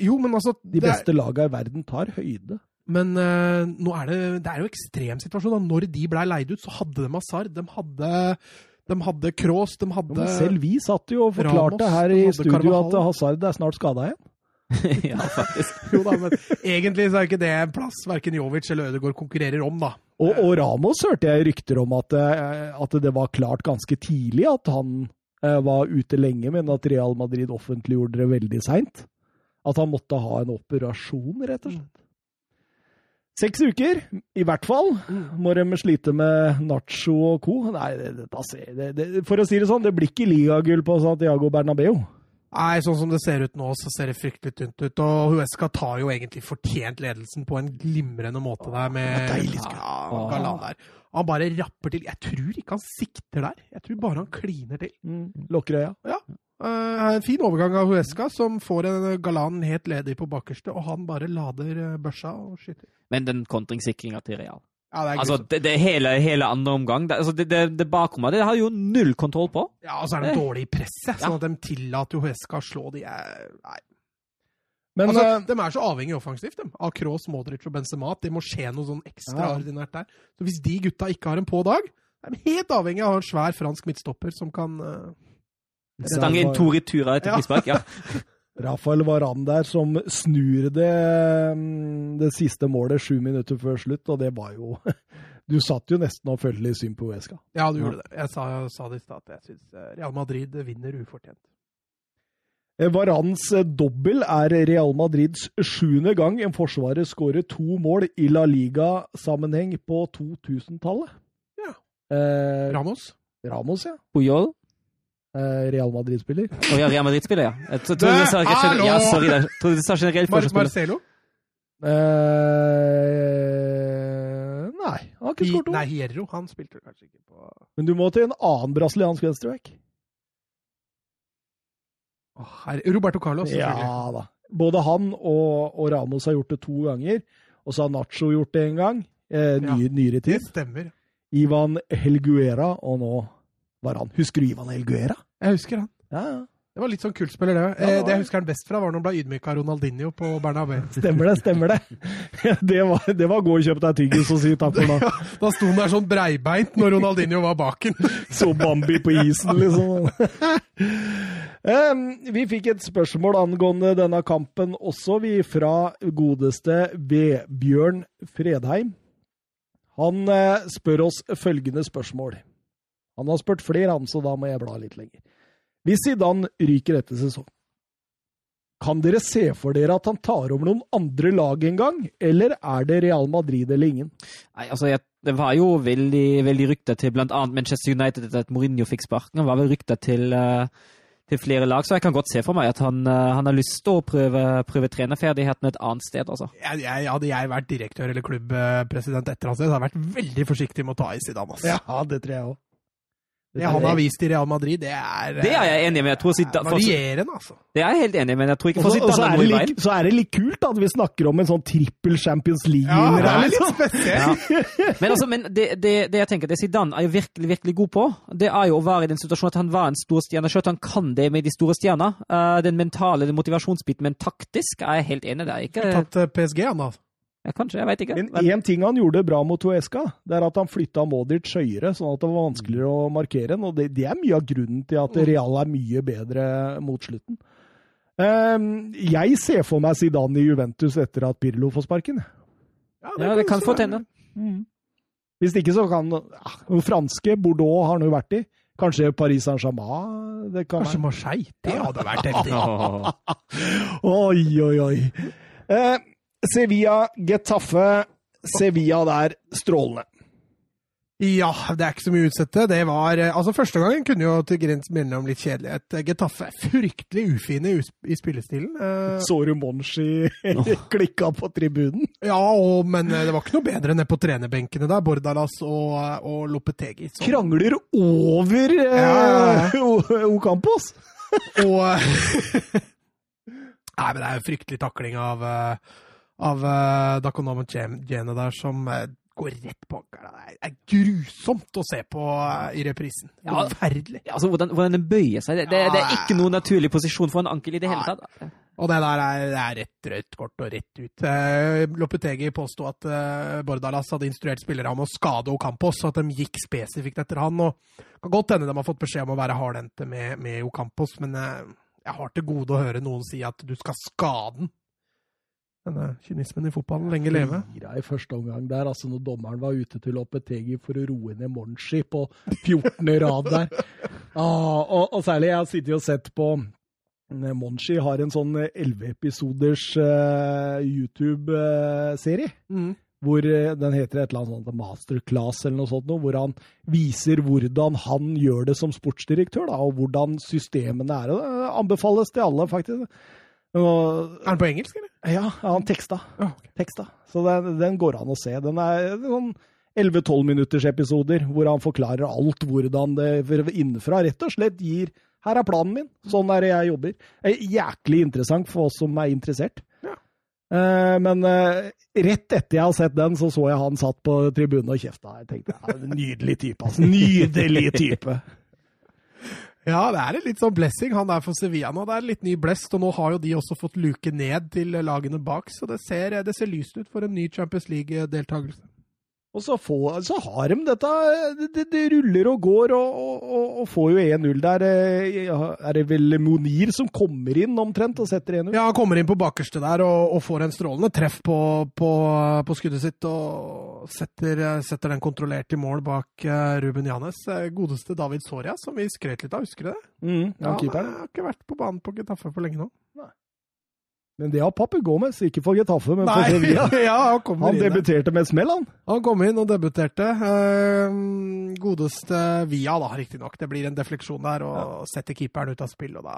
B: Jo, men altså
A: De
B: det er-
A: beste laga i verden tar høyde.
B: Men eh, nå er det, det er jo ekstrem situasjon. Da. Når de blei leid ut, så hadde de Hazard, de hadde, de hadde Kroos, de
A: Ja,
B: hadde
A: Men selv vi satt jo og forklarte
B: Ramos,
A: her
B: de
A: i
B: hadde
A: studio at eh,
B: Carvajal.
A: Hazard er snart skada igjen.
C: Ja, faktisk.
B: Jo da, men egentlig så er ikke det en plass verken Jovic eller Ødegaard konkurrerer om, da.
A: Og, og Ramos hørte jeg rykter om at, eh, at det var klart ganske tidlig at han eh, var ute lenge, men at Real Madrid offentliggjorde det veldig seint. At han måtte ha en operasjon, rett og slett. Seks uker, i hvert fall, må de slite med Nacho og co. Nei, det, det, da ser- det, det, for å si det sånn, det blir ikke ligagull på Santiago Bernabeu.
B: Nei, sånn som det ser ut nå, så ser det fryktelig tynt ut. Og Huesca tar jo egentlig fortjent ledelsen på en glimrende måte der med
A: deilig skudd.
B: ja, Galan der. Han bare rapper til. Jeg tror ikke han sikter der. Jeg tror bare han kliner til.
A: Lukker øya.
B: Eh, en fin overgang av Huesca, som får en Galan helt ledig på bakerste, og han bare lader eh, børsa og skyter.
C: Men den kontringssikringa til Real
B: Ja, det er
C: Altså,
B: grusomt.
C: det, det hele, hele andre omgang det, altså, det, det, det bakrommet det har jo null kontroll på.
B: ja, og så er de dårlige i presset,
C: Eh. Ja.
B: sånn at de tillater jo Huesca å slå de. eh, Nei.
A: Men
B: altså,
A: eh,
B: de er så avhengig offensivt de, av Kroos, Modric og Benzema. at Det må skje noe sånn ekstraordinært der. Så Hvis de gutta ikke har en på dag, er de helt avhengig av å ha en svær fransk midtstopper som kan eh,
C: Stange inn to returer etter
B: Ja.
C: frispark. Ja.
A: Rafael Varan der som snur det, mm, det siste målet sju minutter før slutt, og det var jo Du satt jo nesten og følte litt synd på Uesca.
B: Ja, du gjorde det. Jeg sa, sa det i stad, at jeg syns eh, Real Madrid vinner ufortjent.
A: Eh, Varans eh, dobbel er Real Madrids sjuende gang en forsvarer skårer to mål i La Liga-sammenheng på 2000-tallet.
B: Ja.
A: Eh,
B: Ramos?
A: Ramos, ja.
C: Puyol.
A: Eh, Real Madrid-spiller.
C: Å ja, Real Madrid-spiller, ja. Jeg tro- trodde du sa
B: Det-
C: generelt- ja,
B: hallo!
C: sorry, jeg trodde du sa generelt
B: Mar
C: forsvarsspiller.
B: Marcelo?
A: Eh, nei, han har ikke
B: Hi-
A: skåret to.
B: Nei, Hierro. Han spilte kanskje ikke på
A: Men du må til en annen brasiliansk venstreback.
B: Å, herre- Roberto Carlos, selvfølgelig.
A: Ja da. Både han og, og Ramos har gjort det to ganger. Og så har Nacho gjort det en gang. Eh, ny, Nyere
B: Det
A: tid.
B: stemmer.
A: Ivan Helguera, og nå var han Husker du Ivan Helguera?
B: Jeg husker han.
A: Ja, ja.
B: Det var litt sånn kultspiller, det.
A: Ja, det
B: Eh,
A: var
B: det jeg
A: det.
B: husker han best fra, var når han ble ydmyka av Ronaldinho på Bernabeu.
A: Stemmer det, stemmer det. Det var, det var gå og kjøp deg tyggis og si takk for nå.
B: Da sto han der sånn breibeint når Ronaldinho var baken.
A: Så Bambi på isen, liksom. Em, Vi fikk et spørsmål angående denne kampen også, vi fra godeste Vebjørn Fredheim. Han eh, spør oss følgende spørsmål. Han har spurt flere, han, så da må jeg bla litt lenger. Hvis Zidane ryker etter sesong, kan dere se for dere at han tar over noen andre lag en gang, eller er det Real Madrid eller ingen?
C: Nei, altså, jeg, det var jo veldig, veldig rykter til blant annet Manchester United etter at Mourinho fikk sparken. Det var vel rykter til, eh, til flere lag, så jeg kan godt se for meg at han, eh, han har lyst til å prøve, prøve trenerferdigheten et annet sted, altså.
B: Jeg, jeg, hadde jeg vært direktør eller klubbpresident etter hans, hadde jeg vært veldig forsiktig med å ta i Zidane. ass.
A: det tror jeg òg.
B: Det han har vist i Real Madrid, det er eh,
C: Det er jeg enig med. Jeg tror Zidane- for-
B: varierende, altså.
C: Det er jeg helt enig i, men jeg tror ikke
A: Og
C: for
A: så, og så er
C: Zidane er noe
A: det
C: i
A: litt,
C: veien.
A: så er det litt kult at vi snakker om en sånn trippel Champions
B: Ja, det
A: League-vinner.
B: er
A: her,
B: litt
A: liksom.
B: spesielt.
C: Men, altså, men det, det, det jeg tenker, det Zidane er jo virkelig virkelig god på, det er jo å være i den situasjonen at han var en stor stjerne sjøl. Han kan det med de store stjerna. Eh, den mentale den motivasjonsbiten, men taktisk er jeg helt enig. Det er ikke
B: Tatt eh, PSG, han da.
C: ja, Kanskje, jeg veit ikke.
A: Men
C: Men,
A: én ting han gjorde bra mot Uesca, det er at han flytta Modric høyere, sånn at det var vanskeligere å markere ham. Og det, det er mye av grunnen til at Real er mye bedre mot slutten. Ehm, jeg ser for meg Zidane i Juventus etter at Pirlo får sparken.
C: ja, det kan
B: så
C: fort
B: være.
C: hende.
A: Hvis ikke så kan ah, Den franske Bordeaux har han jo vært i. Kanskje Paris Saint-Germain. Det kan
B: Kanskje Marseille. Det hadde vært heftig.
A: Oi, oi, oi. Eh, Sevilla, Getafe. Sevilla der, strålende.
B: Ja, det er ikke så mye å utsette. Det var eh, Altså, første gangen kunne jo til grens minne om litt kjedelighet. Eh, Getafe er fryktelig ufine i, us- i spillestilen. Eh,
A: Så du Monshi klikka på tribunen?
B: Ja, og, men eh, det var ikke noe bedre nede på trenerbenkene der, Bordalas og, eh, og Lopetegi. Så.
A: Krangler over eh,
B: Ja, ja,
A: O- Ocampos!
B: Og eh, Nei, men det er jo fryktelig takling av, eh, av eh, Dakonam og Jem- Jene der, som eh, går rett på ankeren. Det er- er grusomt å se på eh, i reprisen.
C: Ja.
B: Forferdelig.
C: Ja, altså, hvordan, hvordan den bøyer seg, det, det, det er ikke noen naturlig posisjon for en ankel i det hele
B: Nei.
C: tatt. altså.
B: Og det der er, det er rett rødt kort og rett ut. Eh, Lopetegi påsto at eh, Bordalas hadde instruert spillere om å skade Ocampos, og at de gikk spesifikt etter han. Og det kan godt hende de har fått beskjed om å være hardhendte med, med Ocampos, men eh, jeg har til gode å høre noen si at du skal skade den. Denne kynismen i fotballen
A: Mm.
B: lenge leve.
A: Fira i første omgang der, altså når dommeren var ute til Lopetegi for å roe ned Monshi på 14. rad der. Ah, og, og særlig, jeg har sittet og sett på eh, Monshi eh, har en sånn 11-episoders YouTube-serie. eh, hvor eh, den heter et eller annet sånt masterclass eller noe sånt, noe, hvor han viser hvordan han gjør det som sportsdirektør, da, og hvordan systemene er. Og Det anbefales til alle, faktisk. Og,
B: Er den på engelsk, eller?
A: ja, han teksta.
B: Ja, ok.
A: teksta. Så den, den går an å se. Den er sånn 11-12 minutters episoder hvor han forklarer alt hvordan det innenfra rett og slett gir Her er planen min. Sånn er det jeg jobber. Eh, Jæklig interessant for oss som er interessert.
B: Ja.
A: Eh, Men eh, rett etter jeg har sett den, så så jeg han satt på tribunen og kjefta. Jeg tenkte ja, Nydelig type, altså. Nydelig type.
B: Ja, det er en litt sånn blessing. Han er for Sevilla nå. Det er litt ny blest, og nå har jo de også fått luke ned til lagene bak, så det ser, det ser lyst ut for en ny Champions League-deltakelse.
A: Og så, få, så har de dette Det, det ruller og går, og, og- og, og får jo 1-0 der. eh, ja, Er det vel Monir som kommer inn omtrent og setter 1-0?
B: Ja, han kommer inn på bakerste der og, og får en strålende treff på, på, på skuddet sitt, og setter, setter den kontrollert i mål bak eh, Ruben Janes. Eh, Godeste David Soria, som vi skrøt litt av, husker du det?
A: Mm, ja, keeperen.
B: han har ikke vært på banen på Getafe for lenge nå.
A: Men det har Pape Gomez, ikke for Getafe, men for
B: Nei, ja,
A: Sevilla.
B: ja, han kommer
A: Han
B: inn. ja.
A: debuterte med et smell, han.
B: Han kom inn og debuterte. Ehm, Godeste Via, da, riktignok. Det blir en defleksjon der, og setter keeperen ut av spill. Og da,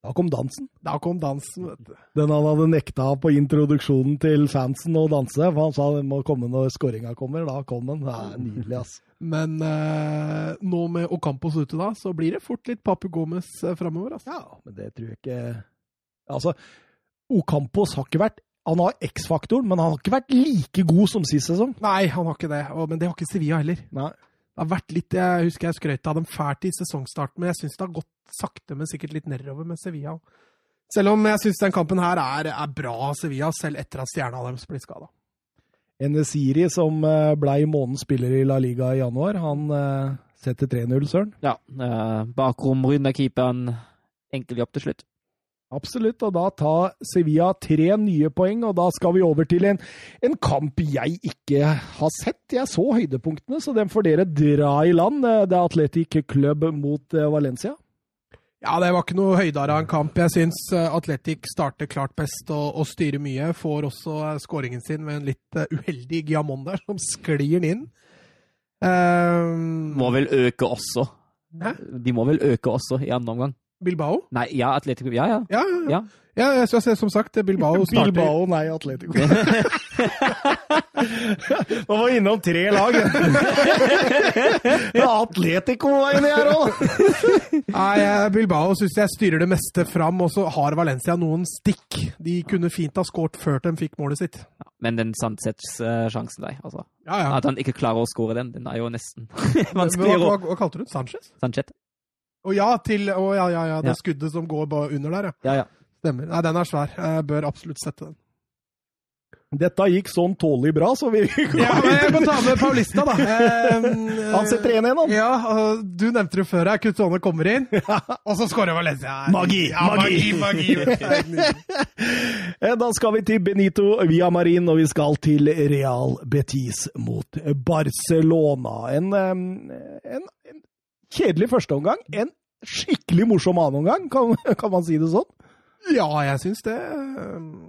A: Da kom dansen.
B: da kom dansen, vet du.
A: Den han hadde nekta på introduksjonen til fansen å danse. For han sa det må komme når scoringa kommer. Da kom den. Det er nydelig, ass.
B: Men eh, nå med Ocampos ute, da, så blir det fort litt Papu Gomez uh, framover. Altså.
A: Ja, men det tror jeg ikke Altså, Ocampos har ikke vært Han har X-faktoren, men han har ikke vært like god som sist sesong.
B: Nei, han har ikke det. Og, men det har ikke Sevilla heller.
A: Nei.
B: Det har vært litt, Jeg husker jeg skrøt av dem fælt i sesongstarten, men jeg syns det har gått sakte, men sikkert litt nedover med Sevilla. Selv om jeg syns den kampen her er, er bra av Sevilla, selv etter at stjerna deres blir skada.
A: Enesiri, som eh, blei månedens spiller i La Liga i januar, han eh, setter 3-0, Søren.
C: Ja. eh, Bakrom runda keeperen. Enkel jobb til slutt.
A: Absolutt, og da tar Sevilla tre nye poeng, og da skal vi over til en, en kamp jeg ikke har sett. Jeg så høydepunktene, så den får dere dra i land. Eh, Det er Atletic Club mot eh, Valencia.
B: Ja, det var ikke noe høydere av en kamp. Jeg syns eh, Atletic starter klart best og, og styrer mye. Får også eh, skåringen sin med en litt eh, uheldig Giamon der, som sklir den inn. Ehm,
C: Må vel øke også.
B: Hæ?
C: De må vel øke også i andre omgang.
B: Bilbao?
C: Nei, ja, Atletico Ja, ja.
B: Ja, ja, ja.
C: Ja.
B: ja jeg synes, som sagt, Bilbao starter
A: Bilbao, nei, Atletico. Man var innom tre lag. ja, Atletico var inni her òg!
B: Nei, eh, Bilbao syns jeg styrer det meste fram, og så har Valencia noen stikk. De kunne fint ha skåret før de fikk målet sitt.
C: Men den Sanchez-sjansen der, altså.
B: Ja, ja.
C: At han ikke klarer å skåre den, den er jo nesten
B: Men Hva,
C: vanskelig å
B: hva, hva kalte du den? Sanchez?
C: Sanchez?
B: Å ja, til Å ja, ja, ja. Det
C: Ja.
B: skuddet som går ba- under der, ja.
C: Ja, ja.
B: Stemmer. Nei, den er svær. Jeg bør absolutt sette den.
A: Dette gikk sånn tålelig bra, så vi
B: Ja, men jeg må ta med Paulista, da. Eh,
A: Han setter 1-1, han.
B: Ja, og du nevnte det før her. Kutone kommer inn, og så skårer Valencia.
A: Magi,
B: ja, magi, magi.
A: Eh, Da skal vi til Benito Villamarin, og vi skal til Real Betis mot Barcelona. En, eh, en, en kjedelig førsteomgang. En skikkelig morsom annenomgang, kan, kan man si det sånn?
B: ja, jeg syns det.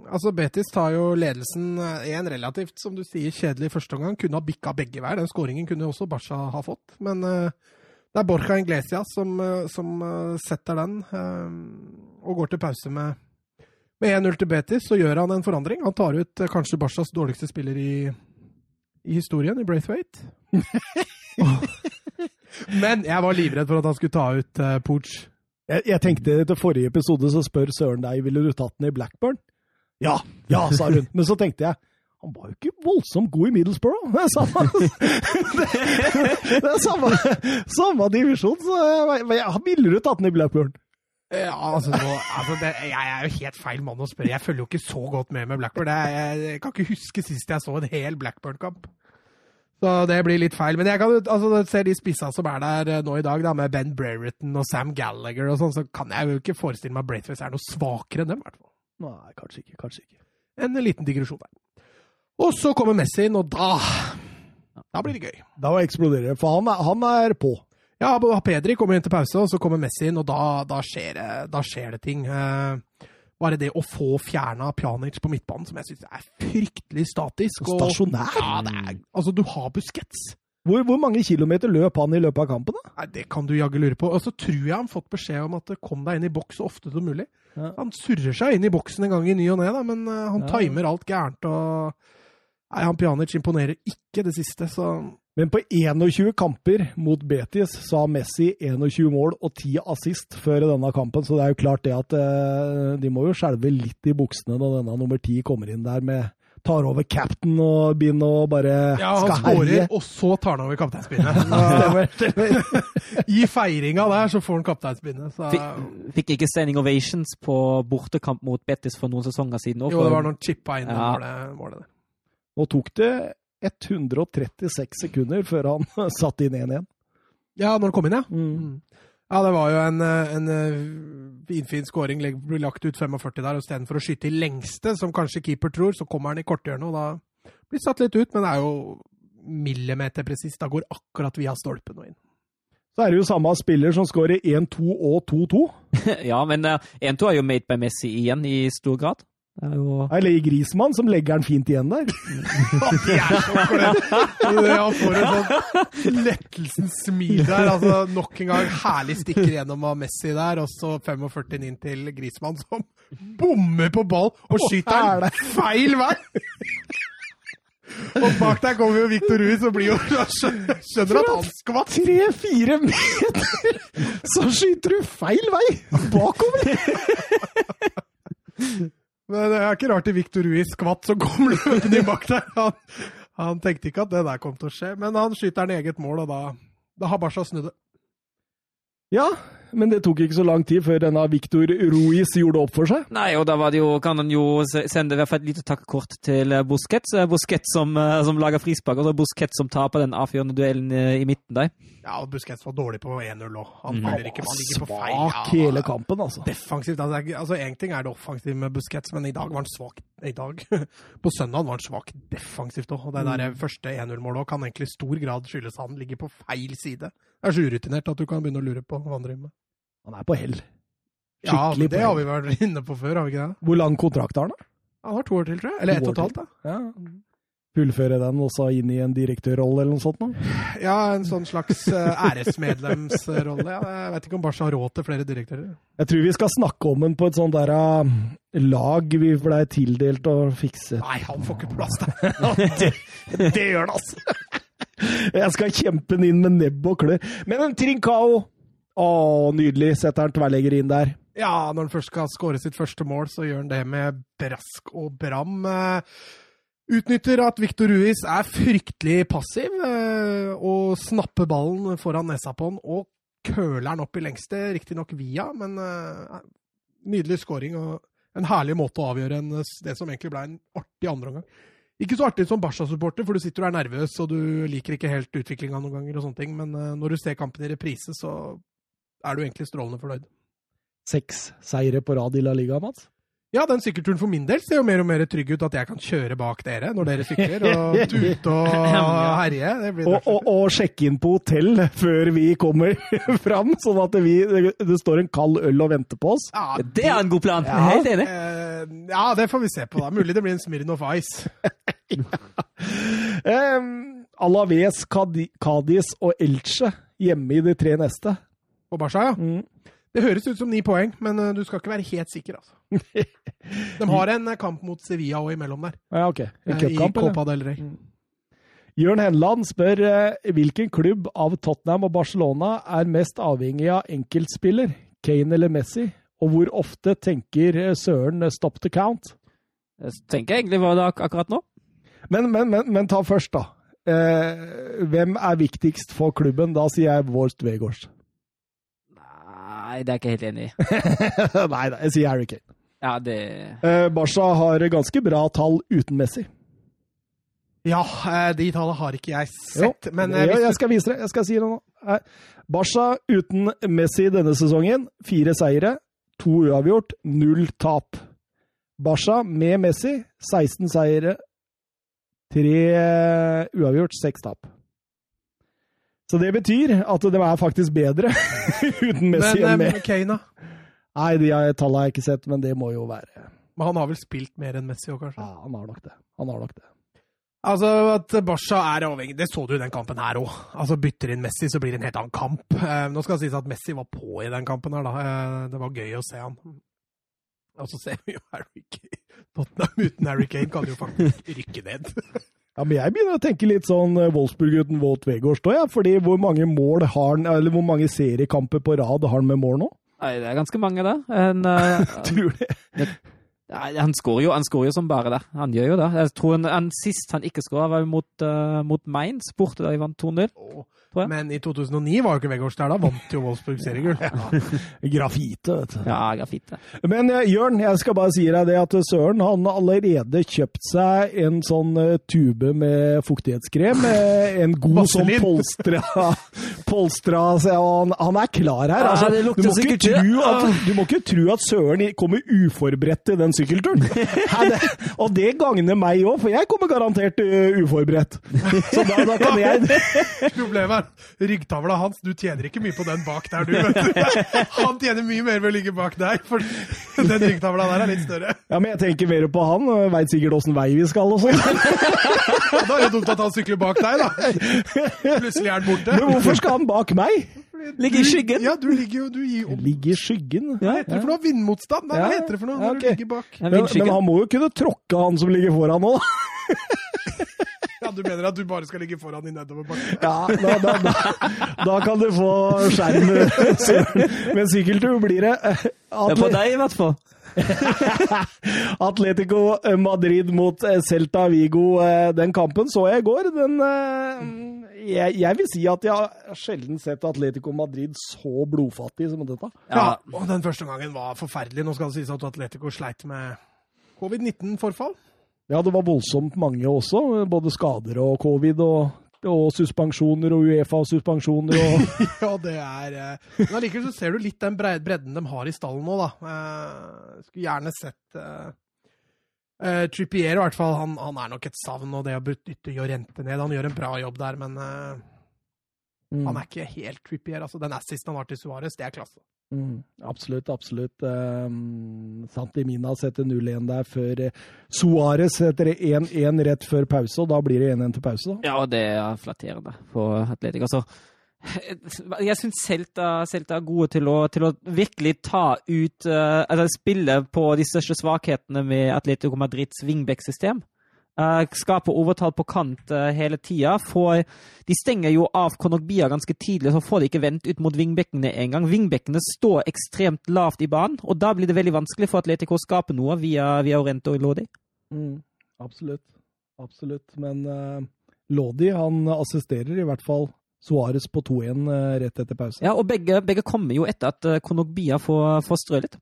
B: Altså, Betis tar jo ledelsen i en relativt, som du sier, kjedelig førsteomgang. Kunne ha bikka begge veier. Den skåringen kunne jo også Barca ha fått, men eh, det er Borja Inglesias som, eh, som eh, setter den, eh, og går til pause med med 1-0 til Betis så gjør han en forandring. Han tar ut eh, kanskje Barcas dårligste spiller i, i historien, i Braithwaite. Men jeg var livredd for at han skulle ta ut uh, Pooch.
A: Jeg, jeg tenkte etter forrige episode så spør Søren deg ville du tatt den i Blackburn. Ja, ja, sa hun. Men så tenkte jeg han var jo ikke voldsomt god i Middlesbrough. Det er samme, det, det er samme, samme divisjon, så eh, jeg, jeg ville du tatt den i Blackburn?
B: Ja, altså, nå, altså det, Jeg er jo helt feil mann å spørre. Jeg følger jo ikke så godt med med Blackburn. Jeg, jeg, jeg kan ikke huske sist jeg så en hel Blackburn-kamp. Så det blir litt feil. Men jeg kan jo- altså, når jeg ser de spissa som er der eh, nå i dag, da, med Ben Brereton og Sam Gallagher og sånn, så kan jeg jo ikke forestille meg at Braithwaite er noe svakere enn dem. i hvert fall.
A: Nei, kanskje ikke. Kanskje ikke.
B: En liten digresjon der. Og så kommer Messi inn, og da Da blir det gøy.
A: Da eksploderer det, for han er, han er på.
B: Ja, både Pedri kommer inn til pause, og så kommer Messi inn, og da, da, skjer, det, da skjer det ting. Eh, Bare det å få fjerna Pjanic på midtbanen, som jeg syns er fryktelig statisk
A: Og stasjonær.
B: Ja, det er, altså, du har Busquets.
A: Hvor, hvor mange kilometer løp han i løpet av kampen, da?
B: Nei, Det kan du jaggu lure på. Og så tror jeg han fått beskjed om at eh, kom deg inn i boks så ofte som mulig.
A: Ja.
B: Han surrer seg inn i boksen en gang i ny og ne, da, men eh, han
A: Ja.
B: timer alt gærent. og... Nei, han Pjanic imponerer ikke det siste, så
A: Men på 21 kamper mot Betis så har Messi 21 mål og 10 assist før denne kampen, så det er jo klart det at eh, de må jo skjelve litt i buksene når denne nummer 10 kommer inn der med Tar over cap'n og begynner å bare
B: Ja, han skårer, og så tar han over kapteinspinnet. Så
A: Stemmer. stemmer.
B: I feiringa der så får han kapteinspinnet. Så...
C: Fikk, fikk ikke standing ovations på bortekamp mot Betis for noen sesonger siden. også,
B: Jo, det
C: for-
B: var når han chippa inn det
C: Ja.
B: målet- målet. der.
A: Nå tok det 136 sekunder før han satte inn 1-1.
B: Ja, når han kom inn, ja. Ja, det var jo en, eh, en eh, finfin scoring. Legg- Ble lagt ut 45 der, og istedenfor å skyte i lengste, som kanskje keeper tror, så kommer han i korthjørnet, og da blir satt litt ut. Men det er jo millimeterpresist. Da går akkurat via stolpen og inn.
A: Så er det jo samme spiller som skårer 1-2 og 2-2.
C: ja, men eh, 1-2 er jo made by Messi igjen, i stor grad. Det er jo
A: Eller Grismann, som legger den fint igjen der.
B: Han får et sånt lettelsens smil der. altså Nok en gang herlig stikker gjennom av Messi der, og så 45 inn til Grismann, som bommer på ball og skyter den feil vei! Og bak der kommer jo Victor Ruiz og blir jo skjønner at han skvatt.
A: Tre-fire meter, så skyter du feil vei! Bakover!
B: Men det er ikke rart det Victor Ruiz skvatt som kom løpende inn bak der. Han, han tenkte ikke at det der kom til å skje, men han skyter den i eget mål, og da, da har Barca snudd det.
A: Ja, men det tok ikke så lang tid før denne Victor Ruiz gjorde opp for seg.
C: Nei, og da var det jo, kan han jo se- sende i hvert fall et lite takkekort til eh, Busquets. Eh, Busquets som, eh, som lager frispark, og så Busquets som taper den avgjørende duellen eh, i midten der.
B: Ja, og Busquets var dårlig på 1-0 òg. Han
C: Mm.
B: følger ikke, han ligger på feil. Ja,
A: Svak hele kampen, altså.
B: Defensivt. Altså, jeg- altså, en ting er det offensivt med Busquets, men i dag var han svak. I dag, På søndag var han svak defensivt òg. Og det der første 1-0-målet òg kan egentlig i stor grad skyldes at han ligger på feil side. Det er så urutinert at du kan begynne å lure på hva han driver med.
A: Han er på hell.
B: Ja,
A: Skikkelig
B: det
A: på
B: har
A: hell.
B: vi vært inne på før, har vi ikke det?
A: Hvor lang kontrakt har han, da?
B: Han har to år til, tror jeg. Eller
A: To
B: ett og
A: år
B: et halvt, da.
A: Ja. Fullføre den og så inn i en direktørrolle eller noe sånt? nå?
B: Ja, en sånn slags eh, æresmedlemsrolle. Ja, jeg vet ikke om Barca har råd til flere direktører.
A: Jeg tror vi skal snakke om den på et sånt der ah, lag vi blei tildelt og fikset.
B: Nei, han får ikke plass der.
A: det, det gjør han, altså. Jeg skal kjempe den inn med nebb og klør. Men en Trincao! Å, nydelig. Setter han tverrlegger inn der.
B: Ja, når han først skal skåre sitt første mål, så gjør han det med brask og bram. Eh, Utnytter at Victor Ruiz er fryktelig passiv, eh, og snapper ballen foran nesa på han, og køler han opp i lengste, riktignok via, men eh, nydelig skåring og en herlig måte å avgjøre en, eh, det som egentlig ble en artig andreomgang. Ikke så artig som Barca-supporter, for du sitter og er nervøs, og du liker ikke helt utviklinga noen ganger, og sånne ting, men eh, når du ser kampen i reprise, så er du egentlig strålende fornøyd.
A: Seks seire på rad i La Liga, Mats.
B: Ja, den sykkelturen for min del ser jo mer og mer trygg ut at jeg kan kjøre bak dere når dere sykler, og tute og herje. Det blir
A: Og, og, og sjekke inn på hotell før vi kommer fram, sånn at vi, det står en kald øl og venter på oss.
B: ja,
C: Det er en god plan!
A: Ja.
C: Helt enig.
B: eh, ja, det får vi se på, da. Mulig det blir en Smirnov Ice.
A: Em, Alaves, Cadi- Cadiz og Elche hjemme i de tre neste.
B: på Barca, ja.
A: Mm.
B: Det høres ut som ni poeng, men eh, du skal ikke være helt sikker, altså. De har en eh, kamp mot Sevilla òg imellom der.
A: Ja, ok. En
B: eh,
A: cupkamp,
B: I
A: eller? Mm.
B: Copa del Rey.
A: Jørn Henland spør eh, hvilken klubb av Tottenham og Barcelona er mest avhengig av enkeltspiller, Kane eller Messi, og hvor ofte tenker eh, Søren eh, stop the count?
C: Så tenker jeg egentlig hva det er ak akkurat nå.
A: Men, men, men, men ta først, da. Eh, hvem er viktigst for klubben? Da sier jeg Vårst Vegårs.
C: Nei, det er jeg ikke helt enig i.
A: nei, nei, jeg sier Harry Kane.
C: Ja, det
A: Eh, Barca har ganske bra tall uten Messi.
B: Ja, eh, de tallene har ikke jeg sett, men eh,
A: Ja,
B: hvis
A: jeg skal vise dere. Jeg skal si det nå. Her. Barca uten Messi denne sesongen. Fire seire, to uavgjort, null tap. Barca med Messi, 16 seire, tre eh, uavgjort, seks tap. Så det betyr at de er faktisk bedre uten Messi enn
B: men,
A: med.
B: eh, Kane, da?
A: Nei, de har- tallene har jeg ikke sett, men det må jo være
B: Men han har vel spilt mer enn Messi òg, kanskje?
A: Ja, han har nok det. Han har nok det.
B: Altså, at Barca er avhengig Det så du i den kampen her òg. Altså, bytter inn Messi, så blir det en helt annen kamp. Eh, nå skal det sies at Messi var på i den kampen her, da. Eh, det var gøy å se han. Og så ser vi jo Harry Kane. Tottenham uten Harry Kane kan jo faktisk rykke ned.
A: Ja, men jeg begynner å tenke litt sånn eh, Wolfsburg uten Wout Weghorst òg, ja. Fordi hvor mange mål har han, eller hvor mange seriekamper på rad har han med mål nå?
C: Nei, det er ganske mange, det. En, eh,
A: Tror det.
C: Nei, han skårer jo, han skårer jo som bare det. Han gjør jo det. Jeg tror han, han Sist han ikke skåra, var jo mot, eh, mot Mainz, borte da de vant 2-0. Tror jeg.
B: Men i 2009 var jo ikke Vegårs der, da vant jo Wolfsburg seriegull.
A: Grafite, vet du.
C: Ja, grafitt, det.
A: Men eh, Jørn, jeg skal bare si deg det at eh, Søren han har allerede kjøpt seg en sånn eh, tube med fuktighetskrem. eh, En god sånn
B: Vaselin.
A: polstra. polstra så ja, han, han er klar her.
C: Ja,
A: Altså,
C: det lukter
A: du, må ikke
C: sikkert
A: tro
C: det. Ah.
A: at, du må ikke tro at Søren i- kommer uforberedt til den sykkelturen. Nei, det, og det gagner meg òg, for jeg kommer garantert eh, uforberedt. Så da, da kan jeg
B: Problemet er ryggtavla hans. Du tjener ikke mye på den bak der, du. Vet du. Han tjener mye mer ved å ligge bak deg, for den ryggtavla der er litt større.
A: Ja, men jeg tenker mer på han. Veit sikkert åssen vei vi skal og sånn.
B: Ja, Da er det dumt at han sykler bak deg, da. Plutselig er han borte.
A: Men hvorfor skal han bak meg?
C: Ligger i skyggen.
B: Ja, du ligger jo du gir opp.
A: Ligge i skyggen.
B: Hva heter det for noe? Vindmotstand? Nei, hva
A: Ja.
B: heter det for noe
A: Ja,
B: når du
A: ok.
B: ligger bak?
C: En
A: Men, men
C: vindskygge.
A: han må jo kunne tråkke han som ligger foran nå. da.
B: Ja, Du mener at du bare skal ligge foran i nedoverbakken?
A: Ja, da, da, da, da kan du få skjerm. Søren. Men sykkeltur blir det.
C: Det er på
A: Atle
C: deg, i hvert fall.
A: Atletico Madrid mot eh, Celta Vigo. Eh, Den kampen så jeg i går. Den eh, jeg, jeg vil si at jeg har sjelden sett Atletico Madrid så blodfattig som dette.
B: Ja.
C: Ja.
B: Og den første gangen var forferdelig. Nå skal det sies at Atletico sleit med covid-19-forfall.
A: Ja, det var voldsomt mange også. Både skader og covid og, og suspensjoner og Uefa-suspensjoner og
B: Ja, det er eh, Men allikevel så ser du litt den brei- bredden de har i stallen nå, da. Eh, skulle gjerne sett eh, eh, Trippier, i hvert fall. Han, han er nok et savn, og det å bytte Jorente ned Han gjør en bra jobb der, men eh,
A: Mm.
B: han er ikke helt Trippier. Altså, den assisten han har til Suárez, det er klasse.
A: Mm, absolutt, absolutt. Um, Santimina setter 0-1 der før eh, Suárez setter 1-1 rett før pause, og da blir det 1-1 til pause. da.
C: Ja, og det er flatterende for Atletic. Altså, jeg syns Celta, Celta er gode til å, til å virkelig ta ut eh, Altså spille på de største svakhetene med Atletico Madrids wingback-system. Eh, skape overtall på kant eh, hele tida. Får- De stenger jo av Konogbia ganske tidlig, så får de ikke vendt ut mot wingbackene engang. Wingbackene står ekstremt lavt i banen, og da blir det veldig vanskelig for Atletico å skape noe via, via Orento og Lodi.
A: Mm, absolutt. Absolutt. Men eh, Lodi han assisterer i hvert fall Suárez på 2-1 eh, rett etter pause.
C: Ja, og begge, begge kommer jo etter at eh, Konogbia får, får strø litt.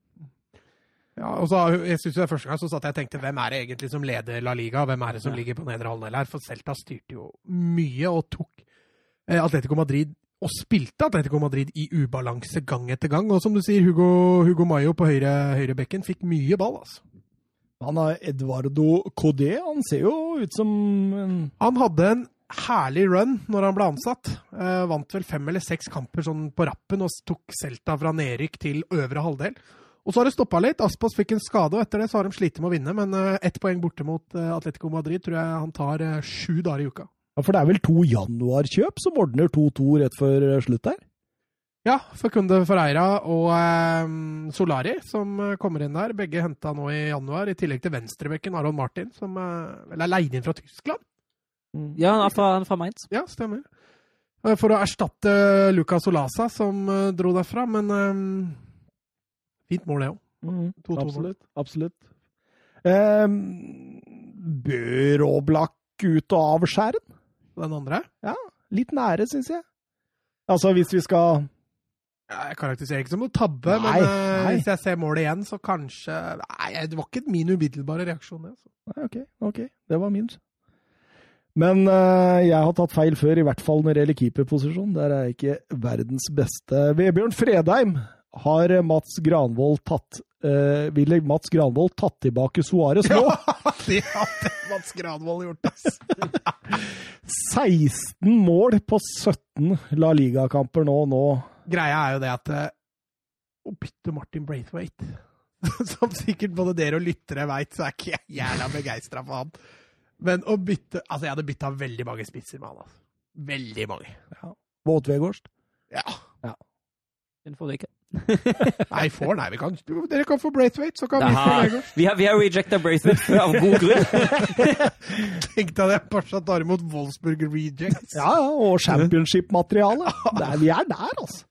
B: Ja, og så, jeg synes det er Første gang så satt jeg og tenkte hvem er det egentlig som leder La Liga? Hvem er det som ligger på nedre halvdel her? For Celta styrte jo mye og tok eh, Atletico Madrid og spilte Atletico Madrid i ubalanse gang etter gang. Og som du sier, Hugo, Hugo Mayo på høyre høyrebekken fikk mye ball, altså.
A: Han har Eduardo Codé. Han ser jo ut som en
B: Han hadde en herlig run når han ble ansatt. Eh, vant vel fem eller seks kamper sånn på rappen og tok Celta fra nedrykk til øvre halvdel. Og så har det stoppa litt. Aspas fikk en skade, og etter det så har de slitt med å vinne. Men eh, ett poeng borte mot eh, Atletico Madrid tror jeg han tar eh, sju dager i uka.
A: ja, For det er vel to januarkjøp som ordner 2-2 rett før eh, slutt der?
B: Ja, Fakunde Ferreira og eh, Solari som eh, kommer inn der. Begge henta nå i januar, i tillegg til venstrebekken Aron Martin, som eh, vel er leid inn fra Tyskland.
A: Mm.
C: Ja, han er fra, han er fra Mainz.
B: Ja, stemmer. Eh, For å erstatte Lucas Olasa, som eh, dro derfra, men eh, Fint mål, det òg.
A: Mm,
B: 2-2 mål.
A: absolutt. absolutt. Ehm, bør Oblak ut og av skjæren?
B: Den andre
A: Litt nære, syns jeg. Altså, hvis vi skal
B: Ja, Jeg karakteriserer ikke som noe tabbe,
A: Nei,
B: men eh,
A: nei.
B: hvis jeg ser målet igjen, så kanskje Nei, det var ikke min umiddelbare reaksjon, det. Altså.
A: Nei, OK, ok, det var min. Men eh, jeg har tatt feil før, i hvert fall når det gjelder keeperposisjon. Der er jeg ikke verdens beste. Vebjørn Fredheim, har Mats Granvold tatt eh, Ville Mats Granvold tatt tilbake Suárez nå?
B: det hadde Mats Granvold gjort, ass.
A: 16 mål på 17 La Liga-kamper nå. nå.
B: Greia er jo det at eh, å bytte Martin Braithwaite. Som sikkert både dere og lyttere veit, så er ikke jeg jævla begeistra for han. Men å bytte Altså, jeg hadde bytta veldig mange spisser med han. Altså. Veldig mange.
A: Våt Vegårst.
B: Ja.
C: Den får du ikke.
B: Nei, får nei. Vi kan, dere kan få Braithwaite, så kan vi få
C: Nei,
B: Vegard.
C: vi har, vi har rejecta Braithwaite av god grunn.
B: Tenk deg det. Barca tar imot Wolfsburger Rejects.
A: Ja, ja, og championship-materiale. Det er- Vi er der, altså.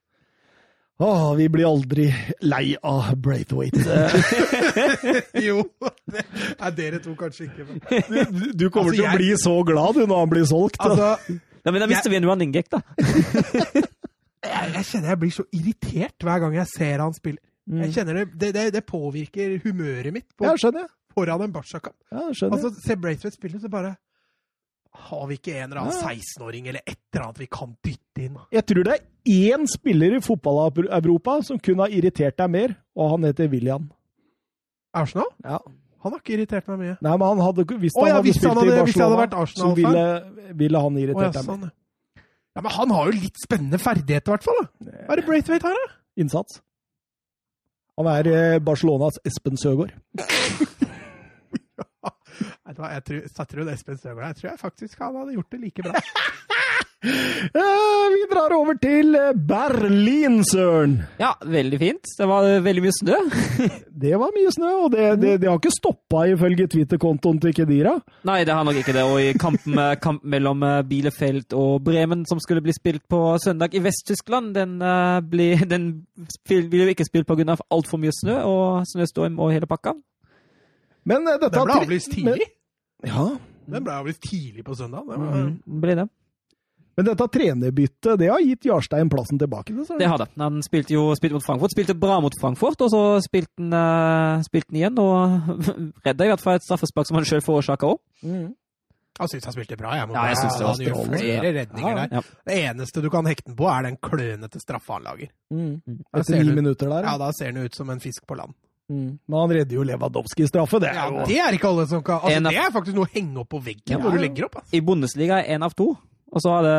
A: Å, vi blir aldri lei av Braithwaite.
B: Jo. Det er dere to kanskje ikke. Men.
A: Du, du kommer
B: Altså,
A: til å
B: jeg-
A: bli så glad du når han blir solgt.
B: Altså,
C: Nei, men da mister vi en running gag, da.
B: jeg, jeg kjenner jeg blir så irritert hver gang jeg ser han spille. Jeg kjenner det, det, det, det påvirker humøret mitt på,
A: Mm. ja, skjønner jeg.
B: foran en Barca-kamp.
A: Ja, skjønner jeg.
B: Altså, se Braithwaite spille, så bare Har vi ikke en eller annen
A: Ja.
B: 16-åring eller et eller annet vi kan dytte inn?
A: Jeg tror det er én spiller i fotball-Europa som kunne ha irritert deg mer, og han heter William.
B: Arsenal?
A: Ja.
B: sånn? Han har ikke irritert meg mye.
A: Nei, men han hadde, hvis
B: Å,
A: han
B: ja,
A: hadde
B: hvis
A: spilt
B: han hadde-
A: i
B: hvis jeg hadde vært
A: Barcelona, så
B: Arsenal-fan.
A: ville, ville han
B: Å,
A: irritert
B: ja,
A: deg mer.
B: sånn. ja, men han har jo litt spennende ferdigheter, i hvert fall. da. Hva er det Braithwaite har, da?
A: Innsats. Han er eh, Barcelonas Espen Søgaard.
B: Vet du hva, jeg tror, satte du Espen Søgaard der, tror jeg faktisk han hadde gjort det like bra.
A: Eh, vi drar over til eh, Berlin, søren!
C: Ja, veldig fint. Det var eh, veldig mye snø.
A: Det var mye snø, og det, det, det har ikke stoppa ifølge Twitter-kontoen til Kedira.
C: Nei, det har nok ikke det. Og i kampen eh, kamp mellom eh, Bielefeld og Bremen, som skulle bli spilt på søndag i Vest-Tyskland, den, eh, ble, den spil, ble jo ikke spilt pga. altfor mye snø og snøstorm og hele pakka.
A: Men eh, dette
B: Den ble
A: har tri-
B: avlyst tidlig.
A: Men, ja.
B: Den ble avlyst tidlig på søndag. Det var,
C: Mm, ble det.
A: men dette trenerbyttet det har gitt Jarstein plassen tilbake. Det,
C: Det har det. Han spilte jo spilte mot Frankfurt. Spilte bra mot Frankfurt, og så spilte han, eh, spilte han igjen. Og redda i hvert fall et straffespark som han sjøl forårsaka òg.
A: mm.
B: Jeg syns han spilte bra. Jeg må
C: Ja, jeg
B: bare-
C: synes det var
B: han gjør
C: strålende.
B: flere redninger
A: Ja,
B: der. Det eneste du kan hekte den på, er den klønete straffa han lager.
A: Mm.
B: Da
A: Etter
B: ser
A: ni
B: du-
A: minutter der. Ja.
B: Ja, Da ser han ut som en fisk på land.
A: Mm. Men han redder jo Lewandowski-straffe, det
B: Ja,
A: er jo
B: Det er ikke alle som kan altså,
C: En av-
B: Det er faktisk noe å henge opp på veggen
C: Ja.
B: når du legger opp. Altså.
C: I Bundesliga er én av to. Og så er det,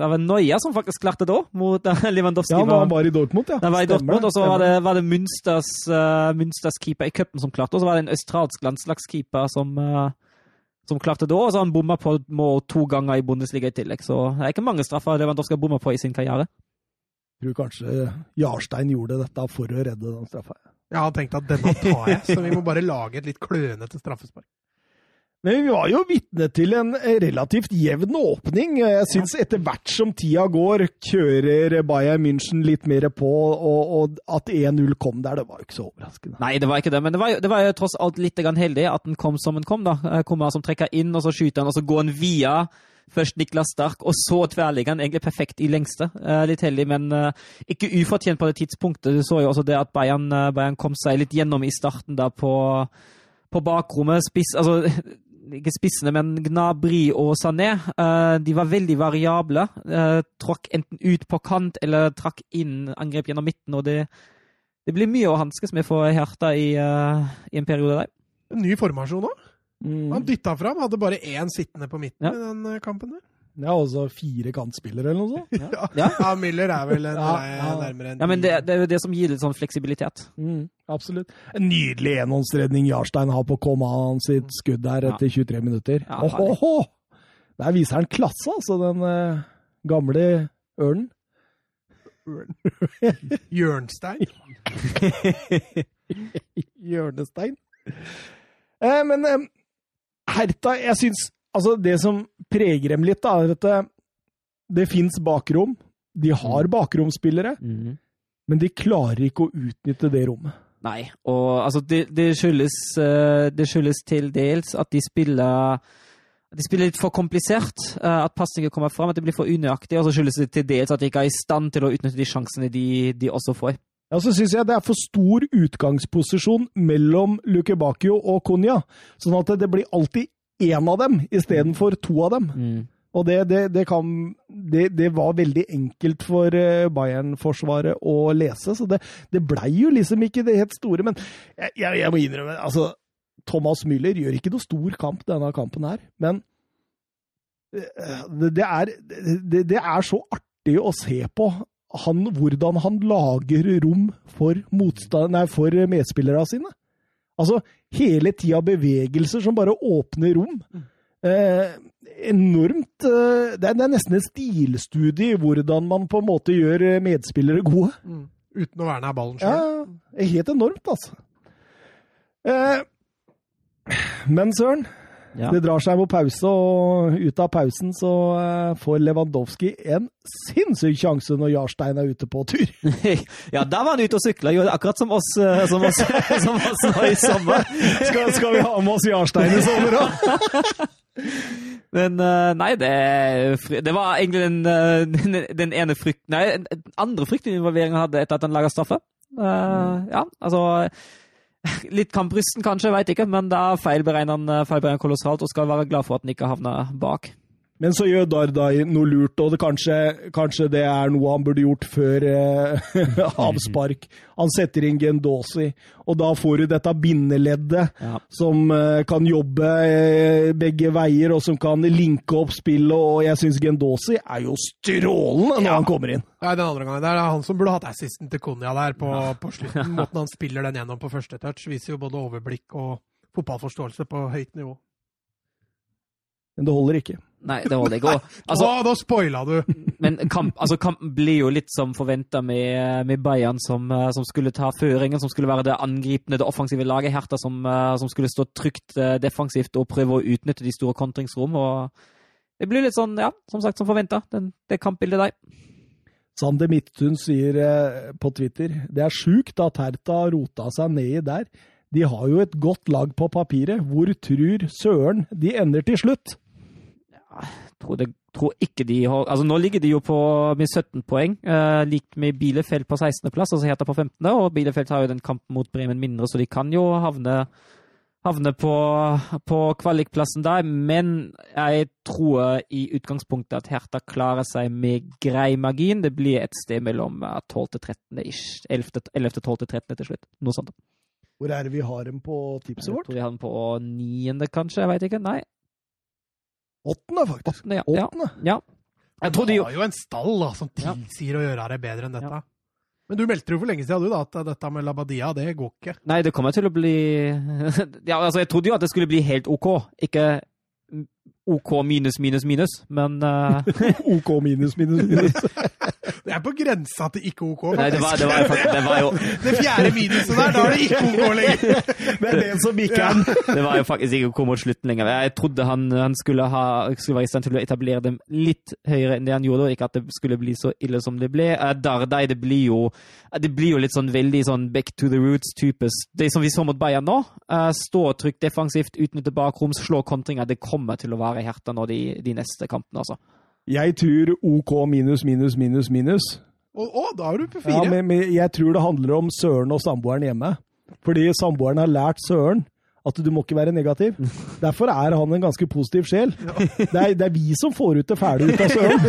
C: det var Noia som faktisk klarte det òg, mot eh, Lewandowski.
A: Ja, han var,
C: var-
A: var i Dortmund, ja.
C: Den var i
A: Stemmer
C: Dortmund, og så
A: stemmer
C: var det, var det Münsters, eh, Münsters keeper i cupen som klarte, og så var det en australsk landslagskeeper som, eh, som klarte det òg, og så har han bomma på mål to ganger i Bundesliga i tillegg. Så det er ikke mange straffer Lewandowski har bomma på i sin karriere.
A: Jeg tror kanskje Jarstein gjorde dette for å redde den straffa.
B: Jeg har tenkt at denne tar jeg, så vi må bare lage et litt klønete straffespark.
A: Men vi var jo vitne til en eh, relativt jevn åpning. Eh, Jeg syns etter hvert som tida går, kjører Bayern München litt mer på, og, og at 1-0 kom der, det var jo ikke så overraskende.
C: Nei, det var ikke det, men det var, jo- det var jo tross alt litt grann heldig at den kom som den kom. da. Eh, Kommer som trekker inn, og så skyter han, og så går han via først Niklas Stark, og så tverrligger han egentlig perfekt i lengste. Eh, Litt heldig, men eh, ikke ufortjent på det tidspunktet. Du så jo også det at Bayern, eh, Bayern kom seg litt gjennom i starten da på, på bakrommet. Spiss, altså, ikke spissene, men Gnabry og Sané, eh, de var veldig variable. Eh, Tråkk enten ut på kant eller trakk inn angrep gjennom midten, og det det blir mye å hanskes med for Hertha i, eh, i en periode der.
B: En ny formasjon òg.
A: Mm.
B: Han dytta fram, hadde bare én sittende på midten
C: Ja.
B: i den eh, kampen der.
A: Ja, og så fire kantspillere eller noe sånt.
B: Ja,
C: Ja.
B: Müller er vel en,
A: Ja,
B: nei,
A: ja.
B: nærmere en
C: Ja, men det, det er jo det som gir litt sånn fleksibilitet.
A: Mm, absolutt. En nydelig enhåndsredning Jarstein har på Coman sitt skudd der etter 23 minutter.
C: Ja, herlig.
A: Ohoho! Der viser han klasse, altså, den eh, gamle ørnen.
B: Jørnstein.
A: Hjørnestein. Eh, men eh, Herta, jeg syns Altså, det som preger dem litt, da, er at det, det fins bakrom. De har bakromspillere, men de klarer ikke å utnytte det rommet.
C: Nei, og altså det, det, skyldes, eh, det skyldes til dels at de spiller at de spiller litt for komplisert, eh, at pasninger kommer fram, at det blir for unøyaktig, og så skyldes det til dels at de ikke er i stand til å utnytte de sjansene de, de også får.
A: Ja, så syns jeg det er for stor utgangsposisjon mellom Luke Bakio og Konya. Sånn at det blir alltid én av dem istedenfor to av dem. Og det, det, det kan det, det var veldig enkelt for eh, Bayern-forsvaret å lese, så det, det blei jo liksom ikke det helt store. Men jeg, jeg, jeg må innrømme, altså Thomas Müller gjør ikke noe stor kamp denne kampen her, men eh, det, det, er, det, det er så artig å se på han, hvordan han lager rom for, motstand, nei, for medspillerne sine. Altså hele tida bevegelser som bare åpner rom. Eh, enormt eh, det, er, det er nesten en stilstudie i hvordan man på en måte gjør eh, medspillere gode.
B: Mm. Uten å være nær ballen sjøl.
A: Ja, det er helt enormt, altså. Eh, men søren,
C: Ja.
A: det drar seg mot pause, og ut av pausen så eh, får Lewandowski en sinnssyk sjanse når Jarstein er ute på tur.
C: ja, da var han ute og sykla, jo, akkurat som oss, eh, som oss, som oss nå i sommer.
A: Skal, skal vi ha med oss Jarstein i sommer òg?
C: Men eh, nei, det, er fry- det var egentlig den, eh, den, den ene frykten Nei, den andre fryktinvolveringen han hadde etter at han laga straffe. Eh, Ja, altså Litt kamprysten kanskje, veit ikke, men da feilberegner han, eh, feilberegner han kolossalt og skal være glad for at han ikke havna bak.
A: Men så gjør Dardai noe lurt, og det kanskje, kanskje det er noe han burde gjort før eh, avspark. Han setter inn Gendosi, og da får du dette bindeleddet
C: Ja.
A: som eh, kan jobbe eh, begge veier, og som kan linke opp spillet. Og jeg syns Gendosi er jo strålende når han kommer inn.
B: Nei, den andre gangen. Det er han som burde hatt assisten til Konya der på, på slutten. Måten han spiller den gjennom på første touch, viser jo både overblikk og fotballforståelse på høyt nivå.
A: Men det holder ikke.
C: Nei, det holder ikke. Og, altså,
B: Å, nå spoila du!
C: Men kamp, altså kampen blir jo litt som forventa med, med Bayern, som, eh, som skulle ta føringen, som skulle være det angripende, det offensive laget. Hertha som, eh, som skulle stå trygt eh, defensivt og prøve å utnytte de store kontringsrom. Og det blir litt sånn, ja, som sagt, som forventa. Det kampbildet der.
A: Sander Midtun sier eh, på Twitter det er sjukt at Herta har rota seg nedi der. De har jo et godt lag på papiret. Hvor trur søren de ender til slutt?
C: Tror, det, tror ikke de har Altså, nå ligger de jo på med 17 poeng, eh, likt med Bielefeld på 16.-plass, altså Hertha på 15., og Bielefeld har jo den kampen mot Bremen mindre, så de kan jo havne havne på, på kvalikplassen der, men jeg tror i utgangspunktet at Hertha klarer seg med grei margin. Det blir et sted mellom eh, 12. til 13. ish. 11. til- 11. til 12. til 13. til slutt. Noe sånt.
A: Hvor er det vi har dem på
C: Jeg
A: tipset vårt?
C: tror de har den på niende, kanskje. Jeg veit ikke. Nei.
A: Åttende, faktisk.
C: Åttende, ja. ja.
A: Åttende.
C: ja. Jeg trodde jo
B: Det var jo en stall da, som tilsier å gjøre det bedre enn dette.
C: Ja.
B: Men du meldte jo for lenge siden du, da, at eh, dette med Labadia, det går ikke.
C: Nei, det kommer til å bli Ja, altså, jeg trodde jo at det skulle bli helt OK. Ikke OK minus, minus, minus, men eh,
A: OK minus, minus, minus.
B: Det er på grensa til ikke OK.
C: Nei, det var, det var, faktisk- det var jo
B: Det fjerde minuset der, da er det ikke OK lenger!
A: Det er det som ikke er
C: Det var jo faktisk ikke å komme mot slutten lenger. Jeg trodde han, han skulle, ha, skulle være i stand til å etablere dem litt høyere enn det han gjorde, og ikke at det skulle bli så ille som det ble. Eh, Dardai, det blir jo det blir jo litt sånn veldig sånn back to the roots-type. Det som vi så mot Bayern nå, eh, stå trygt defensivt, utnytte bakroms, slå kontringer. Det kommer til å være Herta nå de, de neste kampene, altså.
A: Jeg tror OK minus, minus, minus, minus.
B: Å, å, da er du på
A: Ja,
B: fire.
A: men, men jeg tror det handler om Søren og samboeren hjemme. Fordi samboeren har lært Søren at du må ikke være negativ. Derfor er han en ganske positiv sjel. Det er, det er vi som får ut det fæle ut av Søren.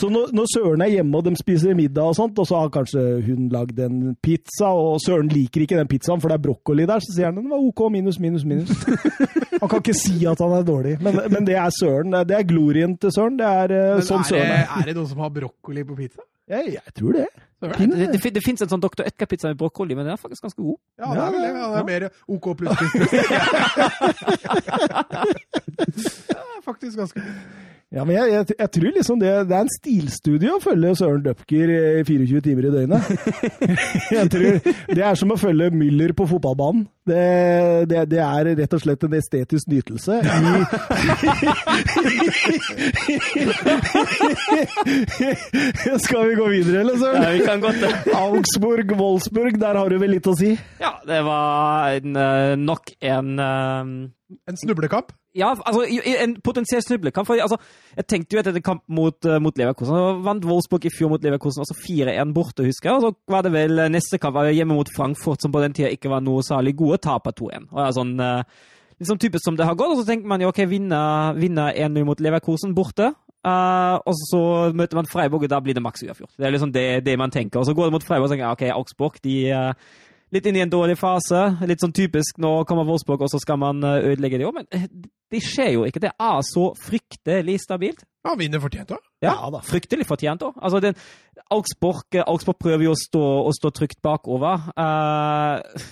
A: Så når, når Søren er hjemme og de spiser middag og sånt, og så har kanskje hun lagd en pizza, og Søren liker ikke den pizzaen for det er brokkoli der, så sier han den var OK minus, minus, minus. Han kan ikke si at han er dårlig, men, men det er Søren. Det er glorien til Søren. Det er eh,
B: Men
A: sånn
B: er, det,
A: Søren er.
B: er det noen som har brokkoli på pizza?
A: Jeg, jeg tror det.
B: Søren?
C: Det, det, fin- det fins en sånn Dr. Edgar-pizza med brokkoli, men den er faktisk ganske god.
B: Ja, det er vel det. Ja, det er mer OK pluss pluss. pluss. Ja, det er faktisk ganske
A: Ja, men jeg, jeg, jeg tror liksom det, det er en stilstudie å følge Søren Døpker eh, 24 timer i døgnet. jeg tror Det er som å følge Müller på fotballbanen. Det, det, det er rett og slett en estetisk nytelse i, Skal vi gå videre, eller, Søren?
C: vi kan godt det.
A: Augsburg, Wolfsburg, der har du vel litt å si?
C: Ja, det var en, eh, nok en eh,
B: En snublekamp.
C: Ja, altså i- i en potensiell snublekamp. For, altså, jeg tenkte jo etter den kampen mot, eh, mot Leverkusen og Vant Wolfsburg i fjor mot Leverkusen, altså 4-1 borte, husker jeg. Og så var det vel eh, neste kamp var hjemme mot Frankfurt, som på den tida ikke var noe særlig gode, taper 2-1. Og ja, sånn... eh, litt sånn typisk som det har gått. Og så tenker man jo OK, vinner vinner 1-0 mot Leverkusen borte. eh, og så møter man Freiburg, og da blir det maks uavgjort. Det er liksom det, det man tenker. Og så går det mot Freiburg og tenker jeg, OK, Augsburg de eh, litt inn i en dårlig fase. Litt sånn typisk nå kommer Wolfsburg, og så skal man eh, ødelegge det òg. Men eh, det skjer jo ikke. Det er så Ah, fryktelig stabilt.
B: Ja, vinner fortjent, da.
C: Ja,
A: Ja da.
C: Fryktelig fortjent òg. Altså, den- Augsburg, eh, Augsburg prøver jo å stå, å stå trygt bakover. Eh,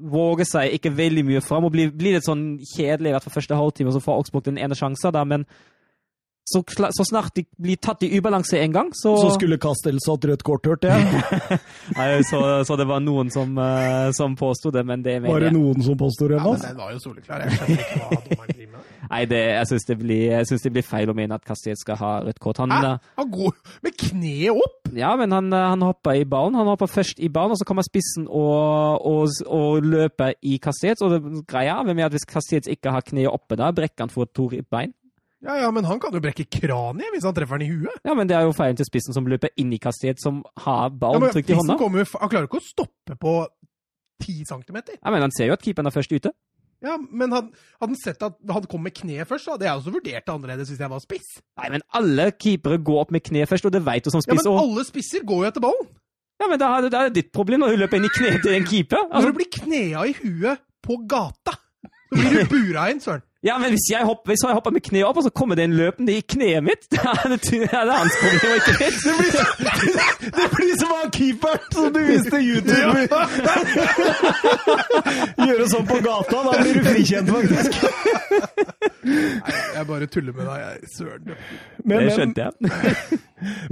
C: våger seg ikke veldig mye fram og blir, blir litt sånn kjedelig i hvert fall første halvtime, og så får Augsburg den ene sjansen. Da, men så, kla- så snart de blir tatt i ubalanse en gang, så,
A: Så skulle Castells hatt rødt kort, hørte jeg.
C: Nei, så, så det var noen som, uh, som påsto det, men det
A: Var
C: mener
A: det
C: jeg.
A: noen som påstod det?
B: Ja, men
A: Mats?
B: den var jo soleklar. Jeg skjønner ikke hva dommeren driver med.
C: Nei, det, jeg syns det, blir- jeg synes det blir feil å mene at Castiel skal ha rødt kort. Han, eh,
B: Hæ? Han går med kneet opp!
C: Ja, men han, eh, han hoppa i ballen. Han hoppa først i ballen, og så kommer spissen og, og, og løper i Castells. Og det greia er med at hvis Castells ikke har kneet oppe da, brekker han for to ribbein.
B: Ja, ja, men han kan jo brekke kraniet hvis han treffer den i huet.
C: Ja, men det er jo feilen til spissen som løper inn i Castells, som har
B: Ja,
C: ballen
B: men
C: trygt i
B: prisen
C: hånda.
B: kommer jo f- Han klarer jo ikke å stoppe på ti centimeter.
C: Ja, men han ser jo at keeperen er først ute.
B: Ja, men han, hadde han sett at han kom med kneet først, så hadde jeg også vurdert det annerledes hvis jeg var spiss.
C: Nei, men alle keepere går opp med kne først, og det veit du som
B: Ja, men
C: spiss òg. Ja,
B: alle spisser går jo etter ballen.
C: men da er det, da er det ditt problem når du løper inn i kneet til en keeper.
B: Når
C: Altså,
B: du blir knea i huet på gata, så blir du bura inn, søren.
C: ja, men hvis jeg, hopper, hvis jeg hopper med kneet opp, og så kommer det en løpende i kneet mitt, da er det, det er hans problem, og ikke mitt.
A: Det blir, det blir som han keeperen som du viste YouTube. Gjøre sånn på gata, da blir du frikjent, faktisk.
B: Jeg bare tuller med deg, jeg. søren.
A: Men,
C: Det
A: men,
C: skjønte jeg.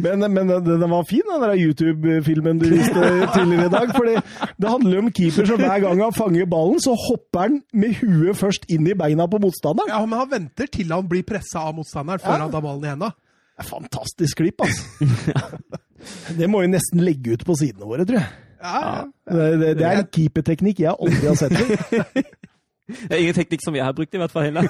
A: men, men den- den var fin, den der YouTube-filmen du viste tidligere i dag. fordi det handler om keeper som hver gang han fanger ballen, så hopper han med huet først inn i beina på motstanderen.
B: Ja, men han venter til han blir pressa av motstanderen før
A: Ja.
B: han tar ballen i henda.
A: Det er Fantastisk klipp, altså. Det må vi nesten legge ut på sidene våre, tror jeg.
B: Ja, ja.
A: Det, det, det er en keeperteknikk jeg aldri har sett før.
C: Det er ingen teknikk som jeg har brukt, i hvert fall. heller.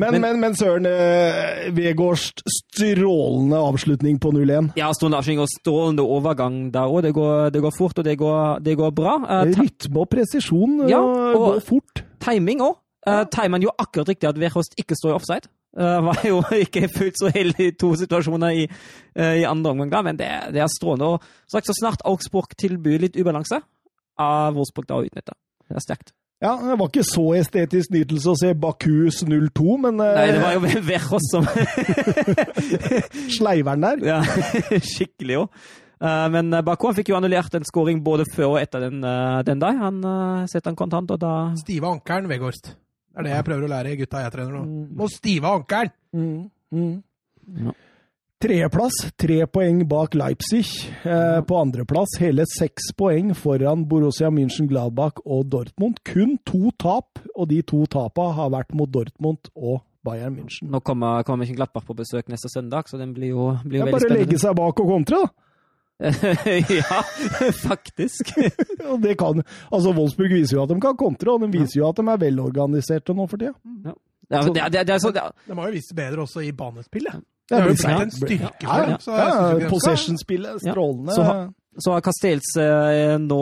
A: Men, men, men søren, eh, Vegårds strålende avslutning på 0-1.
C: Ja, strålende avslutning og strålende overgang der òg. Det, går- det går fort, og det går, det går bra. Eh, ti-
A: Rytme og presisjon eh,
C: Ja,
A: og
C: og-
A: gå fort.
C: timing òg. Uh, timer jo akkurat riktig at Verhost ikke står i offside. Eh, var jo ikke fullt så heldig i to situasjoner i, eh, i andre omgang, da, men det, det er strålende. Og som sagt, så snart Augsburg tilbyr litt ubalanse, er Wolfsburg da å utnytte. Det er sterkt.
A: Ja, Det var ikke så estetisk nytelse å se Bakus 02, men eh,
C: Nei, det var jo Verhost som
A: sleiveren der
C: Ja, skikkelig jo. Eh, men Baku han fikk jo annullert en scoring både før og etter den, eh, den dag. Han eh, setter han kontant, og da
B: Stive ankelen, Vegårst. Det er det jeg prøver å lære gutta jeg trener
C: Mm.
B: nå. Må stive ankelen!
A: mm, mm.
C: Ja.
A: Tredjeplass, tre poeng bak Leipzig. Eh, på andreplass hele seks poeng foran Borussia München, Gladbach og Dortmund. Kun to tap, og de to tapa har vært mot Dortmund og Bayern München.
C: Nå kommer, kommer ikke Glappar på besøk neste søndag, så den blir jo, blir jo
A: Det er
C: veldig
A: bare å legge
C: spennende.
A: seg bak og kontre, da.
C: ja, faktisk.
A: Og det kan, altså Wolfsburg viser jo at de kan kontre, og de viser jo at de er velorganiserte nå for tida.
C: Ja, men det, er- det, er- det er så, det, er-
B: De har jo vist det bedre også i banespill, ja.
A: Det
B: Det
A: er
B: har jo
A: blitt-
B: blitt en
A: Ja,
B: styrke
A: ja,
B: for
A: ja.
B: dem. så jeg synes ikke de skal-
A: Possession-spillet,
C: Ja.
A: strålende.
C: Så ha- så har Castells eh, nå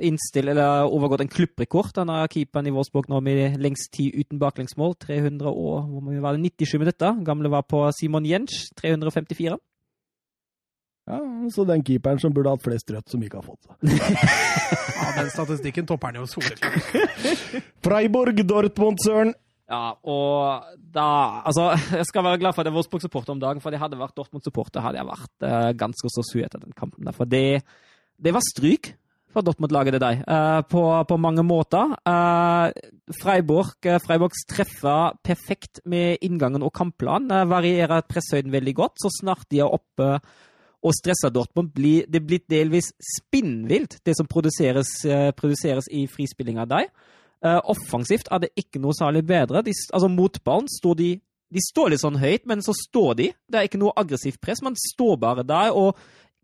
C: innstilt, eller overgått en klubbrekord. Han har keeperen i Wolfsburg nå med lengst tid uten baklengsmål. 300 og hvor mye var det? 97 minutter. Gamle var på Simon Jensch, 354.
A: Ja, så den keeperen som burde hatt flest rødt, som ikke har fått det.
B: Ja, den statistikken topper han jo soleklart.
A: Freiburg, Dortmund, Søren.
C: Ja, og da Altså, jeg skal være glad for at jeg er Wolfsburg-supporter om dagen, for det hadde vært Dortmund-supporter, hadde jeg vært eh, ganske så sur etter den kampen. Der. For det, det var stryk fra Dortmund-laget til deg, eh, på, på mange måter. Eh, Freiburg, eh, Freiburgs treffer perfekt med inngangen og kampplanen. eh, varierer presshøyden veldig godt. Så snart de er oppe og stresser Dortmund, blir det blir delvis spinnvilt, det som produseres, eh, produseres i frispilling av deg. Eh, offensivt er det ikke noe særlig bedre. De, s- altså Mot ballen står de De står litt sånn høyt, men så står de. Det er ikke noe aggressivt press. Man står bare der og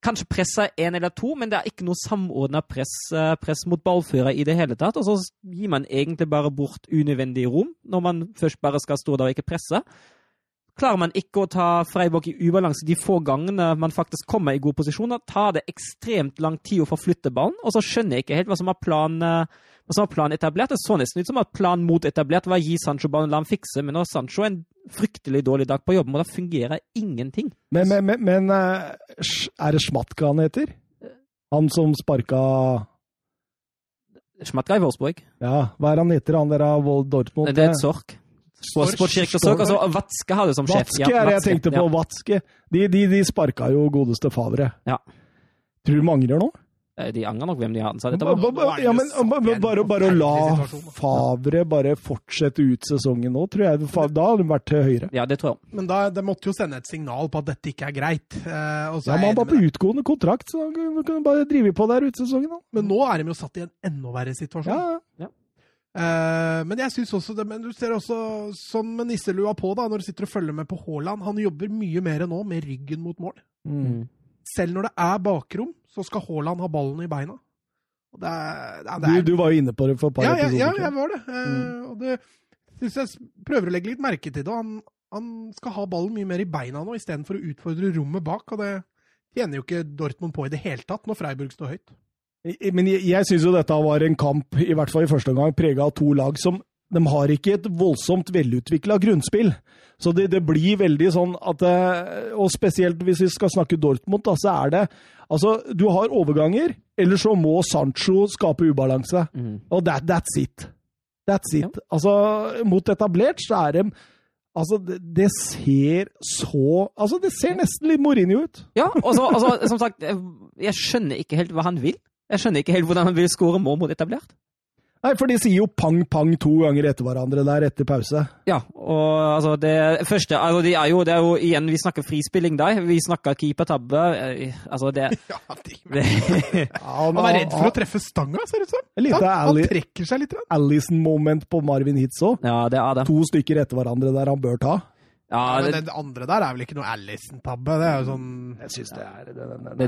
C: kanskje presser én eller to, men det er ikke noe samordna press, eh, press mot ballfører i det hele tatt. Og så s- gir man egentlig bare bort unødvendig rom, når man først bare skal stå der og ikke presse. Klarer man ikke å ta Freiburg i ubalanse de få gangene man faktisk kommer i gode posisjoner, tar det ekstremt lang tid å forflytte ballen, og så skjønner jeg ikke helt hva som er planen. eh, og så var planen etablert. Det så nesten ut som at planen mot etablert var å gi Sancho ballen, la ham fikse, men nå har Sancho en fryktelig dårlig dag på jobben, og da fungerer ingenting.
A: Men, men, men, men eh, Sch- er det Schmatka han heter? Han som sparka
C: Schmatka i Wolfsburg.
A: Ja, hva er han heter, han der av Vold Dortmund?
C: Det er et sork. På, på kirkesøk, altså Vatske har du som sjef.
A: Vatske Eh, er det jeg
C: Vatske,
A: tenkte på. Vatske. De, de, de sparka jo godeste Favre.
C: Ja.
A: Tror du de angrer nå?
C: Ja. De angrer nok hvem de har ansatt.
A: Ba-
C: etterpå.
A: ba- ba- Ja, men
B: Nå er det jo
A: ba- bare, bare å la
B: forferdelig situasjon.
A: Favre bare fortsette ut sesongen nå, tror jeg. Fa- Da hadde de vært til høyre.
C: Ja, det tror jeg.
B: Men da, det måtte jo sende et signal på at dette ikke er greit. Eh, og så
A: Ja,
B: er
A: men
B: jeg
A: han var
B: enig
A: på
B: med
A: utgående kontrakt, så han kunne- kunne bare drive på der ut sesongen. da.
B: deg. men nå er de jo satt i en enda verre situasjon.
A: Ja,
B: Eh, men jeg synes også det, men du ser også sånn med nisselua på, da, når du sitter og følger med på Haaland. Han jobber mye mer nå med ryggen mot mål.
A: mm.
B: Selv når det er bakrom, så skal Haaland ha ballen i beina. Og det er, det er, det
A: du,
B: er
A: du var jo inne på det for et par
B: ja, ja,
A: episoder Mm.
B: ja,
A: siden.
B: jeg var det. Eh, Og det synes jeg s- prøver å legge litt merke til det. og Han, han skal ha ballen mye mer i beina nå, istedenfor å utfordre rommet bak. Og det tjener jo ikke Dortmund på i det hele tatt, når Freiburg står høyt.
A: I- Men jeg, jeg syns jo dette var en kamp, i hvert fall i første omgang, prega av to lag som de har ikke et voldsomt velutvikla grunnspill. Så det, det blir veldig sånn at eh, Og spesielt hvis vi skal snakke Dortmund, da, så er det Altså, du har overganger, eller så må Sancho skape ubalanse.
C: Mm.
A: Og that, that's it. That's it. Altså, mot etablert så er de Altså, det, det ser så Altså, det ser nesten litt Mourinho ut.
C: Ja, og så, og så, som sagt, jeg- jeg skjønner ikke helt hva han vil. Jeg skjønner ikke helt hvordan han vil skåre mål mot etablert.
A: Nei, for de sier jo pang, pang to ganger etter hverandre der etter pause.
C: Ja, og altså det første altså de er jo, Det er jo igjen Vi snakker frispilling der. Vi snakker keepertabbe. eh, Altså, det,
B: Ja, de,
C: det
A: Han,
B: han er redd for å treffe stanga, ser det ut som.
A: Et lite
B: Han, han
A: ærlig-
B: trekker seg litt. grann.
A: Allison-moment på Marvin Hitz òg.
C: Ja, det er det.
A: To stykker etter hverandre der han bør ta.
C: Ja,
B: men
C: det,
B: den andre der er vel ikke noe Alison-tabbe. Det er jo sånn
A: Jeg syns det er det,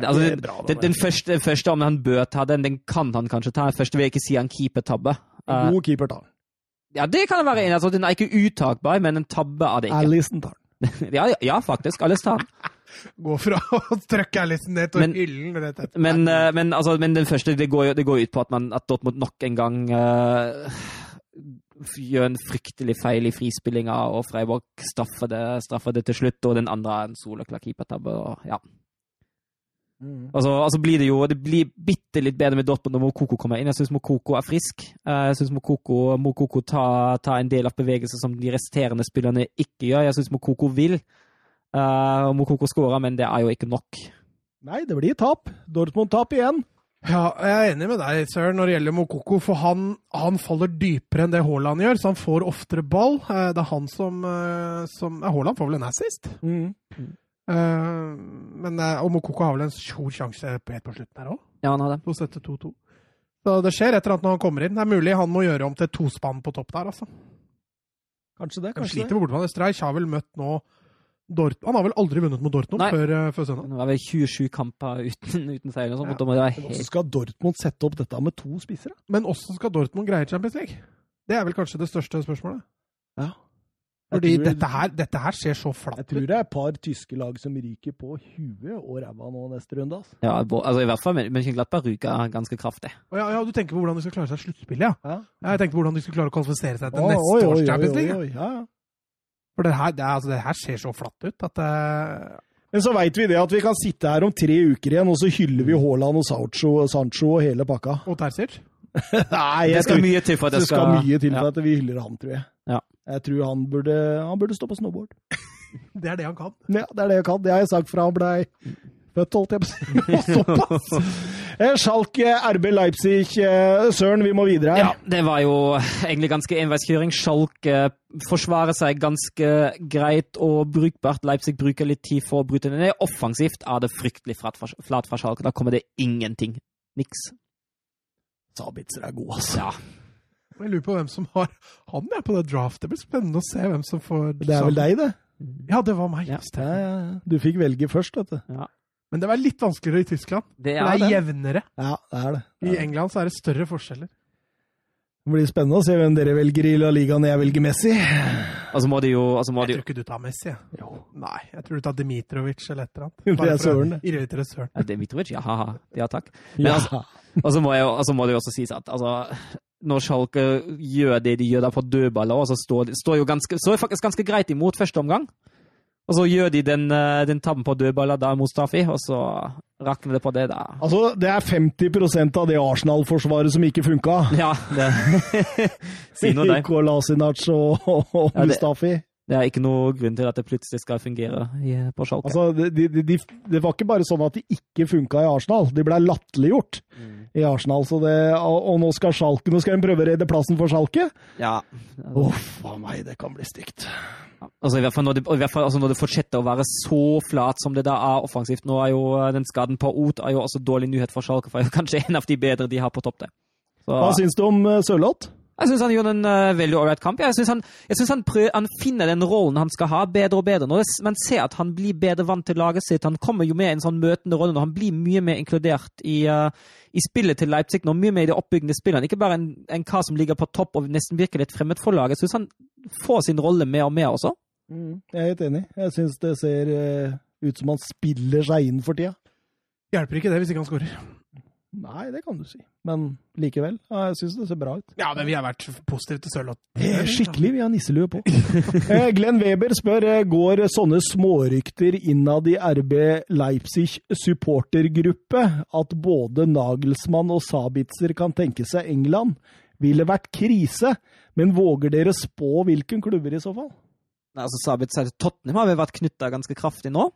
C: det, altså, den, den, første, den første, om han bør ta den, den kan han kanskje ta. Den første vil jeg ikke si han keepertabbe. Eh,
A: God keeper tar den.
C: ja, det kan det være enig i. Altså, den er ikke uttakbar, men en tabbe er det ikke.
A: Allison tar den.
C: Ja, ja, ja faktisk. Alle tar den.
B: Gå fra å trykke Alison ned til
C: Men-
B: hyllen rett etter.
C: Men, eh, men, altså, men den første, det går, jo- det går ut på at, man, at Dortmund nok en gang eh, gjør en fryktelig feil i frispillinga, og Freiburg straffer det, straffer det til slutt, og den andre er en soleklar keepertabbe. og Ja. Og så altså blir det jo Det blir bitte litt bedre med Dortmund når Mokoko kommer inn. Jeg syns Mokoko er frisk. Eh, Jeg syns Mokoko, Mokoko tar, tar en del av bevegelser som de resterende spillerne ikke gjør. Jeg syns Mokoko vil. Eh, Og Mokoko skårer, men det er jo ikke nok.
A: Nei, det blir tap. Dortmund-tap igjen.
B: Ja, jeg er enig med deg, Søren, når det gjelder Mokoko. For han, han faller dypere enn det Haaland gjør, så han får oftere ball. Eh, Det er han som, eh, som ja, Haaland får vel en assist.
A: Mm.
B: Eh, Men, eh, og Mokoko har vel en stor sjanse på- helt på slutten her òg.
C: Ja, han har det.
B: To setter 2-2. Så det skjer et eller annet når han kommer inn. Det er mulig han må gjøre om til et tospann på topp der, altså.
A: Kanskje det,
B: De
A: kanskje
B: sliter
A: det.
B: med bortebane. Streich har vel møtt nå Dort Han har vel aldri vunnet mot Dortmund
C: Nei.
B: før, eh, før søndag?
C: Det var vel 27 kamper uten, uten seier. eller noe sånt,
B: Ja.
C: og da må det være
A: Hvordan
C: helt
A: skal Dortmund sette opp dette med to spisser? da?
B: Men åssen skal Dortmund greie Champions League? Det er vel kanskje det største spørsmålet.
A: Jeg
B: Fordi
A: tror-
B: dette her, dette her ser så
A: Jeg
B: flatt
A: tror
B: ut.
A: det er et par tyske lag som ryker på huet og ræva nå neste runde. Altså.
C: ja, bo- altså I hvert fall Mönchenglattberg ryker ganske kraftig.
B: Å Ja, ja, du tenker på hvordan de skal klare seg i sluttspillet, ja.
A: Ja.
B: Jeg tenkte på hvordan de skulle klare å kvalifisere seg til
A: Oi,
B: neste
A: oi,
B: års
A: oi,
B: Champions League.
A: oi, oi, ja, ja.
B: For det her, det, er- altså, det her ser så flatt ut at eh,
A: Men så veit vi det at vi kan sitte her om tre uker igjen, og så hyller vi Haaland og Sancho, Sancho og hele pakka.
B: Og Terzic.
A: Nei,
C: Det
A: jeg
C: skal
A: tror
C: mye til for at
A: det
C: det
A: skal mye til
C: ja.
A: for at vi hyller ham, tror jeg.
C: Ja.
A: Jeg tror han burde, han burde stå på snowboard.
B: Det er det han kan.
A: Ja, det er det jeg kan. Det har jeg sagt fra han blei født, holdt jeg på å si. Såpass! Eh, Schalke, RB Leipzig. eh, Søren, vi må videre her.
C: Ja, det var jo egentlig ganske enveiskjøring. Schalke eh, forsvarer seg ganske greit og brukbart. Leipzig bruker litt tid for å bryte det ned. Offensivt er det fryktelig flat fra, flat fra Schalke. Da kommer det ingenting. Niks.
A: Sabitzer er god, altså.
C: Ja.
B: Jeg lurer på hvem som har han er på det draftet. Det blir spennende å se hvem som får
A: Det er vel deg, det?
B: Ja, det var meg.
C: Ja.
A: Ja, ja. ja. Du fikk velge først, vet du.
B: Men det var litt vanskeligere i Tyskland.
C: Det
B: for det
C: er
B: er
C: det.
B: jevnere.
A: Ja, det er det.
B: I England så er det større forskjeller.
A: Det blir spennende å se hvem dere velger i La Liga når jeg velger Messi.
C: Og så må de jo, og så må
B: Jeg
C: de,
B: tror ikke du tar Messi. jeg.
A: Jo.
B: Nei, jeg tror du tar Dmitrovic eller et eller annet.
A: Det er
B: Bare for å
A: Søren, det.
B: Irritere Søren.
C: ja, det er Mitrovic, ja, ha, ha. ja takk. Men
A: Ja.
C: altså- Og så må, jeg, og så må det jo også sies at altså, når Schalke gjør det de gjør der på dødballer, og så står, står jo ganske, så er det faktisk ganske greit imot første omgang. Og Og så gjør de den, eh, den tabben på dødballer da, Mustafi, og så rakner det på det, da.
A: Altså, det er 50 av det Arsenal-forsvaret som ikke funka.
C: Ja, det Si noe, deg.
A: Kolasinac og, og
C: Ja, det-
A: Mustafi.
C: Det er ikke noe grunn til at det plutselig skal fungere i- på Schalke.
A: Altså, de, de, de, det var ikke bare sånn at de ikke funka i Arsenal, de ble latterliggjort i Arsenal. Så det, og, og nå skal Schalke, nå skal en prøve å redde plassen for Schalke.
C: ja.
A: Uff a meg, det kan bli stygt.
C: Altså, i hvert fall når det, og i hvert fall, altså, når det fortsetter å være så flat som det da er offensivt. Nå er jo eh, den skaden på Ot er jo også dårlig nyhet for Schalke, for det er jo kanskje en av de bedre de har på topp der. Så,
A: Hva syns du om eh, Sørloth?
C: jeg syns han gjorde en eh, veldig ålreit kamp. Jeg syns han, jeg synes han, prøv, han finner den rollen han skal ha, bedre og bedre. Når det, s- man ser at han blir bedre vant til laget sitt. Han kommer jo med i en sånn møtende rolle når han blir mye mer inkludert i, eh, i spillet til Leipzig. Når mye mer i det oppbyggende spillet. Han er Ikke bare en, en kar som ligger på topp og nesten virker litt fremmed for laget. Jeg syns han får sin rolle mer og mer også.
A: Jeg er helt enig. Jeg syns det ser eh, ut som han spiller seg inn for tida.
B: Hjelper ikke det hvis ikke han skårer.
A: Nei, det kan du si. Men likevel. Ja, jeg syns det ser bra ut.
B: Ja, men vi har vært positive til Sørloth.
A: Eh, Skikkelig, vi har nisselue på. Eh, Glenn Weber spør eh, går sånne smårykter innad i RB Leipzig supportergruppe at både Nagelsmann og Sabitzer kan tenke seg England. Ville vært krise, men våger dere spå hvilken klubber i så fall?
C: Nei, altså Sabitzer til Tottenham har vel vært knytta ganske kraftig nå.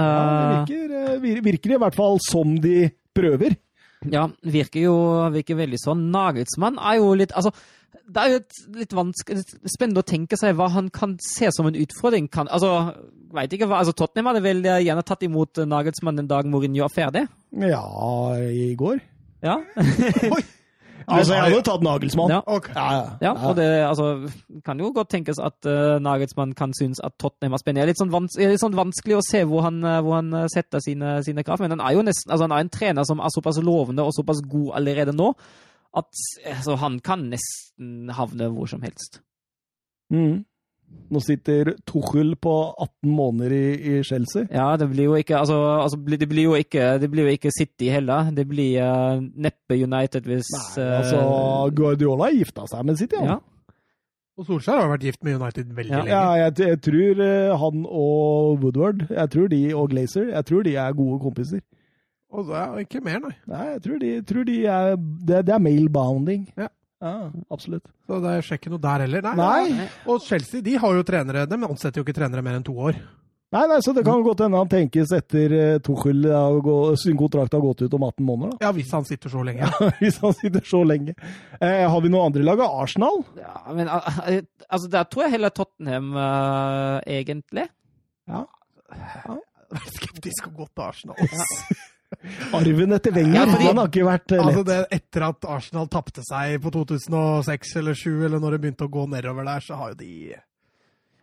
A: Ja, det virker, eh, vir- virker i hvert fall som de prøver.
C: Eh, ja, virker jo virker veldig sånn. Nagelsmann er jo litt Altså, det er jo et, litt vanskelig Spennende å tenke seg hva han kan se som en utfordring. Kan, altså, vet ikke hva, altså Tottenham hadde vel eh, gjerne tatt imot eh, Nagelsmann den dagen Mourinho er ferdig.
A: Ja, i går.
C: Ja,
A: Altså, jeg hadde tatt Nagelsmann.
C: ja.
B: Ok.
C: Ja, og det altså, kan jo godt tenkes at eh, Nagelsmann kan synes at Tottenham er spennende. Det er litt sånn, vans det er litt sånn vanskelig å se hvor han, eh, hvor han eh, setter sine, sine krav, men han er jo nesten, altså, han er en trener som er såpass lovende og såpass god allerede nå, at eh, altså, han kan nesten havne hvor som helst.
A: Mm. Nå sitter Tuchel på 18 måneder i, i Chelsea.
C: Ja, det blir jo ikke, altså, altså bli- det blir jo ikke, det blir jo ikke City heller. Det blir eh, neppe United hvis
A: Nei,
C: eh,
A: altså, Guardiola gifta seg med City,
C: ja.
A: han.
B: Og Solskjær har vært gift med United veldig
C: Ja.
A: Ja,
B: lenge.
A: jeg, t- jeg tror eh, han og Woodward, jeg tror de og Glazer, jeg tror de er gode kompiser.
B: Og så, ja, ikke mer, nei.
A: Nei, jeg tror de, tror de er Det, det er mail-bounding.
B: Ja.
A: absolutt.
B: Så det er ikke noe der heller. Nei.
A: Nei.
C: Nei.
B: Og Chelsea de har jo trenere, de ansetter jo ikke trenere mer enn to år.
A: Nei, nei, så det kan godt hende han tenkes etter eh, Tuchel har gå- sin kontrakt har gått ut om 18 måneder,
B: Ja, hvis han sitter så lenge.
A: da. Hvis han sitter så lenge. Eh, har vi noe andre lag av Arsenal?
C: Ja, men al- al- altså, der tror jeg heller Tottenham, eh, egentlig.
B: Vær skeptisk og godt til Arsenal.
A: Arven etter Wenger,
C: Ja, fordi-
A: han har ikke vært eh,
B: Altså det, etter at Arsenal tapte seg på 2006 eller 2007, eller når det begynte å gå nedover der, så har jo de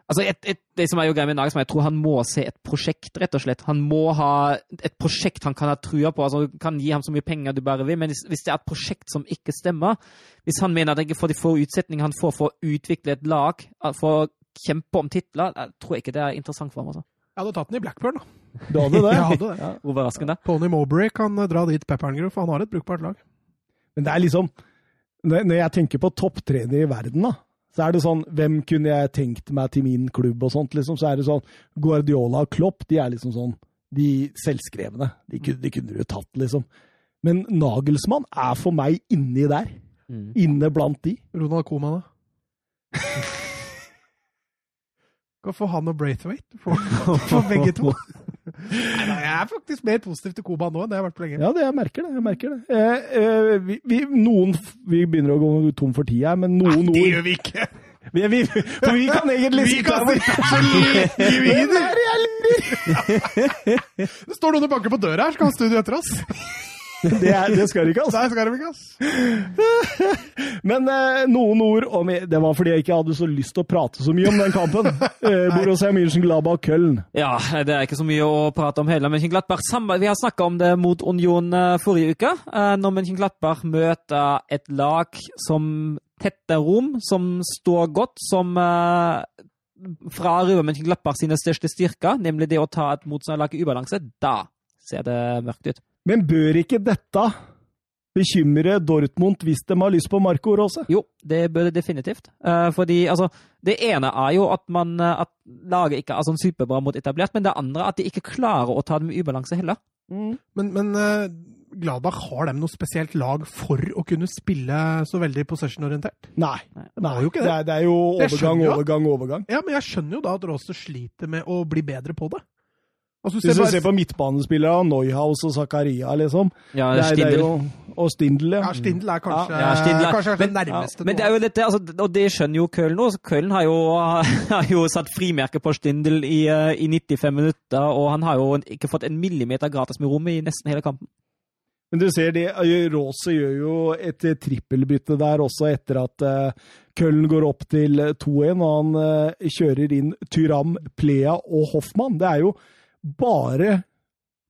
C: Altså, et, et, det som er jo greia med Nagelsmann, jeg tror han må se et prosjekt, rett og slett. Han må ha et prosjekt han kan ha trua på. altså Du kan gi ham så mye penger du bare vil, men hvis, hvis det er et prosjekt som ikke stemmer Hvis han mener at han ikke får de få utsetningene han får for å utvikle et lag, for å kjempe om titler, jeg tror jeg ikke det er interessant for ham. altså.
B: Jeg hadde tatt den i Blackburn, da.
A: Du hadde det?
B: Jeg hadde det.
C: Overraskende.
B: Tony Mowbray kan eh, dra dit Pepperngrew, for han har et brukbart lag.
A: Men det er liksom Når når jeg tenker på topptrenere i verden, da, så er det sånn Hvem kunne jeg tenkt meg til min klubb og sånt, liksom? Så er det sånn Guardiola og Klopp, de er liksom sånn De selvskrevne. De kunne, de kunne du tatt, liksom. Men Nagelsmann er for meg inni der.
C: Mm.
A: Inne blant de.
B: Ronald Koeman, da. Kan få han og Braithwaite. For, for begge to. Nei, da, jeg er faktisk mer positiv til Koeman nå enn det jeg har vært på lenge.
A: Ja, det, jeg merker det. jeg merker det. Eh, eh, vi, vi, noen, f- vi begynner å gå tom for tid her, men noen
B: Det
A: ord
B: gjør vi ikke!
A: vi, vi, For vi kan egentlig
B: Vi
A: sitte
B: kan
A: her og-
B: sitte her så lenge vi
A: Hvem
B: vil!
A: er det jeg lurer?
B: Det står noen og banker på døra her, skal ha studio etter oss. Nei,
A: Det, er, det skal du ikke, altså.
B: skal de ikke, ass.
A: Men eh, noen ord om Det var fordi jeg ikke hadde så lyst til å prate så mye om den kampen. Eh, Borussia München-Glaba-Köln.
C: Ja, det er ikke så mye å prate om heller. Mönchenglattberg sam- Vi har snakka om det mot Union eh, forrige uke. eh, Når Mönchenglattberg møter et lag som tetter rom, som står godt, som eh, frarøver Mönchenglattberg sine største styrker, nemlig det å ta et motstanderlag i ubalanse, da ser det mørkt ut.
A: Men bør ikke dette bekymre Dortmund hvis de har lyst på Marco Rose?
C: Jo, det bør det definitivt. Eh, fordi altså, det ene er jo at, man, eh, at laget ikke er sånn superbra mot etablert, men det andre er at de ikke klarer å ta det med ubalanse heller.
B: Men, men eh, Gladbach, har de noe spesielt lag for å kunne spille så veldig possession-orientert?
A: Nei.
B: De har jo ikke
A: Det
B: det.
A: er, det er jo
B: Jeg skjønner
A: overgang,
B: jo.
A: overgang, overgang.
B: Ja, men jeg skjønner jo da at Råster sliter med å bli bedre på det. Altså,
A: Hvis
B: se
A: du
B: bare-
A: ser på midtbanespillere, Neuhaus og Zakaria, liksom.
C: Ja,
A: Det er, det er
C: Stindl.
A: jo, og Stindel,
B: ja, Stindl er kanskje,
C: Ja, Stindl er-
B: kanskje det
C: men-
B: nærmeste.
C: Men det er jo litt, det, altså, og det skjønner jo Køln nå. så Køln har jo, har jo satt frimerke på Stindl i, eh, i 95 minutter, og han har jo ikke fått en millimeter gratis med rommet i nesten hele kampen.
A: Men du ser, det, Rose gjør jo et eh, trippelbytte der også, etter at eh, Køln går opp til 2-1, og han eh, kjører inn Tyram, Plea og Hoffmann. Det er jo bare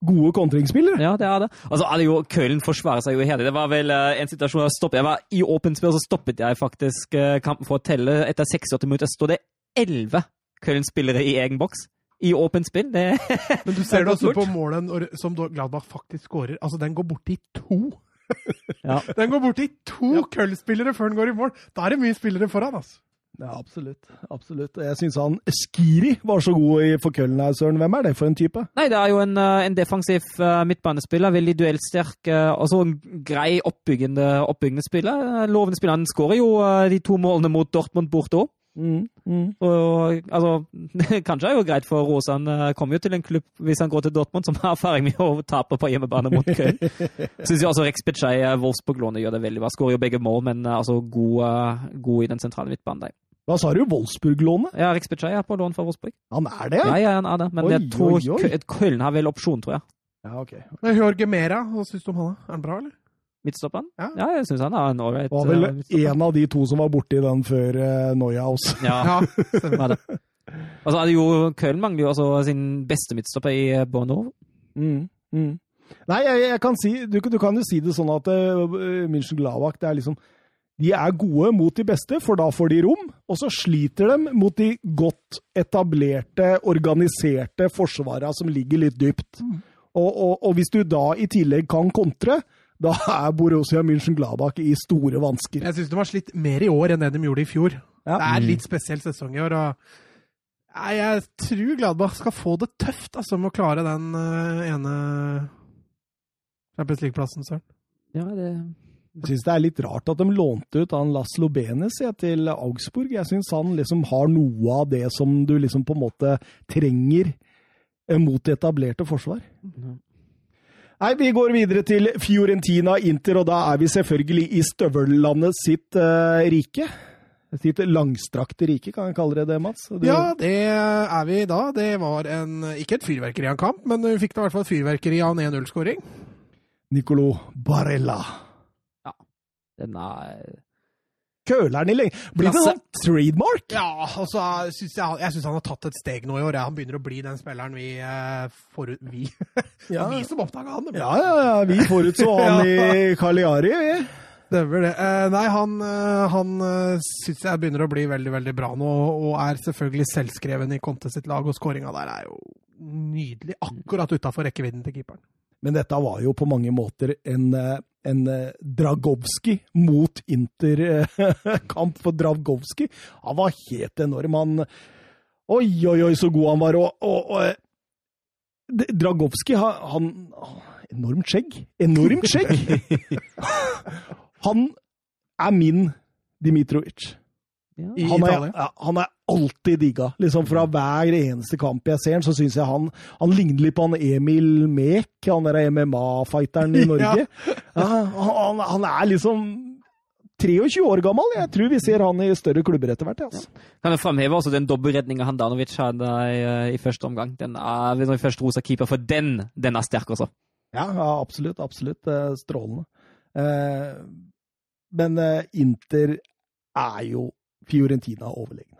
A: gode kontringsspillere.
C: Ja, det er det. Altså, alle jo, Køln forsvarer seg jo hele. Det var vel eh, en situasjon der jeg stoppet. Jeg var i åpent spill, og så stoppet jeg faktisk eh, kampen for å telle. Etter 86 minutter står det 11 Køln-spillere i egen boks. I åpent spill. Det,
B: Men du
C: Det
B: ser
C: er
B: det
C: godt
B: også på
C: gjort.
B: målet når- som da Gladbach faktisk skårer. Altså, den går bort i to.
C: Ja.
B: Den går bort i to køllspillere før den går i mål. Da er det mye spillere foran, altså.
A: Ja, absolutt. absolutt. Og Jeg syns han Skiri var så god i- for Køln her, Søren. Hvem er det for en type?
C: Nei, det er jo en, eh, en defensiv eh, midtbanespiller. Veldig duellsterk eh, og så en grei oppbyggende, oppbyggende spiller. Eh, Lovende spiller. Han skårer jo eh, de to målene mot Dortmund borte òg.
A: Mm,
C: Og altså, kanskje er det jo greit for Rose. Han eh, kommer jo til en klubb, hvis han går til Dortmund, som har erfaring med å tape på hjemmebane mot Köln. Syns jo altså Rex Pechey Wolfsburg-lånet gjør det veldig bra. Skårer jo begge mål, men eh, altså god, eh, god i den sentrale midtbanen der.
A: Hva sa du? Wolfsburg-lånet?
C: Ja, Rex Pechey er på lån fra Wolfsburg.
A: Han er det?
C: Ja, ja, han er det. Men
A: Oi,
C: jeg tror
A: oi, oi.
C: Kø- Köln har vel opsjon, tror jeg.
A: ja ok.
B: Men Jorge Mera, hva syns du om han? da? Er han bra, eller?
C: Midtstopperen?
B: Ja.
C: Ja, jeg syns han er en ålreit
A: Det var vel
C: eh, midtstopper.
A: en av de to som var borti den før uh, Neuhaus.
C: Ja,
B: Ja, stemmer.
C: var det. Og så er det jo Köln mangler jo også sin beste midtstopper i eh, Borno.
A: Nei, jeg, jeg kan si, du, du kan jo si det sånn at eh, München Gladbach det er liksom, de er gode mot de beste, for da får de rom. Og så sliter de mot de godt etablerte, organiserte forsvarene som ligger litt dypt. Og, og, og hvis du da i tillegg kan kontre, da er Borussia München Gladbach i store vansker.
B: Jeg syns de har slitt mer i år enn det de gjorde i fjor.
A: Ja.
B: Det er
C: Mm.
B: litt spesiell sesong i år. og Nei, jeg tror Gladbach skal få det tøft altså, med å klare den eh, ene Champions League-plassen, Søren.
C: Mm. Ja, det...
A: Jeg syns det er litt rart at de lånte ut han Laszlo Benes ja, til Augsburg. Jeg syns han liksom har noe av det som du liksom på en måte trenger eh, mot det etablerte forsvar.
C: Mhm.
A: Nei, Vi går videre til Fiorentina Inter, og da er vi selvfølgelig i støvellandet sitt eh, rike. Sitt langstrakte rike, kan jeg kalle det det, Mats? Du,
B: Ja, det er vi da. Det var en, ikke et fyrverkeri av en kamp, men vi fikk da i hvert fall et fyrverkeri av en 1-0-skåring.
A: Nicolo Barella.
C: Den er
A: Køleren i lenge. Blir det
C: Klasse.
A: sånn trademark?
B: Ja, altså, synes jeg, jeg syns han har tatt et steg nå i år. Ja. Han begynner å bli den spilleren vi eh, forut... Vi, Det var vi som oppdaga han! det ble-
A: Ja, ja, ja. Vi forutså han i Cagliari, vi.
B: Stemmer det. Eh, nei, han, eh, han syns jeg begynner å bli veldig veldig bra nå, og er selvfølgelig selvskreven i Conte sitt lag, og skåringa der er jo nydelig. Akkurat utafor rekkevidden til keeperen.
A: Men dette var jo på mange måter en, eh, en eh, Dragowski mot Inter-kamp for Dragowski. Han var helt enorm. Han Oi, oi, oi, så god han var. Og, og, og eh, D- Dragowski, han, han Enormt skjegg. Enormt skjegg! han er min Dimitrovic.
C: ja.
B: I
A: Han er,
B: Italia.
A: ja, han er alltid digga. Liksom fra hver eneste kamp jeg ser han, så syns jeg han, han ligner litt på han Emil Mek, han der MMA-fighteren i Norge. ja, han, han er liksom 23 år gammel. Jeg tror vi ser han i større klubber etter hvert. jeg, Altså.
C: Kan jeg fremheve også den dobbeltredninga Handanovic hadde i, eh, i første omgang? Den er, Når vi først roser keeper, for den den er sterk også.
A: Ja, ja, absolutt. Absolutt. eh, Strålende. Eh, Men eh, Inter er jo Fiorentina overlegne.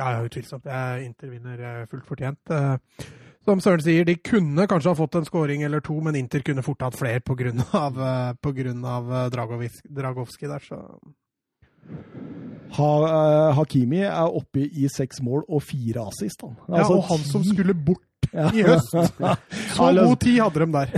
B: Ja, ja, utvilsomt. Jeg Inter vinner eh, fullt fortjent. Eh, Som Søren sier, de kunne kanskje ha fått en scoring eller to, men Inter kunne fort hatt flere eh, pga. Dragovskij der, så
A: Ha, eh, Hakimi er oppe i seks mål og fire assist. Han.
B: Ja,
A: Altså,
B: og han som
A: ti-
B: skulle bort i høst. Så
A: Alle-
B: god tid hadde de der.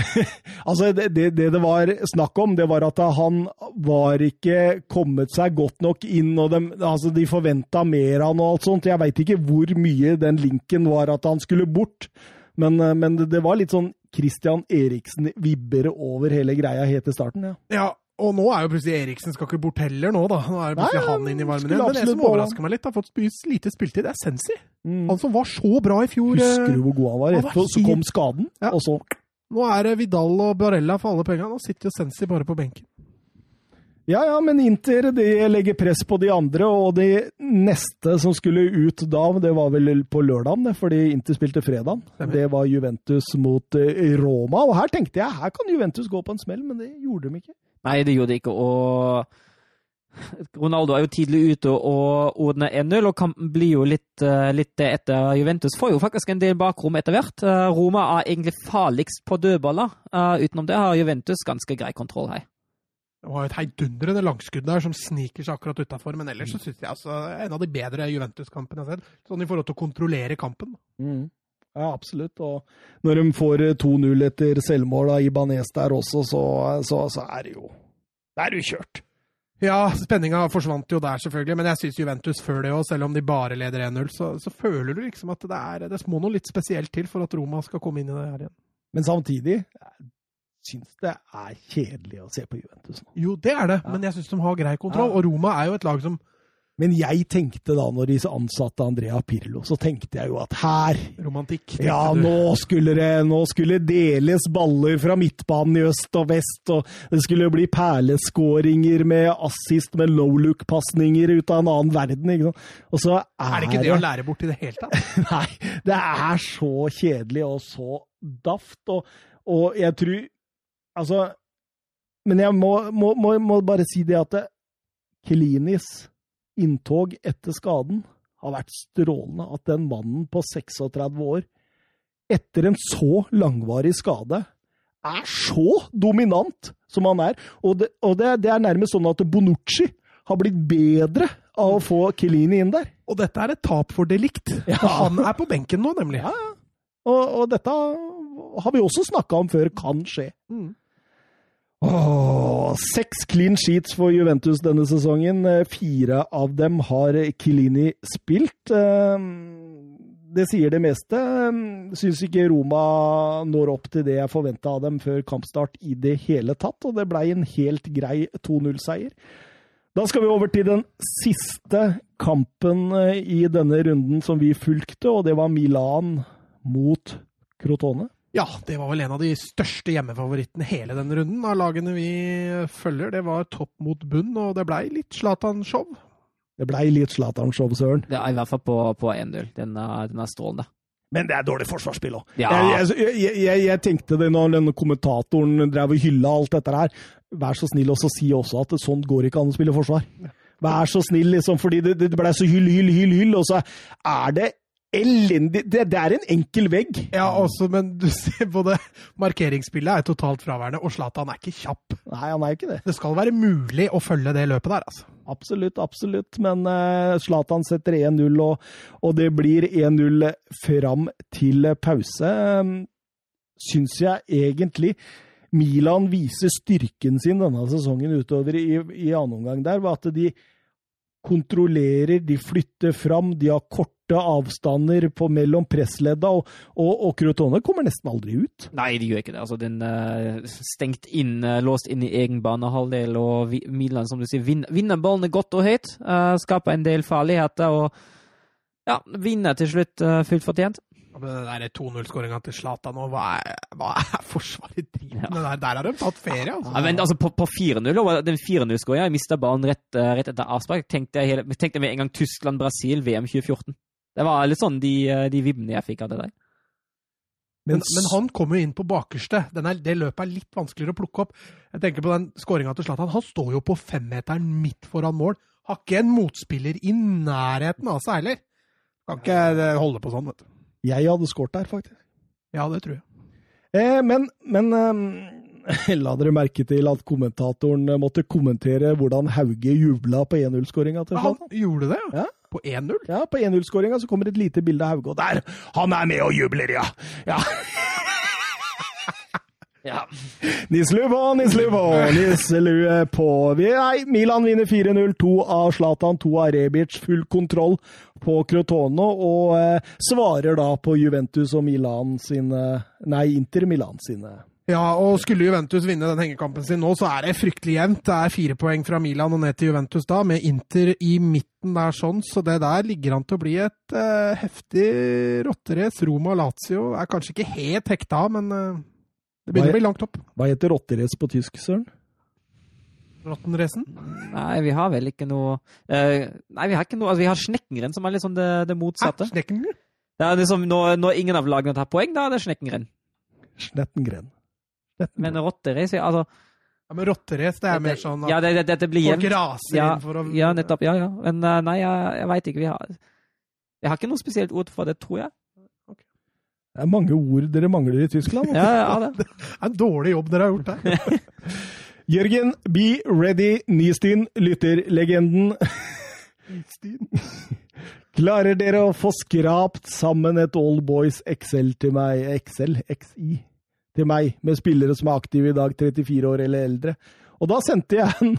A: Altså, det, det det det var snakk om, det var at han var ikke kommet seg godt nok inn, og de, altså, de forventa mer av han og alt sånt. Jeg veit ikke hvor mye den linken var at han skulle bort, men, eh, men det, det var litt sånn Christian Eriksen-vibber over hele greia helt til starten, ja.
B: Ja, og nå er jo plutselig Eriksen skal ikke bort heller nå, da. Nå er det plutselig
A: Nei,
B: han inn i varmen
A: skulle
B: igjen. Men det
A: absolutt
B: som
A: på han.
B: overrasker meg litt, har fått spis- lite spiltid, det er Sensi.
A: Mm.
B: Han som var så bra i fjor.
A: Husker
B: eh,
A: du hvor god han var?
B: Han var
A: Etterpå så
B: helt-
A: kom skaden,
B: Ja.
A: og så
B: Nå er det Vidal og Barella for alle pengene. Nå sitter jo Sensi bare på benken.
A: Ja, ja, men Inter de legger press på de andre, og de neste som skulle ut da, det var vel på lørdagen, det, fordi Inter spilte fredag.
B: Stemmer.
A: Det var Juventus mot eh, Roma, og her tenkte jeg her kan Juventus gå på en smell, men det gjorde de ikke.
C: Nei, det gjorde det ikke. Og Ronaldo er jo tidlig ute og ordner 1-0, og kampen blir jo litt, eh, litt det etter Juventus. Får jo faktisk en del bakrom etter hvert. Eh, Roma er egentlig farligst på dødballer. Eh, Utenom det har Juventus ganske grei kontroll her.
B: Det var jo et heidundrende langskudd der som sniker seg akkurat utafor. Men
A: Mm.
B: ellers så syns jeg altså en av de bedre Juventus-kampene jeg har sett. Sånn i forhold til å kontrollere kampen.
A: Ja, absolutt. Og når de får eh, 2-0 etter selvmål av Ibanez der også, så, eh, så, så er det jo Da er det jo kjørt.
B: Ja, spenninga forsvant jo der, selvfølgelig. Men jeg syns Juventus før det òg, selv om de bare leder 1-0, så, så føler du liksom at det er Det må noe litt spesielt til for at Roma skal komme inn i det her igjen.
A: Men samtidig jeg syns det er kjedelig å se på Juventus nå.
B: Jo, det er det,
A: Ja.
B: men jeg syns de har grei kontroll.
A: Ja.
B: Og Roma er jo et lag som
A: Men jeg tenkte da, når de ansatte Andrea Pirlo, så tenkte jeg jo at her
B: romantikk.
A: ja,
B: tenkte du.
A: nå skulle det nå skulle deles baller fra midtbanen i øst og vest, og det skulle bli perleskåringer med assist med low look-pasninger ut av en annen verden. ikke sant? Og så er,
B: Er det ikke det å lære bort i det hele tatt?
A: Nei, det er så kjedelig og så daft, og, og jeg tror Altså Men jeg må, må, må, må bare si det at det- Kelinis inntog etter skaden har vært strålende. At den mannen på 36 år, etter en så langvarig skade, er så dominant som han er. Og det, og det, det er nærmest sånn at Bonucci har blitt bedre av å få Kelini inn der.
B: Og dette er et tap for delikt.
A: Ja.
B: For Han er på benken nå, nemlig.
A: Ja, Og, og dette har vi også snakka om før kan skje.
B: Mm.
A: Åh, seks clean sheets for Juventus denne sesongen. Eh, Fire av dem har Kilini spilt. Eh, Det sier det meste. Syns ikke Roma når opp til det jeg forventa av dem før kampstart i det hele tatt, og det blei en helt grei 2-0-seier. Da skal vi over til den siste kampen eh, i denne runden som vi fulgte, og det var Milan mot Crotone.
B: Ja, det var vel en av de største hjemmefavorittene hele denne runden av lagene vi følger. Det var topp mot bunn, og det blei litt Zlatan-show.
A: Det blei litt Zlatan-show, søren.
C: Det er i hvert fall på, på 1-0. Den, er- den er strålende.
A: Men det er dårlig forsvarsspill òg.
C: Ja.
A: Jeg, jeg, jeg, jeg, jeg tenkte det når denne kommentatoren drev og hylla alt dette her. Vær så snill også si også at sånn går ikke an å spille forsvar. Vær så snill, liksom, fordi det, det ble så hyll, hyll, hyll, hyll, og så er det elendig Det, det er en enkel vegg.
B: Ja,
C: Mm.
B: også, men du ser både markeringsspillet er totalt fraværende, og Zlatan er ikke kjapp.
A: Nei, han er jo ikke det.
B: Det skal være mulig å følge det løpet der, altså.
A: Absolutt, absolutt. Men eh, Zlatan setter 1-0, og, og det blir 1-0 fram til pause. Ehm, Syns jeg egentlig Milan viser styrken sin denne sesongen utover i, i annen omgang der, ved at de kontrollerer, de flytter fram, de har korte avstander på mellom pressledda, og, og, og Crotone kommer nesten aldri ut.
C: Nei, de gjør ikke det. Altså, den eh, stengt inn, eh, låst inn i egen banehalvdel, og vi, Milan, som du sier, vin, vinner ballene godt og høyt. eh, skaper en del farligheter, og ja, vinner til slutt eh, fullt fortjent.
B: Ja, Men den der 2-0-skåringa til Zlatan og hva er, hva er forsvaret driver med der? Der har de tatt ferie,
C: Ja,
B: altså.
C: men altså på, på 4-0, og den 4-0-skåringen, jeg mista ballen rett, eh, rett etter avspark. Tenkte jeg, hele, tenkte jeg med en gang Tyskland-Brasil, VM 2014. Det var litt sånn de, eh, de vibbene jeg fikk av det der.
B: Men, men han kommer jo inn på bakerste. Den er, det løpet er litt vanskeligere å plukke opp. Jeg tenker på den skåringa til Zlatan. Han står jo på femmeteren midt foran mål. Har ikke en motspiller i nærheten av seg heller. Kan ikke eh, holde på sånn, vet du.
A: Jeg hadde skåret der, faktisk.
B: Ja, det tror jeg.
A: Eh, men men eh, la dere merke til at eh, kommentatoren måtte kommentere hvordan Hauge jubla på 1-0-skåringa til
B: Men han
A: Zlatan?
B: gjorde det,
A: Ja.
B: ja. på 1-0.
A: Ja, På 1-0-skåringa så kommer et lite bilde av Hauge, og der! Han er med og jubler, ja! ja.
C: Ja.
A: Nislu på, nislu på, nisselue på. Vi, nei, Milan vinner 4-0. To av Zlatan, to av Rebic. Full kontroll på Crotone, og eh, svarer da på Juventus og Milan sine Nei, Inter Milan sine.
B: Ja, og skulle Juventus vinne den hengekampen sin nå, så er det fryktelig jevnt. Det er fire poeng fra Milan og ned til Juventus da, med Inter i midten der sånn, så det der ligger an til å bli et eh, heftig rotterace. Roma og Lazio er kanskje ikke helt hekta, men eh, det
A: Hva-
B: begynner å bli langt opp.
A: Hva heter rotterace på tysk, søren?
B: Rottenracen.
C: Nei, vi har vel ikke noe eh, Nei, vi har ikke noe Altså, vi har Snekkengrenn, som er litt sånn det, det motsatte.
B: Snekken?
C: Det er liksom, når, når ingen av lagene tar poeng, da er det Snekkengrenn.
A: Schnettengren.
C: Men rotterace ja, altså,
B: Ja, men rotterace, det er mer
C: det-
B: sånn at
C: Ja, det, det, dette blir
B: folk
C: jevnt.
B: raser
C: Ja,
B: inn for å
C: ja, nettopp. Ja, ja. Men eh, nei, jeg, jeg veit ikke. Vi har Jeg har ikke noe spesielt ord for det, tror jeg.
A: Det er mange ord dere mangler i Tyskland.
C: Ja, ja, ja,
B: Det
C: det.
B: er en dårlig jobb dere har gjort der.
A: Jørgen, be ready, Nystien, lytterlegenden. Klarer dere å få skrapt sammen et Old Boys XL til meg XL? XI? Til meg, med spillere som er aktive i dag, 34 år eller eldre. Og da sendte jeg en,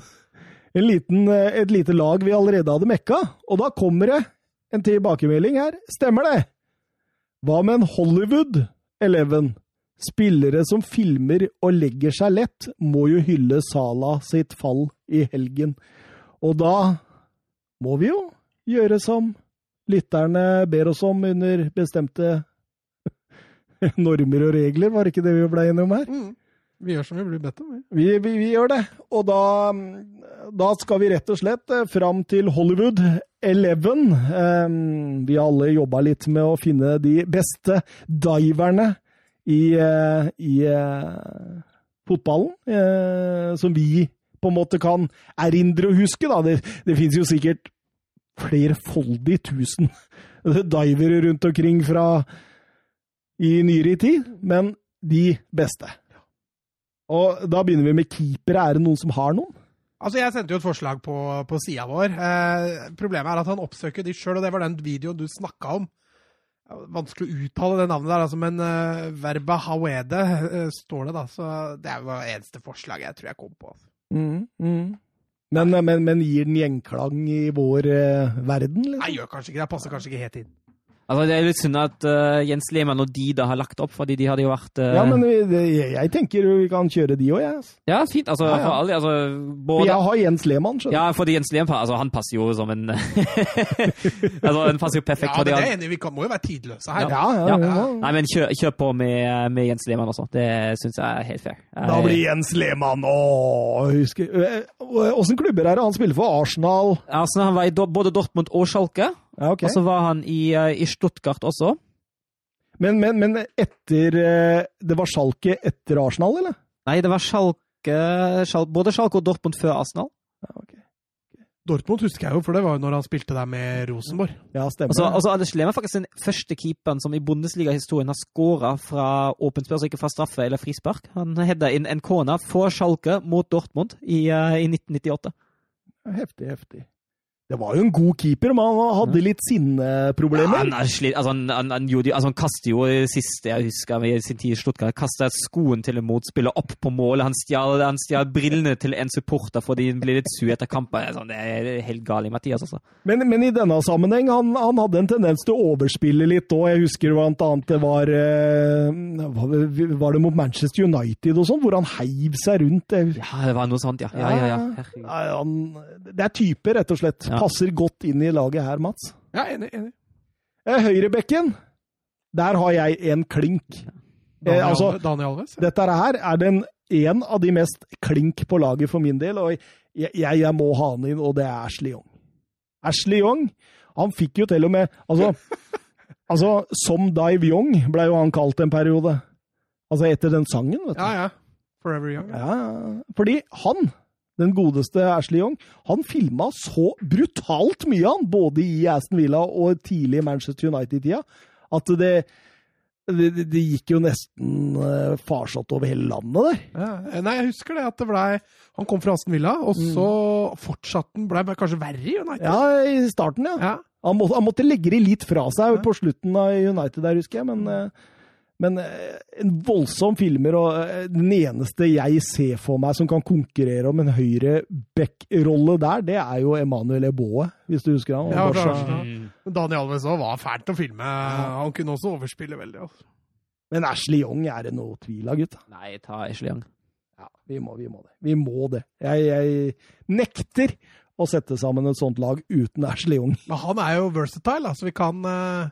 A: en liten, et lite lag vi allerede hadde mekka, og da kommer det en tilbakemelding her. Stemmer det? Hva med en Hollywood 11? Spillere som filmer og legger seg lett, må jo hylle Sala sitt fall i helgen. Og da må vi jo gjøre som lytterne ber oss om under bestemte normer og regler, var det ikke det vi ble enige om her?
B: Mm. Vi gjør som vi blir bedt om. vi.
A: Vi, vi, vi gjør det, og da, mm, da skal vi rett og slett eh, fram til Hollywood 11. Em, Vi har alle jobba litt med å finne de beste diverne i, eh, i eh, fotballen, eh, som vi på en måte kan erindre og huske. Da. Det, det finnes jo sikkert flerfoldig tusen divere rundt omkring fra i nyere tid, men de beste. Og da begynner vi med keepere. Er det noen som har noen?
B: Altså, Jeg sendte jo et forslag på, på sida vår. Eh, problemet er at han oppsøker de sjøl, og det var den videoen du snakka om. Vanskelig å uttale det navnet der, altså, men eh, verba hawede eh, står det, da. Så det var det eneste forslaget jeg tror jeg kom på. altså.
A: Mm, Men, eh, men, men gir den gjenklang i vår eh, verden?
B: Nei,
A: Liksom?
B: gjør kanskje ikke det. Passer kanskje ikke helt inn.
C: Altså, det er jo litt synd at eh, Jens Lehmann og de da har lagt opp, fordi de hadde jo vært eh,
A: Ja, men vi, det, jeg- jeg tenker vi kan kjøre de òg, jeg. ass.
C: ja, fint. Altså,
A: Ja, ja.
C: for alle altså,
A: For
C: både,
A: Jeg har Jens Lehmann, skjønner du.
C: Ja, fordi Jens Lehmann altså, han passer jo som en Altså, han passer jo perfekt.
B: Ja,
C: for
B: men
C: de
B: det
C: har-
B: er jeg enig i. Vi kan, må jo være tidløse her.
A: Ja, ja,
C: Ja.
A: ja.
C: Nei, men kjør, kjør på med, med Jens Lehmann også. Det syns jeg er helt fair. Eh,
A: Da blir Jens Lehmann Åh, husker Eh, Åssen klubber er det han spiller for? Arsenal? Altså,
C: Arsenal, altså, han var i Do både Dortmund og Schalke,
A: Ja, ok.
C: og så var han i, eh, i Stuttgart også.
A: Men, men, men etter eh, Det var Schalke etter Arsenal, eller?
C: Nei, det var Schalke, Schal både Schalke og Dortmund før Arsenal.
A: Ja, ok.
B: Dortmund husker jeg jo, for det var jo når han spilte der med Rosenborg.
A: ja stemmer.
C: Og så og så Anders Lehmann er faktisk den første keeperen som i Bundesliga-historien har skåra fra åpent spørsmål, ikke fra straffe eller frispark. Han hedda inn en corner for Schalke mot Dortmund i, eh, i 1998.
A: Heftig, heftig. Det var jo en god keeper, men han hadde litt
C: Ja,
A: sinneproblemer.
C: han, er slitt, altså, han, han, han, gjorde, jo- altså, han kastet jo det siste jeg husker i sin tid i Stuttgart. Han kastet skoen til en motspiller opp på målet. Han stjal, han stjal brillene til en supporter fordi han ble litt sur etter kampen. Det er Sånn, det er helt gal i Mathias, altså.
A: Men, men i denne sammenheng, han, han hadde en tendens til å overspille litt òg. Jeg husker blant annet det var eh, hva- Var det mot Manchester United og sånn, hvor han heiv seg rundt? Jeg-
C: Ja, det var noe sånt, ja. Ja, ja, ja. Herregud.
A: Nei, Han, det er typer, rett og slett.
C: Ja.
A: Passer godt inn i laget her, Mats.
B: Ja, enig, enig.
A: Eh, Høyrebekken, der har jeg en klink.
B: Daniel,
A: Eh, altså,
B: Alves- Daniel Alves. ja.
A: Dette her er den en av de mest klink på laget for min del, og jeg, jeg, jeg må ha han inn, og det er Ashley Young. Ashley Young, han fikk jo til og med Altså, altså som Dive Young ble jo han kalt en periode. Altså etter den sangen, vet du.
B: Ja, ja. Forever Young. Ja.
A: Ja, fordi han, den godeste Ashley Young, han filma så brutalt mye, han, både i Aston Villa og tidlig i Manchester United-tida, at det Det, det, det gikk jo nesten eh, farsott over hele landet der.
B: Eh, Nei, jeg husker det at det blei Han kom fra Aston Villa, og så fortsatte han. Blei bare kanskje verre i United.
A: Ja, i starten, ja.
B: Ja.
A: Han, må, han måtte legge det litt fra seg
B: Ja.
A: på slutten av United der, husker jeg. Men, eh, men eh, en voldsom filmer, og eh, den eneste jeg ser for meg som kan konkurrere om en høyre back-rolle der, det er jo Emanuel Eboe, hvis du husker han. Han
B: Ja,
A: var
B: fra
A: så-
B: Arsenal.
C: Mm.
B: Men Daniel Alves òg var fælt å filme. Han kunne også overspille veldig. altså.
A: Men Ashley Young er det noe tvil av, gutta.
C: Nei, ta Ashley Young.
A: Ja, vi må, vi må det. Vi må det. Jeg, jeg nekter å sette sammen et sånt lag uten Ashley Young.
B: Men han er jo versatile, da, så vi kan eh,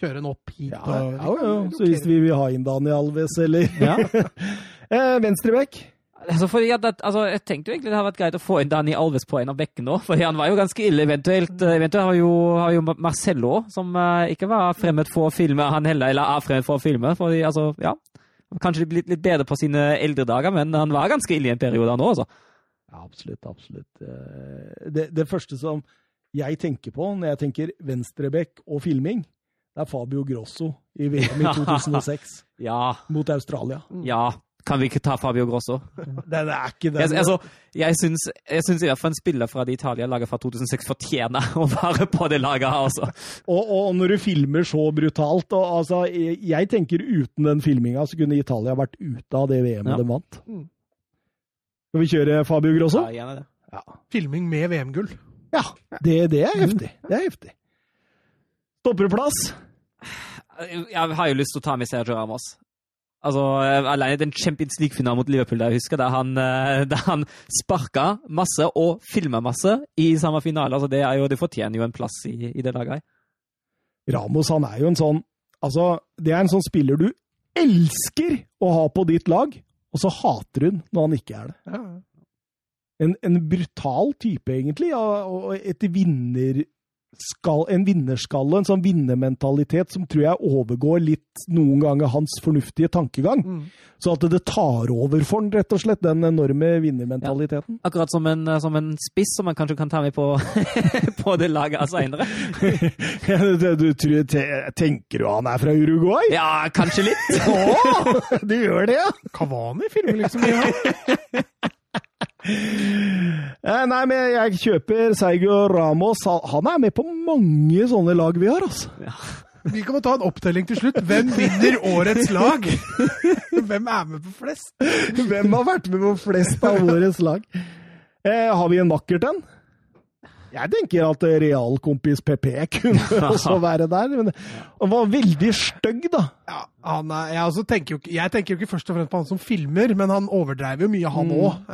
B: kjøre han opp hit.
A: Ja,
B: og,
A: ja, ja. Så hvis vi vil ha inn Daniel Alves, eller
C: Ja.
A: eh, Venstrebekk
C: Altså, fordi at, at- altså, jeg tenkte jo egentlig det hadde vært greit å få inn Dani Alves på en av bekkene òg, fordi han var jo ganske ille. Eventuelt, eh, eventuelt har, jo, har jo Marcello, som eh, ikke var fremmed for å filme, han heller, eller er fremmed for å filme. Fordi, altså, ja. Kanskje de blir litt bedre på sine eldre dager, men han var ganske ille i en periode, han òg, altså.
A: Ja, absolutt, absolutt. Eh, Det, det første som jeg tenker på når jeg tenker venstrebekk og filming, det er Fabio Grosso i VM i 2006
C: Ja.
A: mot Australia.
C: Ja. Kan vi ikke ta Fabio Grosso?
A: Den er ikke den.
C: Jeg, altså, jeg syns jeg syns i hvert fall en spiller fra det Italia-laget fra 2006 fortjener å være på det laget her, altså.
A: Og, og når du filmer så brutalt og, altså, jeg, jeg tenker uten den filminga så kunne Italia vært ute av det VM-et
C: Ja.
A: de vant.
B: Mm.
A: Skal vi kjøre Fabio Grosso?
C: Ja, gjerne det.
A: Ja.
B: Filming med VM-gull.
A: ja det, det er heftig. Det er heftig. Stopperplass?
C: Jeg har jo lyst til å ta med Sergio Ramos. Altså, eh, Alene den Champions League-finalen mot Liverpool der jeg husker, der han, eh, der han sparka masse og filma masse i samme finale. Altså, Det, er jo, det fortjener jo en plass i, i det laget. her.
A: Ramos han er jo en sånn Altså, det er en sånn spiller du elsker å ha på ditt lag, og så hater hun når han ikke er det.
B: Ja.
A: En, en brutal type, egentlig, og og et vinnerskall, en vinnerskalle, en sånn vinnermentalitet som tror jeg overgår litt noen ganger hans fornuftige tankegang.
B: Mm.
A: Så at det tar over for han, rett og slett, den enorme vinnermentaliteten.
C: Akkurat som en, eh, som en spiss som man kanskje kan ta med på, på det laget her seinere.
A: du, du tror, te- tenker du han er fra Uruguay?
C: Ja, kanskje litt.
A: Å, du gjør det, ja?
B: Kavani filmer liksom mye. han.
A: Eh, Nei, men jeg kjøper Sergio Ramos. Han- Han er med på mange sånne lag vi har, altså.
B: Vi kan ta en opptelling til slutt. Hvem vinner årets lag? Hvem er med på flest?
A: Hvem har vært med på flest av årets lag? Eh, har vi en makkert en? Jeg tenker at eh, realkompis PP kunne også være der. Men han var veldig stygg, da.
B: Ja, han er, jeg, også tenker jo ikke, jeg tenker jo ikke først og fremst på han som filmer, men han overdreiv jo mye,
A: Mm.
B: han òg.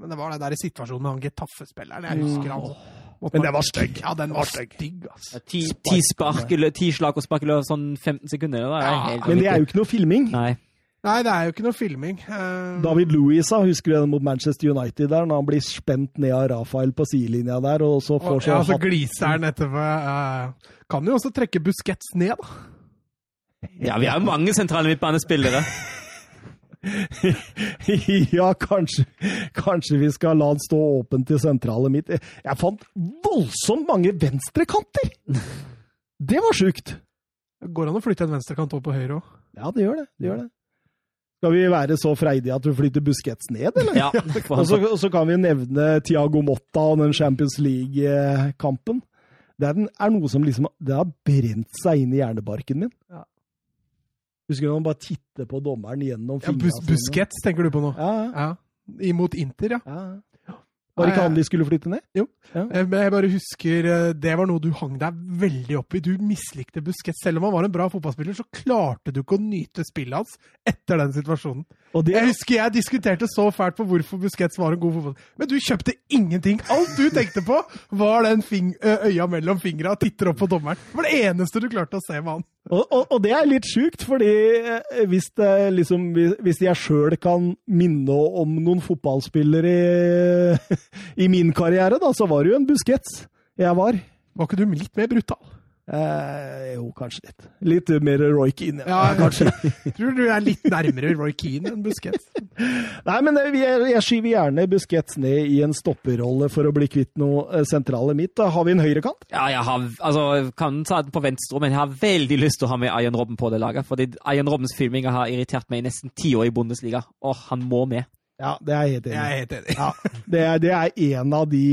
B: men det var den der situasjonen med han Getafe-spilleren. Jeg husker han. Måtte
A: Mm. Men
B: man-
A: den var stygg.
B: Ja, den var stygg, altså.
C: Ti, ti, spark, i lø- ti slag og spark i løpet av sånn 15 sekunder. Det er
B: Ja,
C: helt
A: Men det er jo ikke noe filming.
C: Nei.
B: Nei, det er jo ikke noe filming. Eh,
A: David Louisa, husker du den mot Manchester United der, når han blir spent ned av Rafael på sidelinja der, og så
B: og,
A: får altså.
B: ja,
A: så
B: så
A: hatt
B: gliser han etterpå. eh, kan jo også trekke Busquets ned, da.
C: Ja, vi har jo mange sentrale midtbanespillere.
A: Ja, kanskje, kanskje vi skal la den stå åpen til sentralet mitt. Jeg fant voldsomt mange venstrekanter! Det var sjukt!
B: Går an å flytte en venstrekant over på høyre òg.
A: Ja, det gjør det. det, gjør det. Skal vi være så freidige at vi flytter Busquets ned, eller?
C: Ja,
A: Og så, og så kan vi nevne Tiago Motta og den Champions League-kampen. Det er, den, er noe som liksom Det har brent seg inn i hjernebarken min.
B: Ja.
A: Husker du når man bare titter på dommeren gjennom
B: Ja,
A: fingrene
B: bus Busquets tenker du på nå?
A: Ja, ja.
B: Ja. Imot Inter, ja.
A: ja. Var det ikke han vi skulle flytte ned?
B: Eh, Men jeg bare husker eh, Det var noe du hang deg veldig opp i. Du mislikte Busquets. Selv om han var en bra fotballspiller, så klarte du ikke å nyte spillet hans etter den situasjonen.
A: Og det,
B: Jeg husker jeg diskuterte så fælt på hvorfor Busquets var en god fotball. Men du kjøpte ingenting! Alt du tenkte på, var den fing ø, øya mellom fingra og titter opp på dommeren. Det var det eneste du klarte å se med han.
A: Og, og, og det er litt sjukt, fordi eh, hvis, det, liksom, hvis, hvis jeg sjøl kan minne om noen fotballspillere i, i min karriere, da, så var det jo en Busquets jeg var.
B: Var ikke du litt mer brutal?
A: Eh, jo, kanskje litt. Litt mer Roy Keane.
B: Ja, kanskje. Tror du jeg er litt nærmere Roy Keane enn Busquets?
A: Nei, men det- vi- jeg skyver gjerne Busquets ned i en stopperrolle for å bli kvitt noe eh, sentrale mitt. Da har vi en høyrekant.
C: Ja, jeg har, altså, jeg kan ta den på venstre, men jeg har veldig lyst til å ha med Ian Robben på det laget. Fordi Ian Robbens filminger har irritert meg i nesten ti år i Bundesliga. Åh, han må med.
A: Ja, det er jeg helt enig i.
B: Jeg er helt enig.
A: Ja, det er, det er en av de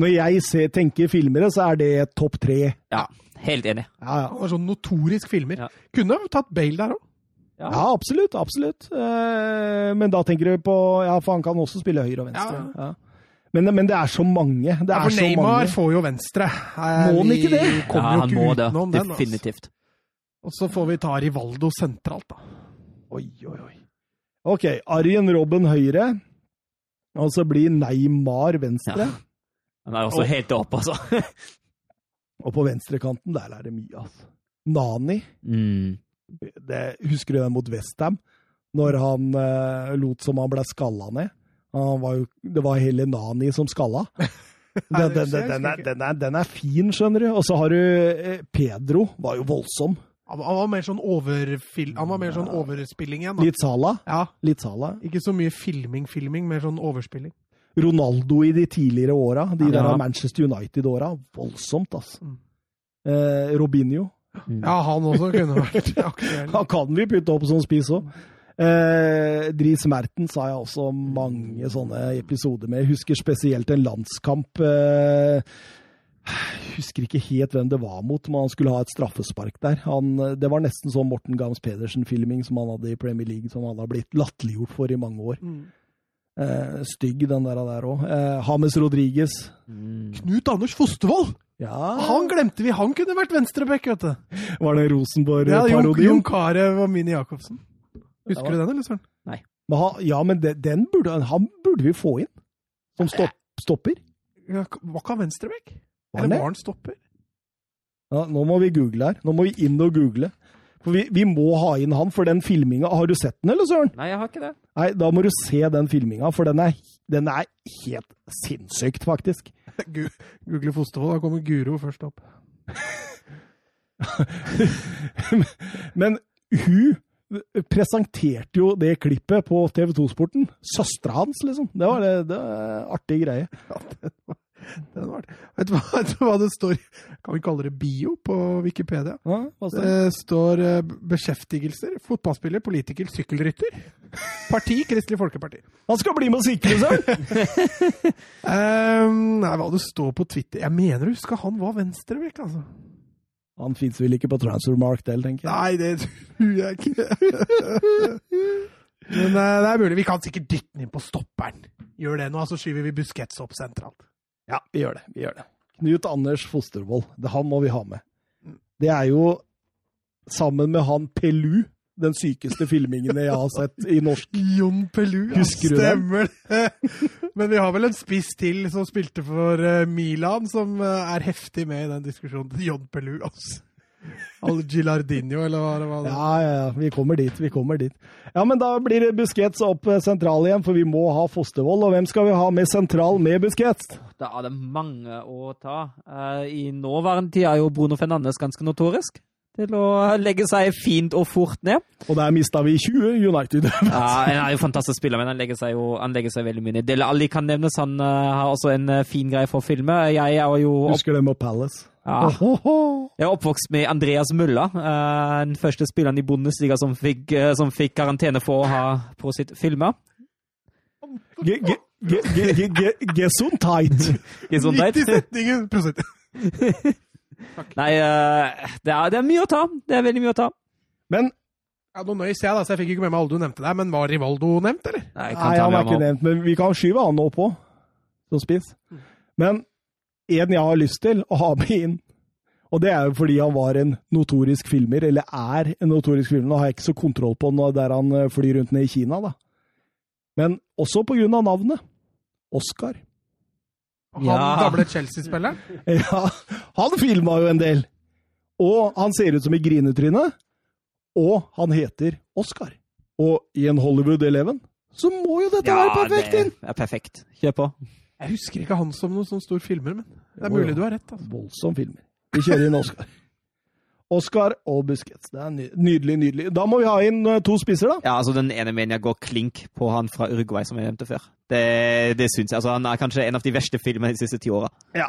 A: Når jeg ser, tenker filmere, så er det topp tre.
C: Ja, helt enig.
A: Ja, ja.
B: Han var sånn notorisk filmer.
C: Ja.
B: Kunne ha tatt Bale der òg.
A: ja absolutt. Absolutt. Eh, men da tenker du på Ja, for han kan også spille høyre og venstre. Ja. Men, men det er så mange. Det
B: Ja,
A: er
B: for
A: så
B: Neymar
A: mange.
B: får jo venstre. Eh,
A: Må han
B: vi
A: ikke det?
B: Kommer
C: ja,
B: jo
C: han
B: ikke
C: må det.
B: utenom den. Altså.
C: Definitivt.
B: Og så får vi ta Rivaldo sentralt, da.
A: Oi, oi, oi. OK. Arjen Robben høyre. Og så blir Neymar venstre.
C: Han er også
B: Åh.
C: helt oppe, altså.
A: Og på venstrekanten, der er det mye, altså. Nani.
C: Mm.
A: det, Husker du den mot Westham? Når han eh, lot som han ble skalla ned. Han var jo, det var hele Nani som skalla. Den, den, den, den, er, den, er, den er fin, skjønner du. Og så har du eh, Pedro. Var jo voldsom.
B: Han var- han var mer sånn, overfil han var mer sånn overspilling igjen. Da.
A: Litt Sala.
B: Ja,
A: Litt Sala.
B: Ikke så mye filming-filming, mer sånn overspilling.
A: Ronaldo i de tidligere åra. De der
C: Ja.
A: av Manchester United-åra. Voldsomt, altså.
B: Mm.
A: Eh, Robinho.
B: Ja, han også kunne vært aktuell.
A: Han kan vi putte opp som spiss òg. Eh, Dries Mertens har jeg også mange sånne episoder med. Jeg husker spesielt en landskamp eh, Jeg husker ikke helt hvem det var mot, men han skulle ha et straffespark der. Han, eh, det var nesten sånn Morten Gams Pedersen-filming som han hadde i Premier League, som han har blitt latterliggjort for i mange år.
B: Mm.
A: Eh, stygg, den der der òg. Eh, James Rodriguez.
C: Mm.
B: Knut Anders Fostervoll!
A: Ja,
B: Han glemte vi! Han kunne vært venstrebekk, vet du.
A: var det
B: Ja, Jon,
A: Rosenborg-parodien?
B: Jon Carew og Mini Jacobsen. Husker du den, eller, Søren?
A: Men han- ja, men de- den burde, han burde vi få inn. Som stopp, stopper.
B: Ja, Var ikke han venstrebekk?
A: Var han
B: Eller
A: det?
B: var han stopper?
A: Ja, nå må vi google her. Nå må vi inn og google. For vi, vi må ha inn han, for den filminga Har du sett den, eller, Søren?
C: Nei, jeg har ikke det.
A: Nei, da må du se den filminga, for den er, den er helt sinnssykt, faktisk.
B: Gu- Google Fostervoll, da kommer Guro først opp.
A: Men hun presenterte jo det klippet på TV 2-sporten. Søstera hans, liksom. Det var det, det var en artig greie.
B: Den var det. Vet du hva, vet du hva det står i? Kan vi kalle det bio på Wikipedia?
A: Ja, hva står det?
B: Det står eh, beskjeftigelser. Fotballspiller, politiker, sykkelrytter. Parti Kristelig Folkeparti.
A: Han skal bli med og sikre, Søren!
B: Ehm, nei, hva det står på Twitter Jeg mener du husker han var venstrebekk, altså.
A: Han fins vel ikke på Transfermark del, tenker jeg.
B: Nei, det tror jeg ikke. Men eh, det er mulig. Vi kan sikkert dytte den inn på stopperen. Gjør det nå, så skyver vi Busquets opp sentralt.
A: Ja, vi gjør det. Vi gjør det. Knut Anders Fostervoll. Det, han må vi ha med. Det er jo sammen med han Pelu, den sykeste filmingen jeg har sett i norsk.
B: Jon Pelu, ja.
A: Husker du det?
B: Stemmer det. Men vi har vel en spiss til som spilte for eh, Milan, som eh, er heftig med i den diskusjonen. Jon Pelu, altså. Al Gilardino, eller hva det var. det?
A: Ja, ja, ja. Vi kommer dit. Vi kommer dit. Ja, men da blir det Busquets opp eh, sentral igjen, for vi må ha Fostervoll. Og hvem skal vi ha med sentral med Busquets?
C: Da er det mange å ta. Eh, I nåværende tid er jo Bruno Fernandes ganske notorisk til å legge seg fint og fort ned.
A: Og der mista vi 20 United.
C: Ja, han er jo fantastisk spiller, men han legger seg jo han legger seg veldig mye ned. Dele Alli kan nevnes, han eh, har også en eh, fin greie for å filme. Jeg er jo opp,
A: Husker dem og Palace.
C: ja,
A: Ohoho.
C: jeg er oppvokst med Andreas Mulla, eh, den første spilleren i Bundesliga som fikk, eh, som fikk karantene for å ha på sitt filmer.
A: Ge- ge- ge- ge- ge- ge- Gesundheit.
C: Ikke sånn teit?
B: Midt i setningen! Prosent.
C: Nei, eh, det er, det er mye å ta. Det er veldig mye å ta.
A: Men
B: Ja, nå nøys jeg, da, så jeg fikk ikke med meg alle du nevnte der. Men var Rivaldo nevnt, eller?
C: Nei, jeg kan
A: Nei,
C: ta
A: han
C: med
A: er ikke
C: ham opp.
A: nevnt, men vi kan skyve han opp òg, som spiss. Men en jeg har lyst til å ha med inn, og det er jo fordi han var en notorisk filmer, eller er en notorisk filmer, nå har jeg ikke så kontroll på når der han eh, flyr rundt ned i Kina, da. Men også på grunn av navnet. Oscar.
B: Han
C: Ja.
B: gamle Chelsea-spilleren?
A: Ja, han filma jo en del! Og han ser ut som i grinetryne. Og han heter Oscar. Og i en Hollywood Eleven så må jo dette være perfekt inn!
C: det er perfekt. Kjør på.
B: Jeg husker ikke han som noen sånn stor filmer, men det er
A: Jo, jo.
B: mulig du har rett. altså.
A: Voldsom filmer. Vi kjører inn Oscar. Oscar og Busquets. Det er ny- nydelig, nydelig. Da må vi ha inn eh, to spisser, da.
D: Ja, altså Den ene mener jeg går klink på han fra Uruguay, som jeg nevnte før. Det, det syns jeg. altså Han er kanskje en av de verste filmene de siste ti åra.
A: Ja.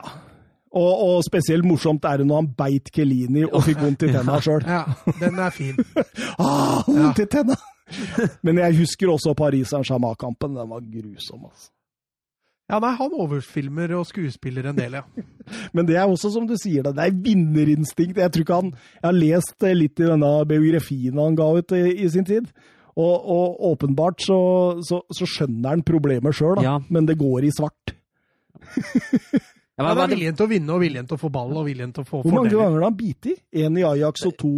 A: Og, og spesielt morsomt er det når han beit Kelini og fikk vondt i tenna sjøl.
B: Ja, den er fin.
A: Ah, vondt i tenna! Men jeg husker også Paris-Saint-Germain-kampen. Den var grusom, altså.
B: Ja, nei, han overfilmer og skuespiller en del, ja.
A: Men det er også som du sier, det, det er vinnerinstinkt. Jeg tror ikke han Jeg har lest eh, litt i denne biografien han ga ut i, i sin tid. Og, og åpenbart så, så, så skjønner han problemet sjøl, da.
C: Ja.
A: Men det går i svart.
C: Ja,
B: ja
C: men,
B: det
C: var
B: er
C: det,
B: viljen til å vinne og viljen til å få ball og viljen til å få
A: Hvor mange
B: fordeler.
A: ganger har han bitt i? Én i Ajax og to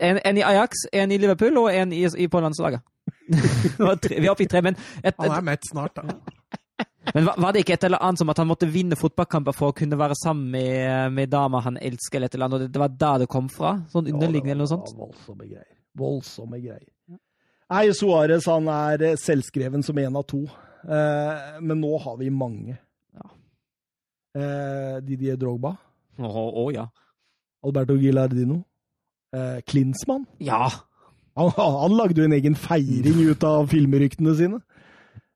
C: en, en i Ajax, en i Liverpool og en i, i på landslaget. Det var tre- Vi er oppe i tre, men, et,
B: Han er mett snart, da.
C: men var var det ikke et eller annet som at han måtte vinne fotballkamper for å kunne være sammen med, med dama han elsker, eller et eller annet, og det, det var der det kom fra? Sånn underliggende eller noe sånt?
A: Ja, voldsomme greier. Voldsomme greier. Nei, Suárez han er eh, selvskreven som én av to. Eh, men nå har vi mange. Eh, Didier Drogba,
C: Å å, ja.
A: Alberto Gilardino, eh, Klinsmann.
C: Ja!
A: Han, han lagde jo en egen feiring ut av filmryktene sine.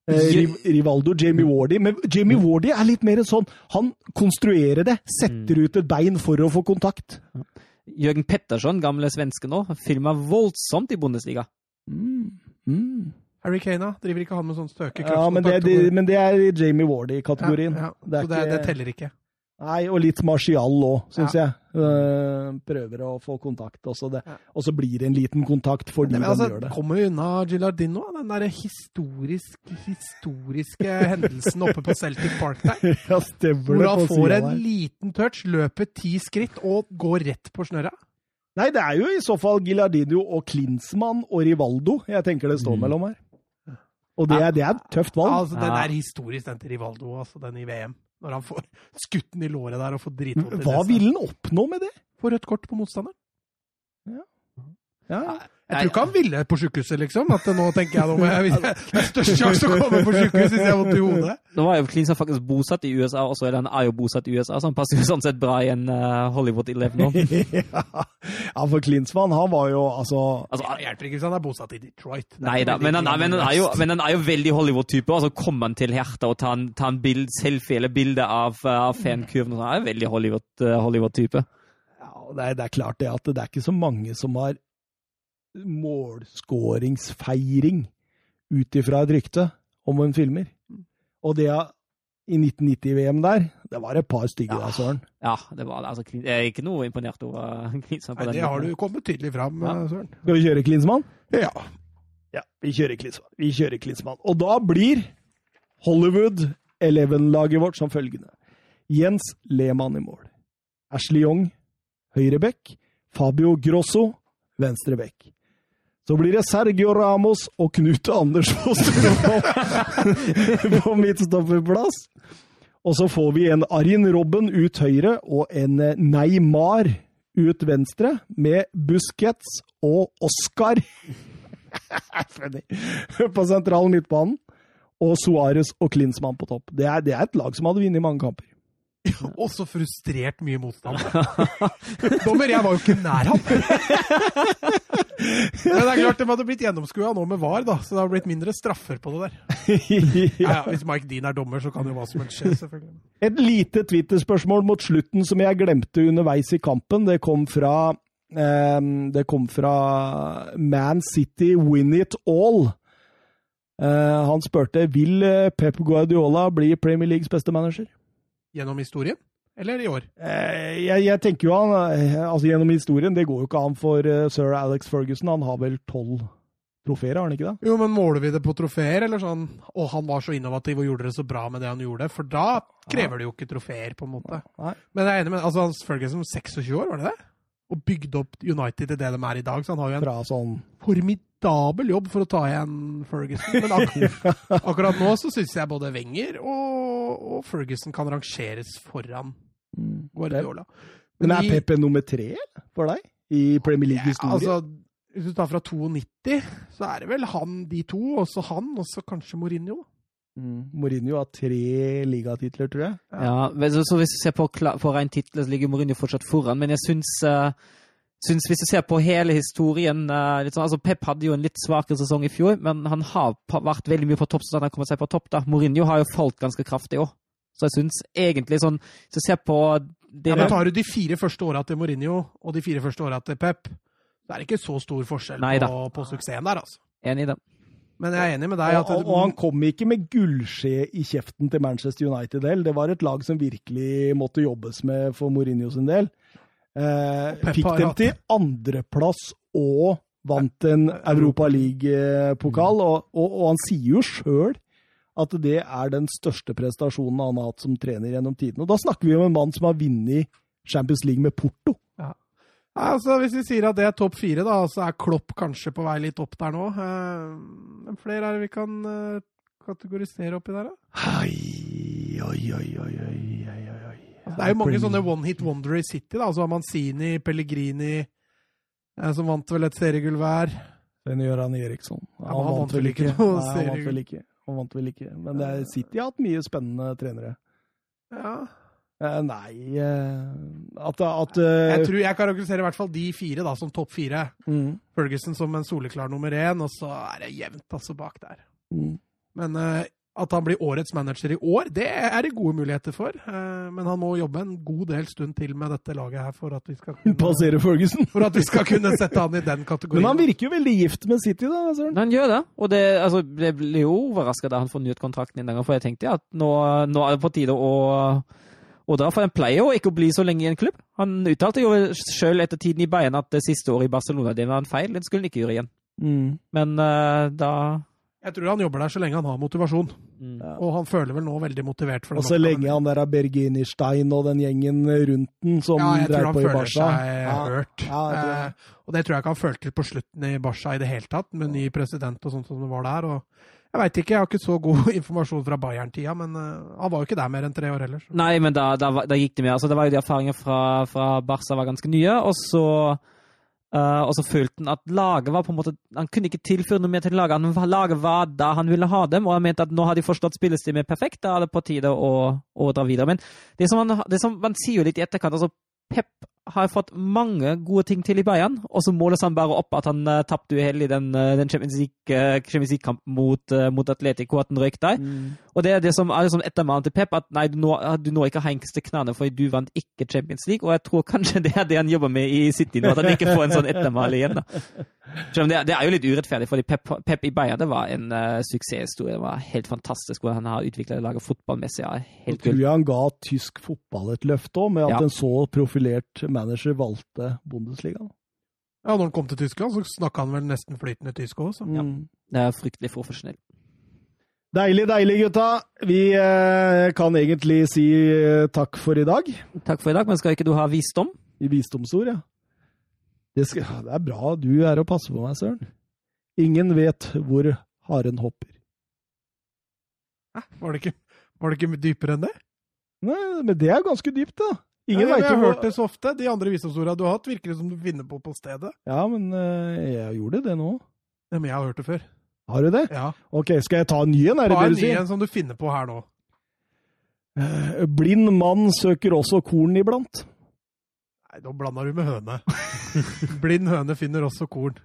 A: Eh, Ri- Rivaldo, Jamie Wardy. Men Jamie Wardy er litt mer sånn Han konstruerer det, setter ut et bein for å få kontakt.
C: Jørgen Petterson, gamle svenske nå, filma voldsomt i Bundesliga.
A: Mm.
B: Harry Kane, da? Driver ikke han med sånn støke
A: Ja, men det, det, men det er i Jamie Wardy-kategorien.
B: Ja, ja.
A: Det er
B: Så det,
A: ikke-
B: det teller ikke.
A: Nei, og litt Martial òg, syns jeg. Eh, prøver å få kontakt, og så, det.
B: Ja.
A: og så blir det en liten kontakt fordi
B: Nei, men
A: de
B: altså,
A: gjør det.
B: Kommer vi unna Gilardino? Den derre historisk, historiske hendelsen oppe på Celtic Park der.
A: Ja, stemmer
B: Hvor han
A: på siden
B: får en
A: der.
B: liten touch, løper ti skritt og går rett på snørra.
A: Nei, det er jo i så fall Gilardino og Klinsmann og Rivaldo jeg tenker det står mellom her. Og det er, det er et tøft valg.
B: Altså, den
C: Ja.
B: er historisk, den til Rivaldo, altså, den i VM. Når han får skutt den i låret der og får dritvondt i
A: Hva
B: nesa.
A: ville han oppnå med det?
B: Får rødt kort på motstanderen.
A: Ja.
B: Jeg tror ikke han ville på sjukehuset, liksom. At nå tenker jeg nå må jeg, Det er størst sjanse til å komme på sjukehus hvis jeg har vondt i hodet.
C: Nå var jo Klinsmann faktisk bosatt i USA også, eller han er jo bosatt i USA, så han passer jo sånn sett bra i en eh, Hollywood 11 nå.
A: ja, for Klinsmann, han var jo altså
C: Altså,
B: Det hjelper ikke hvis han er bosatt i Detroit.
C: Nei da, men han, men, han er jo, men han er jo veldig Hollywood-type. og så kommer han til hjertet og tar en, tar en bild, selfie eller bilde av, eh, av fankurven. og sånn. Han er jo veldig Hollywood- eh, Hollywood-type.
A: Ja, og det, er, det er klart det at det er ikke så mange som har målskåringsfeiring ut ifra et rykte om en filmer. Og det er- i 1990-VM der, det var et par stygge
C: Ja.
A: da, Søren.
C: ja, det var det. Altså, Klin- jeg er ikke noe imponert over eh, Klinsmann. på
B: Nei,
C: den
B: det har
C: måten.
B: du kommet tydelig fram, eh,
C: Ja.
B: Søren.
A: Skal vi kjøre Klinsmann?
B: Ja.
A: Ja, vi kjører Klinsmann. Vi kjører Klinsmann. Og da blir Hollywood 11-laget vårt som følgende. Jens Lehmann i mål. Ashley Young, høyre bekk. Fabio Grosso, venstre bekk. Så blir det Sergio Ramos og Knut Anders Fostervoll på, på midtstopperplass. Og så får vi en Arjen Robben ut høyre og en Neymar ut venstre, med Busquets og Oscar på sentral midtbanen. Og Suárez og Klinsmann på topp. Det er, det er et lag som hadde vunnet mange kamper.
B: Og så frustrert mye motstand. Dommer, jeg var jo ikke nær han! Men det er klart, de hadde blitt gjennomskua nå med VAR, da, så det har blitt mindre straffer på det der. Ja, ja, hvis Mike Dean er dommer, så kan jo hva som helst skje, selvfølgelig.
A: Et lite Twitter-spørsmål mot slutten som jeg glemte underveis i kampen. Det kom fra eh, Det kom fra Man City Win It All. Eh, han spurte vil eh, Pep Guardiola bli Premier Leagues beste manager.
B: Gjennom historien? Eller i år?
A: Eh, jeg, jeg tenker jo han eh, altså Gjennom historien, det går jo ikke an for eh, sir Alex Ferguson. Han har vel tolv trofeer, har han ikke det?
B: Jo, men måler vi det på trofeer, eller sånn Å, han var så innovativ og gjorde det så bra med det han gjorde. For da krever det jo ikke trofeer, på en måte.
A: Nei.
B: Men jeg er enig med altså, Hans Ferguson, 26 år, var det det? Og bygde opp United til det de er i dag, så han har jo en
A: Fra sånn
B: formidabel jobb for å ta igjen Ferguson. Men ak akkurat nå så syns jeg både Wenger og, og Ferguson kan rangeres foran Guardiola.
A: Mm, Men er
B: i-
A: Pepe nummer tre eller, for deg i Premier
B: Ja,
A: League-historie?
B: altså, hvis du tar fra 92, så er det vel han, de to, og så han, og så kanskje Mourinho. da.
A: Mm. Mourinho har tre ligatitler, tror jeg.
C: Ja, men så, så hvis du ser på, kla- på ren tittel, så ligger Mourinho fortsatt foran, men jeg syns, eh, syns hvis du ser på hele historien eh, litt sånn, altså Pep hadde jo en litt svakere sesong i fjor, men han har pa- vært veldig mye på topp, så han har kommet seg på topp. da. Mourinho har jo falt ganske kraftig òg. Så jeg syns egentlig sånn Hvis du ser på det
B: Ja, men tar du de fire første åra til Mourinho og de fire første åra til Pep, så er det ikke så stor forskjell
C: Neida.
B: på, på suksessen der, altså.
C: Enig i den.
B: Men jeg er enig med deg.
A: Og,
B: at
A: og, og han kom ikke med gullskje i kjeften til Manchester United heller. Det var et lag som virkelig måtte jobbes med for Mourinho sin del. Eh,
B: Pep
A: fikk
B: har
A: dem
B: hatt-
A: til andreplass og vant en Europa
B: Mm.
A: League-pokal. Og, og, og han sier jo sjøl at det er den største prestasjonen han har hatt som trener gjennom tiden. Og da snakker vi om en mann som har vunnet Champions League med Porto.
B: Ja, altså, hvis vi sier at det er topp fire, da, så er Klopp kanskje på vei litt opp der nå. Eh, Hvem flere er det vi kan eh, kategorisere oppi der, da?
A: Oi, oi, oi, oi, oi, oi, oi.
B: Altså, det er jo mange sånne one-hit wonder i City. da, altså Manzini, Pellegrini, eh, som vant vel et seriegull hver.
A: Den gjør han Eriksson.
B: Ja, men han vant vel ikke
A: Nei,
B: noe
A: han vant
B: seriegull. Eh.
A: vel ikke. Han vant vel ikke. Men det er City har hatt mye spennende trenere.
B: Ja.
A: Eh, nei eh, At, at eh,
B: Jeg tror jeg karakteriserer i hvert fall de fire da, som topp fire.
A: mm,
B: Ferguson som en soleklar nummer én, og så er det jevnt altså bak der.
A: mm.
B: Men eh, at han blir årets manager i år, det er det gode muligheter for. Eh, men han må jobbe en god del stund til med dette laget her for at vi skal kunne,
A: Passerer Ferguson.
B: for at vi skal kunne sette han i den
A: Men han
B: kategorien.
A: virker jo veldig gift med City, da. Søren.
C: Men Han gjør det, og det, altså, jeg ble jo overraska da han fornyet kontrakten en gang, for jeg tenkte ja, at nå, nå er det på tide å, å dra, for han pleier jo ikke å bli så lenge i en klubb. Han uttalte jo sjøl etter tiden i Bayern at det siste året i Barcelona det var en feil, det skulle han ikke gjøre igjen.
A: Mm.
C: Men eh, da
B: Jeg tror han jobber der så lenge han har motivasjon.
C: mm.
A: Ja.
B: Og han føler vel nå veldig motivert for
A: Og
B: den
A: så
B: oppgaven.
A: lenge han der er Bergini Stein og den gjengen rundt den som
B: ja, jeg tror
A: dreier
B: han
A: på i
B: føler
A: Barca.
B: seg eh,
A: Ja.
B: hørt.
A: Ja, jeg tror det.
B: Eh, og det tror jeg ikke han følte på slutten i Barca i det hele tatt, med ny president og sånt som det var der. Og jeg veit ikke, jeg har ikke så god informasjon fra Bayern-tida, men eh, han var jo ikke der mer enn tre år heller. Så.
C: Nei, men da, da, var- da gikk det mer. Altså, det var jo de erfaringene fra, fra Barca var ganske nye, og så eh, og så følte han at laget var på en måte Han kunne ikke tilføre noe mer til laget. Han, laget var da han ville ha dem, og han mente at nå har de forstått spillestilen perfekt. Da er det på tide å, å dra videre. Men det som, han, det som man sier jo litt i etterkant altså Pep har fått mange gode ting til i Bayern, og så måles han bare opp at han uh, tapte uheldig den, eh, den Champions League- eh, Champions League-kampen mot, eh, mot Atletico, at han røyk der.
A: Mm.
C: Og det er det som er liksom ettermannen til Pep, at nei, du nå, du nå ikke hengste knærne fordi du vant ikke Champions League, og jeg tror kanskje det er det han jobber med i City nå, at han ikke får en sånn ettermale igjen. da. Selv om det, er- det er jo litt urettferdig, fordi Pep, Pep i Bayern det var en eh, suksesshistorie. Det var helt fantastisk hvordan han har utvikla laget fotballmessig. Ja,
A: Jeg
C: helt
A: tror
C: gull.
A: jeg han ga tysk fotball et løfte òg, med at
C: Ja.
A: en så profilert manager valgte Bundesligaen.
B: Ja, når han kom til Tyskland, så snakka han vel nesten flytende tysk òg, så.
A: Mm.
C: Det er fryktelig profesjonell.
A: Deilig, deilig, gutta. Vi eh, kan egentlig si eh, takk for i dag.
C: Takk for i dag, men skal ikke du ha visdom?
A: I visdomsord, ja. Det, skal, ja, det er bra du er og passer på meg, Søren. Ingen vet hvor haren hopper.
B: Hæ? Var det ikke, var det ikke dypere enn det?
A: Nei, men det er ganske dypt, da. Ingen
B: jeg,
A: vet
B: jeg har
A: jo
B: hørt det så ofte. De andre visdomsorda du har hatt, virker det som du vinner på på stedet.
A: Ja, men eh, jeg gjorde det nå.
B: Ja, men jeg har hørt det før.
A: Har du det?
B: Ja.
A: Ok, skal jeg ta en ny en? Er det
B: Ta
A: det
B: en
A: du
B: ny
A: sier?
B: en som du finner på her nå.
A: Eh, Blind mann søker også korn iblant.
B: Nei, nå blanda du med høne. Blind høne finner også korn.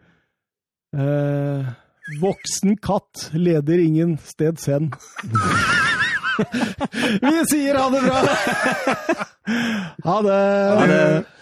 A: Eh, voksen katt leder ingen steds hen. Vi sier ha det bra! Ha det!
B: Ha det.